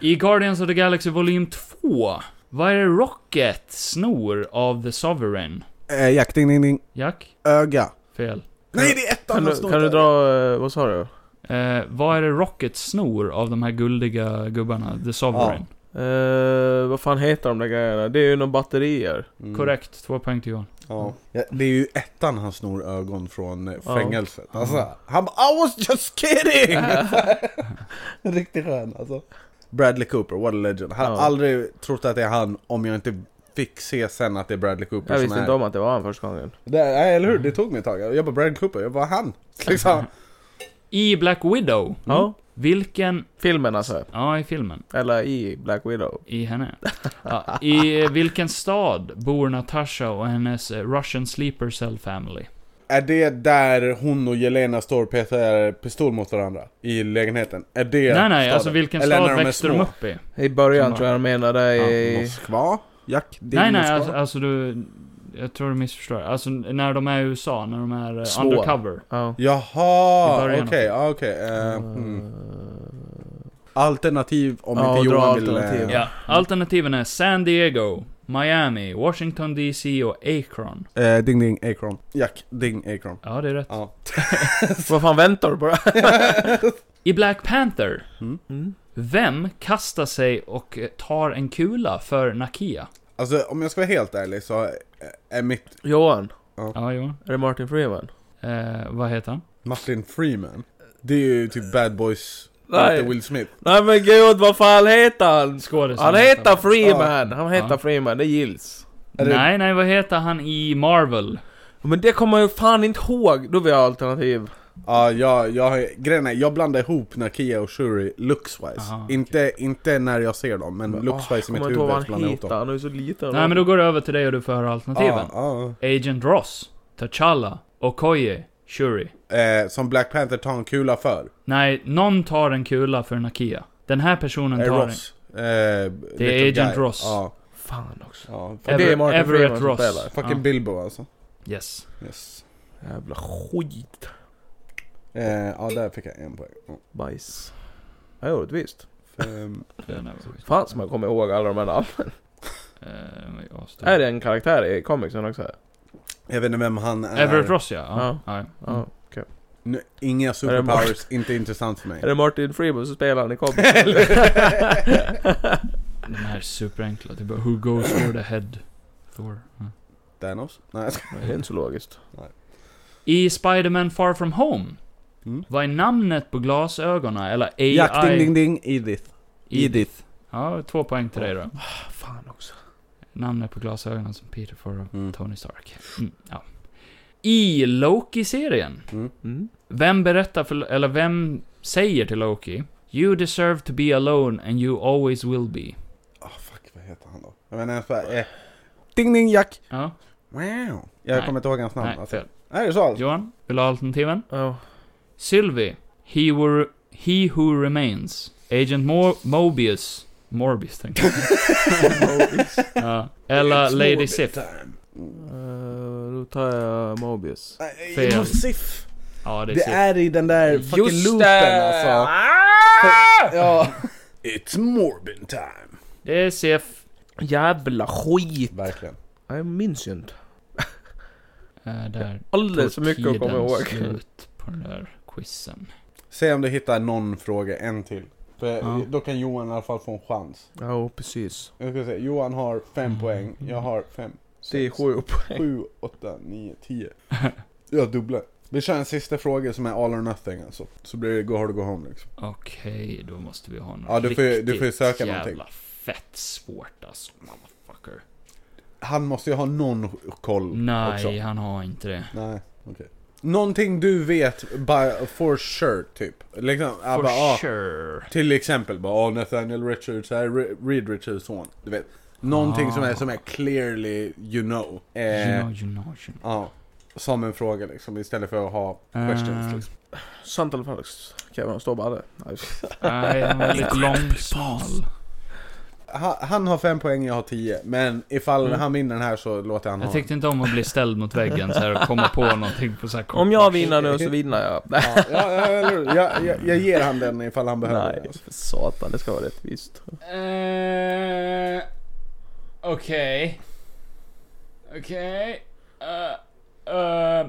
E: I Guardians of the Galaxy volym 2, vad är det Rocket snor av The Sovereign?
F: Eh, Jack, ding ding ding.
E: Jack?
F: Öga.
E: Fel.
F: Nej det är ettan
D: Kan
F: han
D: du,
F: snor
D: kan du
F: där.
D: dra... eh, Vad sa du?
E: Eh, vad är det Rocket snor av de här guldiga gubbarna? The Sovereign.
D: Eh, vad fan heter de där grejerna? Det är ju några batterier.
F: Mm.
E: Korrekt, två poäng till Johan.
F: Ja. Mm. Ja, det är ju ettan han snor ögon från eh, fängelset. Alltså, han bara I was just kidding! Riktigt skön alltså. Bradley Cooper, what a legend. Hade
D: Ja.
F: aldrig trott att det är han om jag inte fick se sen att det är Bradley Cooper
D: Jag
F: som
D: visste
F: är. Mm.
D: inte om att det var han första gången.
F: Det, nej, eller hur?
E: Mm.
F: Det tog mig ett tag. Jag bara Bradley Cooper, jag bara han. Liksom.
E: I Black Widow,
D: Ja.
E: vilken...
D: Filmen alltså.
E: Ja, i filmen.
D: Eller i Black Widow.
E: I henne. Ja, I vilken stad bor Natasha och hennes eh, Russian sleeper cell family?
F: Är det där hon och Jelena står och petar pistol mot varandra? I lägenheten? Är det
E: nej, nej,
F: staden?
E: alltså vilken
F: Eller när
E: stad
F: de är
E: växte de
F: små?
E: upp i?
D: I början
E: Som
D: tror jag de menade i...
F: Moskva? Jack, det är
E: Nej, nej,
F: Moskva.
E: alltså, alltså du... Jag tror du missförstår. Alltså, när de är i USA, när de är eh,
D: Små.
E: undercover.
D: Ja.
F: Jaha,
E: I
F: okej,
E: början.
F: ja, okej. eh, mm. Alternativ om
D: Ja,
F: inte
D: dra
F: Johan vill...
D: alternativ.
F: eh,
E: Ja. Alternativen är San Diego, Miami, Washington DC och Akron.
F: eh, ding ding Acron. Jack, ding Acron.
E: Ja, det är rätt.
F: Ja.
D: Vad fan väntar du på?
E: I Black Panther,
D: Mm.
E: vem kastar sig och eh, tar en kula för Nakia?
F: Alltså om jag ska vara helt ärlig så eh, är mitt
D: Johan.
E: Ja, jo.
D: Är det Martin Freeman?
E: Eh, vad heter han?
F: Martin Freeman, det är ju typ Bad Boys,
D: Nej.
F: inte Will Smith.
D: Nej men gud, vad fan heter han?
E: Skådisen.
D: Han heter Freeman! Han
E: Ja.
D: heter Freeman, det gills.
F: Är det-
E: Nej, nej, vad heter han i Marvel?
D: Men det kommer jag ju fan inte ihåg. Då vill jag ha alternativ.
F: Ja, jag, jag, grejen är, jag blandar ihop Nakia och Shuri looks-wise.
E: Aha,
F: inte, inte när jag ser dem, men
D: Ah,
F: looks-wise i mitt
D: kommer inte ihåg vad
F: huvud
D: han
F: blandar jag ihop
D: heter.
F: dem.
D: Han är ju så liten.
E: Nej, men då går det över till dig och du får höra alternativen.
F: Ja,
E: Agent Ross, T'Challa, Okoye, Shuri.
F: ja. Eh, som Black Panther tar en kula för.
E: Nej, någon tar en kula för Nakia. Den här personen
F: Eh,
E: tar en...
F: Ross. Eh, det
E: är Agent Ross.
F: Ja,
D: Fan också.
F: ja.
D: För det är Martin
E: Everett
D: Freeman som
E: Ross.
D: spelar.
F: Fucking Bilbo alltså.
E: ja. Yes.
F: Yes.
D: Jävla skit.
F: Eh, ja, där fick jag en poäng. Ja.
D: Bajs. Ja, jo, visst.
F: Fem.
E: Den är sjukt.
D: Fan som jag kommer ihåg alla de här namnen.
E: Eh, den var ju asstor.
D: Är det en karaktär i comicsen också?
F: Jag vet inte vem han är.
E: Everett Ross, ja. ja. ja.
D: Ja.
E: Mm.
F: Nu, inga superpowers, inte intressant för mig.
D: Är det Martin Freeman som spelar han i
F: Eller-
D: comicsen?
E: Den här är superenkla. Typ bara, Who goes for the head? Thor. Ja.
F: Thanos? Nej, jag ska...
D: Nej, Det är inte så logiskt.
E: I Spider-Man Far From Home.
F: Mm.
E: Vad är namnet på glasögonen? Eller AI?
F: Jack, ding, ding, ding, Edith. Edith.
E: Ja, två poäng till dig då.
D: Fan också.
E: Namnet på glasögonen som Peter får av
F: Mm.
E: Tony Stark. Mm, ja. I Loki-serien.
D: Mm.
E: Vem berättar för, eller vem säger till Loki? You deserve to be alone and you always will be.
F: Ah, fuck, vad heter han då? Jag vet inte ens vad... Eh. Ding, ding, Jack!
E: Ja,
F: Wow! Jag
E: Nej.
F: kommer inte ihåg hans namn.
E: nej,
F: alltså.
E: fel.
F: Är det så? Alltså?
E: Johan, vill du ha alternativen?
D: Ja.
E: Sylvie, He, were, he Who Remains, Agent Mo- Mobius, Morbius tänkte jag. ja. Eller Lady Sif.
D: Eh, då tar jag Mobius.
E: Fel.
F: Fel. Sif.
E: Ja, det är
F: Det
E: Sif.
F: är i den där fucking loopen alltså.
D: Ah!
F: Ja. It's Morbin time.
E: Det är Sif.
D: Jävla skit.
F: Verkligen.
D: Jag minns ju inte.
E: Eh, där
D: Alldeles för mycket att komma
E: tiden
D: ihåg.
E: slut på den där quizen.
F: Se om du hittar någon fråga, en till. För
E: Ja.
F: då kan Johan i alla fall få en chans.
D: Ja, precis.
F: Jag ska se, Johan har fem
E: Mm.
F: poäng, jag har fem,
D: Det är
F: sex,
D: sju poäng.
F: sju, åtta, nio, tio. Jag dubblar. Vi kör en sista fråga som är all or nothing alltså. Så blir det go hard or go home liksom.
E: Okej, då måste vi ha något
F: Ja, du får ju-
E: riktigt
F: du får ju söka
E: jävla
F: någonting.
E: fett svårt alltså, motherfucker.
F: Han måste ju ha någon koll
E: Nej,
F: också.
E: han har inte det.
F: Nej, okej. Någonting du vet by, for sure typ. Liksom,
E: For
F: bara, ah,
E: sure.
F: Till exempel bara ah, Nathaniel Richards här, Re- Reed Richards son. Du vet. Någonting som, är, som är clearly you know. Eh,
E: You know, you know, you know.
F: Ja. Som en fråga liksom istället för att ha
E: Eh.
F: questions liksom.
D: Sant eller falskt? Kevin, står bara där. Nej.
E: Nej, han var lite långsmal.
F: han, han har fem poäng, jag har tio. Men ifall han vinner den här så låter han
E: Mm. Jag
F: ha den.
E: tyckte inte om att bli ställd mot väggen så här och komma på någonting på så här kort.
D: Om jag vinner nu så vinner jag. Nej.
F: Ja, ja, ja, eller hur? jag, jag, jag ger han den ifall han behöver
D: Nej,
F: det. Alltså.
D: för satan. Det ska vara rättvist.
E: Eh, Okej. Okej. Eh, eh,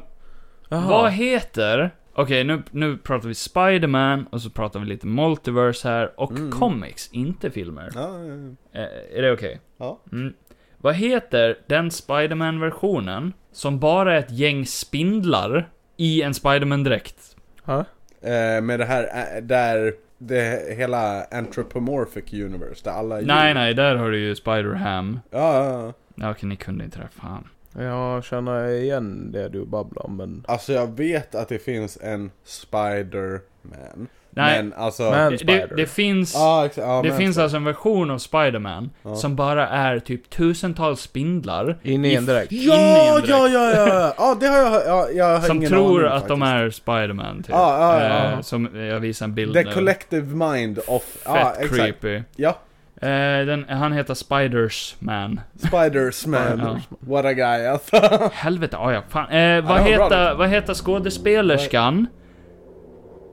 D: Jaha.
E: Vad heter Okej, nu, nu pratar vi Spider-Man och så pratar vi lite multiverse här och
F: Mm.
E: comics, inte filmer.
F: Ja, ja, ja.
E: Eh, är det okej?
F: Ja.
E: Mm. Vad heter den Spider-Man-versionen som bara är ett gäng spindlar i en Spider-Man-dräkt?
D: Ha?
F: Eh, med det här, eh, där det hela anthropomorphic universe, där alla är
E: Nej,
F: djur.
E: nej, där har du ju Spider-Ham.
F: Ja, ja, ja.
E: Ja, Okej, ni kunde inte det, fan.
D: Jag känner igen det du babblar om, men...
F: Alltså jag vet att det finns en Spider-Man.
E: Nej,
F: Men alltså...
D: Men-
E: det, det,
D: Spider.
E: det finns...
F: Ja, exa- ja,
E: Det
F: men-
E: finns alltså en version av Spider-Man
F: Ja.
E: som bara är typ tusentals spindlar
D: Inne i en dräkt.
E: inne i en
F: Ja,
E: dräkt.
F: ja, ja, ja, ja, ja, det har jag, ja, jag har
E: Som
F: ingen
E: tror
F: aning,
E: att de
F: faktiskt.
E: är Spider-Man, typ.
F: Ja, ja, ja.
E: Eh, Som jag visar en bild
F: The collective mind of...
E: Fett
F: Ja, exakt.
E: creepy.
F: Ja,
E: Eh, den, han heter Spiders-Man.
F: Spiders-Man.
E: Ja.
F: What a guy alltså.
E: Helvete, ah, ja, fan. Eh, vad,
F: det var bra liksom.
E: heter,
F: då.
E: vad heter skådespelerskan?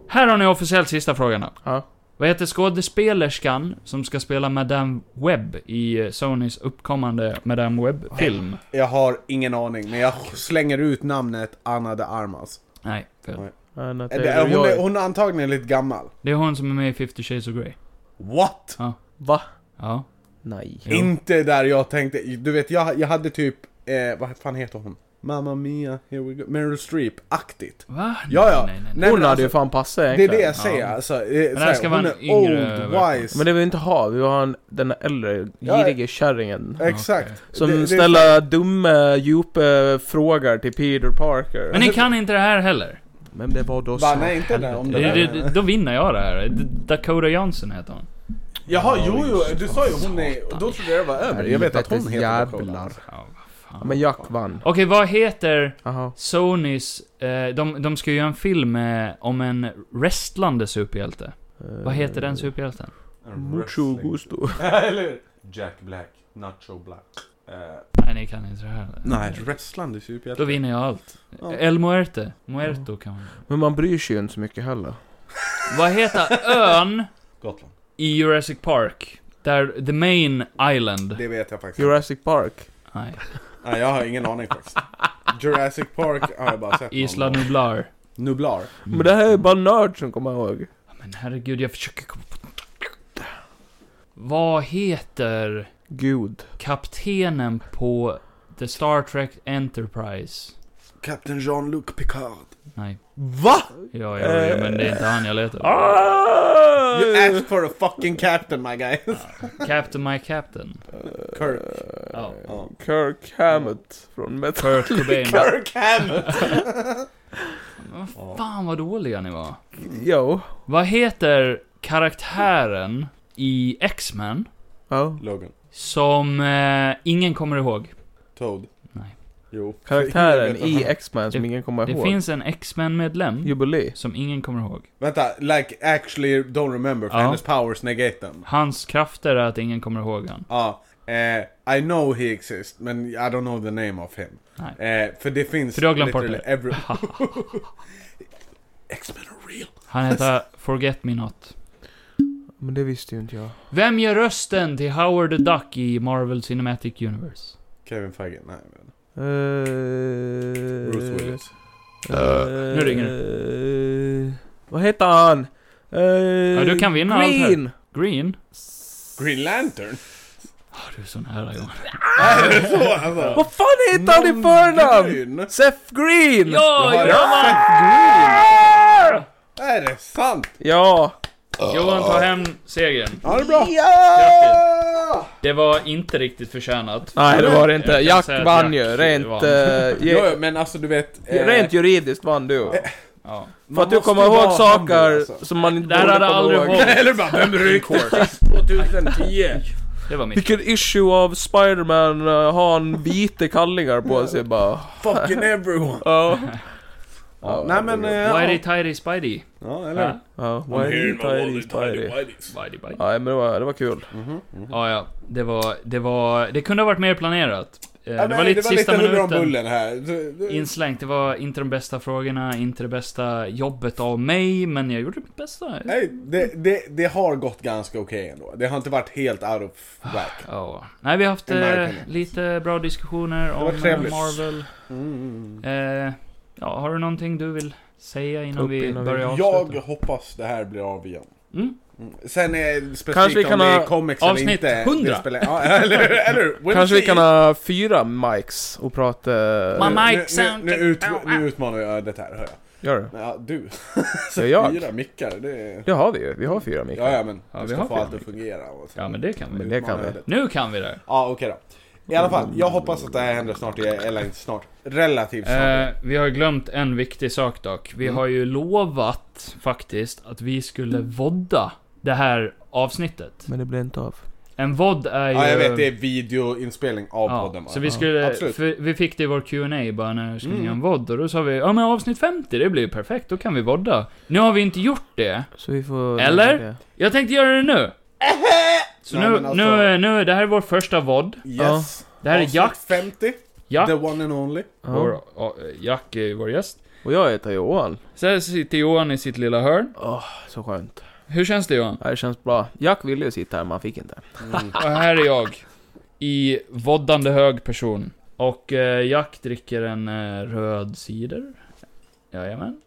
E: Här har ni officiellt sista frågan då.
D: Ja.
E: Vad heter skådespelerskan som ska spela Madame Webb i eh, Sonys uppkommande Madame Webb-film?
F: Jag har ingen aning, men jag slänger ut namnet Anna de Armas.
E: Nej, fel.
D: Anna
F: Det är- Hon
D: Taylor-Joy.
F: är, hon är antagligen lite gammal.
E: Det är hon som är med i 50 Shades of Grey.
F: What?
D: Va?
E: Ja.
D: Nej.
E: Jo.
F: Inte där jag tänkte, du vet jag, jag hade typ, eh, vad fan heter hon? Mamma Mia, here we go, Meryl Streep-aktigt.
E: Va? Nej,
F: Ja, ja.
E: Nej, nej, nej.
F: Nej,
D: Hon
F: men
D: hade ju
F: alltså,
D: fan passat
F: Det är
D: egentligen.
F: det jag säger alltså. eh,
E: det
F: så
E: här
F: här,
E: ska
F: hon
E: vara en
F: är
E: yngre
F: old,
E: version.
F: wise.
D: Men det vill vi inte ha, vi vill ha en, den äldre,
F: Ja,
D: girige kärringen.
F: Exakt.
D: Som
F: Det- det är
D: ställer dumma, djupa frågor till Peter Parker.
E: Men ni kan inte det här heller.
D: Men det var då
F: Va,
D: så
F: nej, inte det,
D: helvete.
F: om
E: Det,
F: där-
E: det, det, då vinner jag det här. D- Dakota Johnson heter hon.
F: Jaha, jo, jo, du sa ju hon är... Då trodde jag det var över. Jag vet att hon
D: Helvetes
F: heter
D: jävlar.
E: Ja, vad
D: Ja,
E: fan.
D: Men Jack vann.
E: Okej, vad heter
D: Jaha.
E: Sonys... Eh, de, de ska ju göra en film eh, om en wrestlande superhjälte. Vad heter den superhjälten? Mm.
D: Mucho gusto.
F: Eller hur? Jack Black, Nacho Black. Eh,
E: Nej, ni kan inte det här.
F: Nej, wrestlande superhjälte.
E: Då vinner jag allt.
F: Ja.
E: El Muerte. Muerto kan man
D: Men man bryr sig ju inte så mycket heller.
E: Vad heter ön
F: Gotland.
E: i Jurassic Park? Där, the main island.
F: Det vet jag faktiskt.
D: Jurassic Park.
E: Nej.
F: Nej, jag har ingen aning faktiskt. Jurassic Park har jag bara sett. någon
E: Isla
F: gång.
E: Nublar.
F: Nublar.
D: Men det här är bara nörd som kommer ihåg.
E: Men herregud, jag försöker komma på... Vad heter
D: Gud.
E: kaptenen på The Star Trek Enterprise?
F: Captain Jean-Luc Picard.
E: Nej.
F: Va?
E: Ja, ja, ja, men det är inte han jag letar efter.
D: Ah!
F: You asked for a fucking captain my guy.
E: Captain My Captain.
F: Kirk.
E: Ja.
F: Ja.
D: Eh, Kirk Hammett från Metal.
E: Kurt Cobain.
F: Kirk Hammett!
E: Vad Fan vad dåliga ni var.
D: Jo.
E: Vad heter karaktären i X-Men
D: Ja.
F: Logan.
E: som eh, ingen kommer ihåg?
F: Toad.
E: Nej.
F: Jo.
D: Karaktären
F: Jag vet vad
D: i
F: han-
D: X-Men som
E: Det-
D: ingen kommer
E: Det
D: ihåg.
E: finns en X-Men-medlem
D: Jubilee.
E: som ingen kommer ihåg.
F: Vänta, like actually don't remember, för
E: Ja.
F: hennes powers negate them.
E: Hans krafter är att ingen kommer ihåg han.
F: Ja, eh, I know he exists, men I don't know the name of him.
E: Nej.
F: Eh, för det finns...
E: För du har glömt bort
F: literally
E: det.
F: every... X-Men are real.
E: Han heter Forget Me Not.
D: Men det visste ju inte jag.
E: Vem gör rösten till Howard the Duck i Marvel Cinematic Universe?
F: Kevin Feige, nej men.
D: Eh,
F: Bruce Willis.
D: eh,
E: Nu ringer
D: eh, Vad heter han? Eh, ja,
E: du kan vinna allt här.
D: Green.
E: Green?
F: Green Lantern?
E: Ah, du är så nära Johan.
F: Är det så alltså?
D: Vad fan heter han i förnamn?
F: Green?
D: Seth Green!
E: Ja,
F: Har
E: Johan!
F: Seth Green? Är det sant?
D: Ja!
E: Johan tar hem segern.
F: Ja, det är bra.
E: Grattis. Det var inte riktigt förtjänat.
D: Nej det var det inte.
E: Jag kan
D: Jack
E: säga att
D: vann ju.
E: Jack
D: Rent,
E: vann.
D: eh,
F: Jo,
D: ge,
F: jo, men alltså du vet... eh,
D: rent juridiskt vann du.
E: Ja.
D: För
F: man
D: att du
F: måste
D: kommer
F: ju
D: ihåg
F: vara
D: saker
F: humble, alltså.
D: som man inte
E: Det här
D: borde
E: hade
D: komma
E: aldrig
D: ihåg.
E: hållit.
F: Eller bara, vem ryckte sist 2010?
E: Det var mitt.
D: Vilken issue av Spiderman uh, har han vita kallingar på sig bara?
F: Fucking everyone!
D: Ja.
F: Ja, nej men... eh,
E: Whitey Tidy Spidey.
F: Ja,
E: Äh,
F: eller
D: Ja, why did I Spidey?
E: Spidey Bidey.
D: Nej men det var, det var kul.
E: Ja, ja. Det var, det var, det kunde ha varit mer planerat. Eh,
F: Ja,
E: Det
F: men
E: var lite sista
F: huller om
E: minuten.
F: bullen här. Du- du-
E: Inslängt. Det var inte de bästa frågorna, inte det bästa jobbet av mig, men jag gjorde mitt bästa.
F: Nej, det, det, det har gått ganska okej ändå. Det har inte varit helt out of whack.
E: Ja. Nej, vi har haft
F: In my
E: eh,
F: opinion.
E: lite bra diskussioner
F: var
E: om eh,
F: trevligt.
E: Marvel.
F: Mm.
E: Eh, ja, har du någonting du vill säga
D: Ta
E: innan
D: upp
E: vi
D: innan vi-
E: börjar
F: Jag
E: avsluta?
F: hoppas det här blir av igen.
E: Mm?
F: Sen är specifikt
D: Kanske vi kan
F: om det
D: ha
F: är comics eller
E: avsnitt
F: inte.
E: 100.
F: det spelar- Ja, eller eller hur? We'll
D: Kanske vi
F: see.
D: kan ha fyra mics och prata...
E: Mamma.
F: Nu-
E: Mike
F: nu, nu,
E: Soundtrack.
F: nu, ut, nu utmanar jag det här, hör jag.
D: Gör det.
F: Ja, du.
D: Ja, jag.
F: Fyra mickar, det är...
D: Det har vi ju. Vi har fyra mics.
F: Ja, ja, men
E: Ja,
F: du
E: vi
F: ska
E: har
F: få
E: fyra
F: allt att fungera. Och så.
E: Ja men det kan
D: Men
E: vi.
D: det kan vi.
F: Utmanar jag
E: Nu kan vi det.
F: Ja, okej då. I alla fall, jag hoppas att det här händer snart, igen, eller inte snart. Relativt snart.
E: Eh, vi Mm. har glömt en viktig sak dock. Vi har ju lovat faktiskt att vi skulle vodda det här avsnittet.
D: Men det blir inte av.
E: En vodd är ju...
F: Ja, jag vet, det är videoinspelning av
E: eh, Ja,
F: podden bara.
E: så vi skulle,
F: Absolut.
E: för, vi fick det i vår Q&A bara när skulle ni
F: Mm.
E: göra en vodd och då sa vi ja men avsnitt 50, det blir ju perfekt, då kan vi vodda. Nu har vi inte gjort det.
D: Så vi får...
E: Eller? Jag tänkte göra det nu. Så
F: Nej,
E: nu,
F: men alltså-
E: nu, nu, det här är vår första vodd.
F: Yes.
E: Det här är
F: Avsnitt
E: Jack.
F: 50.
E: Jack,
F: The one and only.
D: Ja.
E: vår, ja, Jack är vår gäst.
D: Och jag heter Johan.
E: Sen sitter Johan i sitt lilla hörn.
D: Åh, så skönt.
E: Hur känns det Johan?
D: Ja, Det känns bra. Jack ville ju sitta här, men han fick inte.
E: Och här är jag. I voddande hög person. Och eh, Jack dricker en eh, röd cider. Jajamän.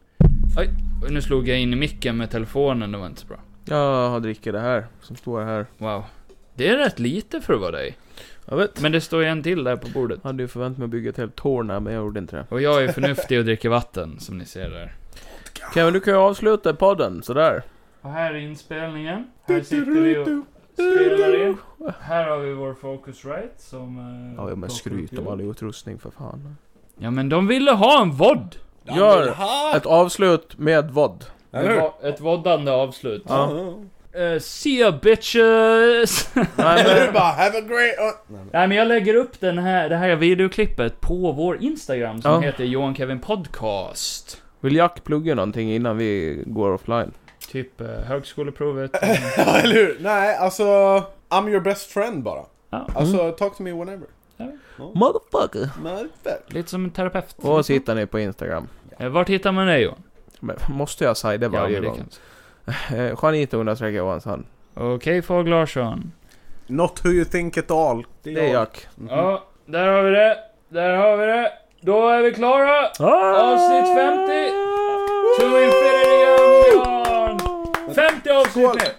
E: Oj, och nu slog jag in i micken med telefonen, det var inte så bra.
D: Jag har dricker det här, som står här.
E: Wow. Det är rätt lite för att vara dig.
D: Jag vet.
E: Men det står ju en till där på bordet.
D: Jag hade ju förväntat mig att bygga ett helt torn här, men jag gjorde inte det.
E: Och jag är förnuftig och dricker vatten, som ni ser där.
D: Kevin, du kan ju avsluta podden sådär.
E: Och här är inspelningen. Här sitter vi och spelar in. Här har vi vår Focusrite som... eh,
D: Ja, men
E: plockar
D: skryt
E: upp
D: om
E: ljud.
D: all utrustning för fan.
E: Ja, men de ville ha en vodd!
D: Gör ett avslut med vad?
F: Eller hur?
E: Ett, va- ett voddande avslut.
D: Ja.
E: Eh, see ya bitches!
D: Nej,
F: Eller
D: men,
F: hur? Bara have a great... Nej, men-
E: Nej men jag lägger upp den här, det här videoklippet på vår Instagram som
D: Ja.
E: heter Johan Kevin Podcast.
D: vill Jack plugga någonting innan vi går offline?
E: Typ eh, högskoleprovet.
F: Ja, eller hur? Nej, alltså... I'm your best friend bara.
E: Ja.
F: Alltså, talk to me whenever.
D: Motherfucker!
F: Motherfucker.
E: Lite som en terapeut.
D: Och så hittar ni på Instagram.
E: Eh, Vart hittar man dig Johan?
D: Men, måste jag säga det varje gång? Eh, Juanito understreck Johansson.
E: Okej Fogg Larsson.
F: Not who you think at all.
D: Det är Jack.
E: Ja, där har vi det. Där har vi det. Då är vi klara! Avsnitt 50! To infinity and beyond! 50 avsnitt
F: Skål.
E: nu!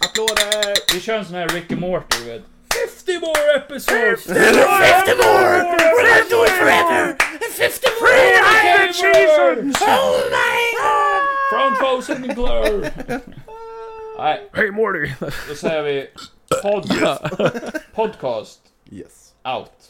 F: Applåder!
E: Vi kör en sån här Rick and Morty, du vet. 50 more episodes! 50 more! We're gonna do it forever! 50 more! Iron Seasons! Oh my god! From Frozen and Glow! Nej,
D: Hej Morty!
E: då säger vi pod podcast
F: Yes.
E: out.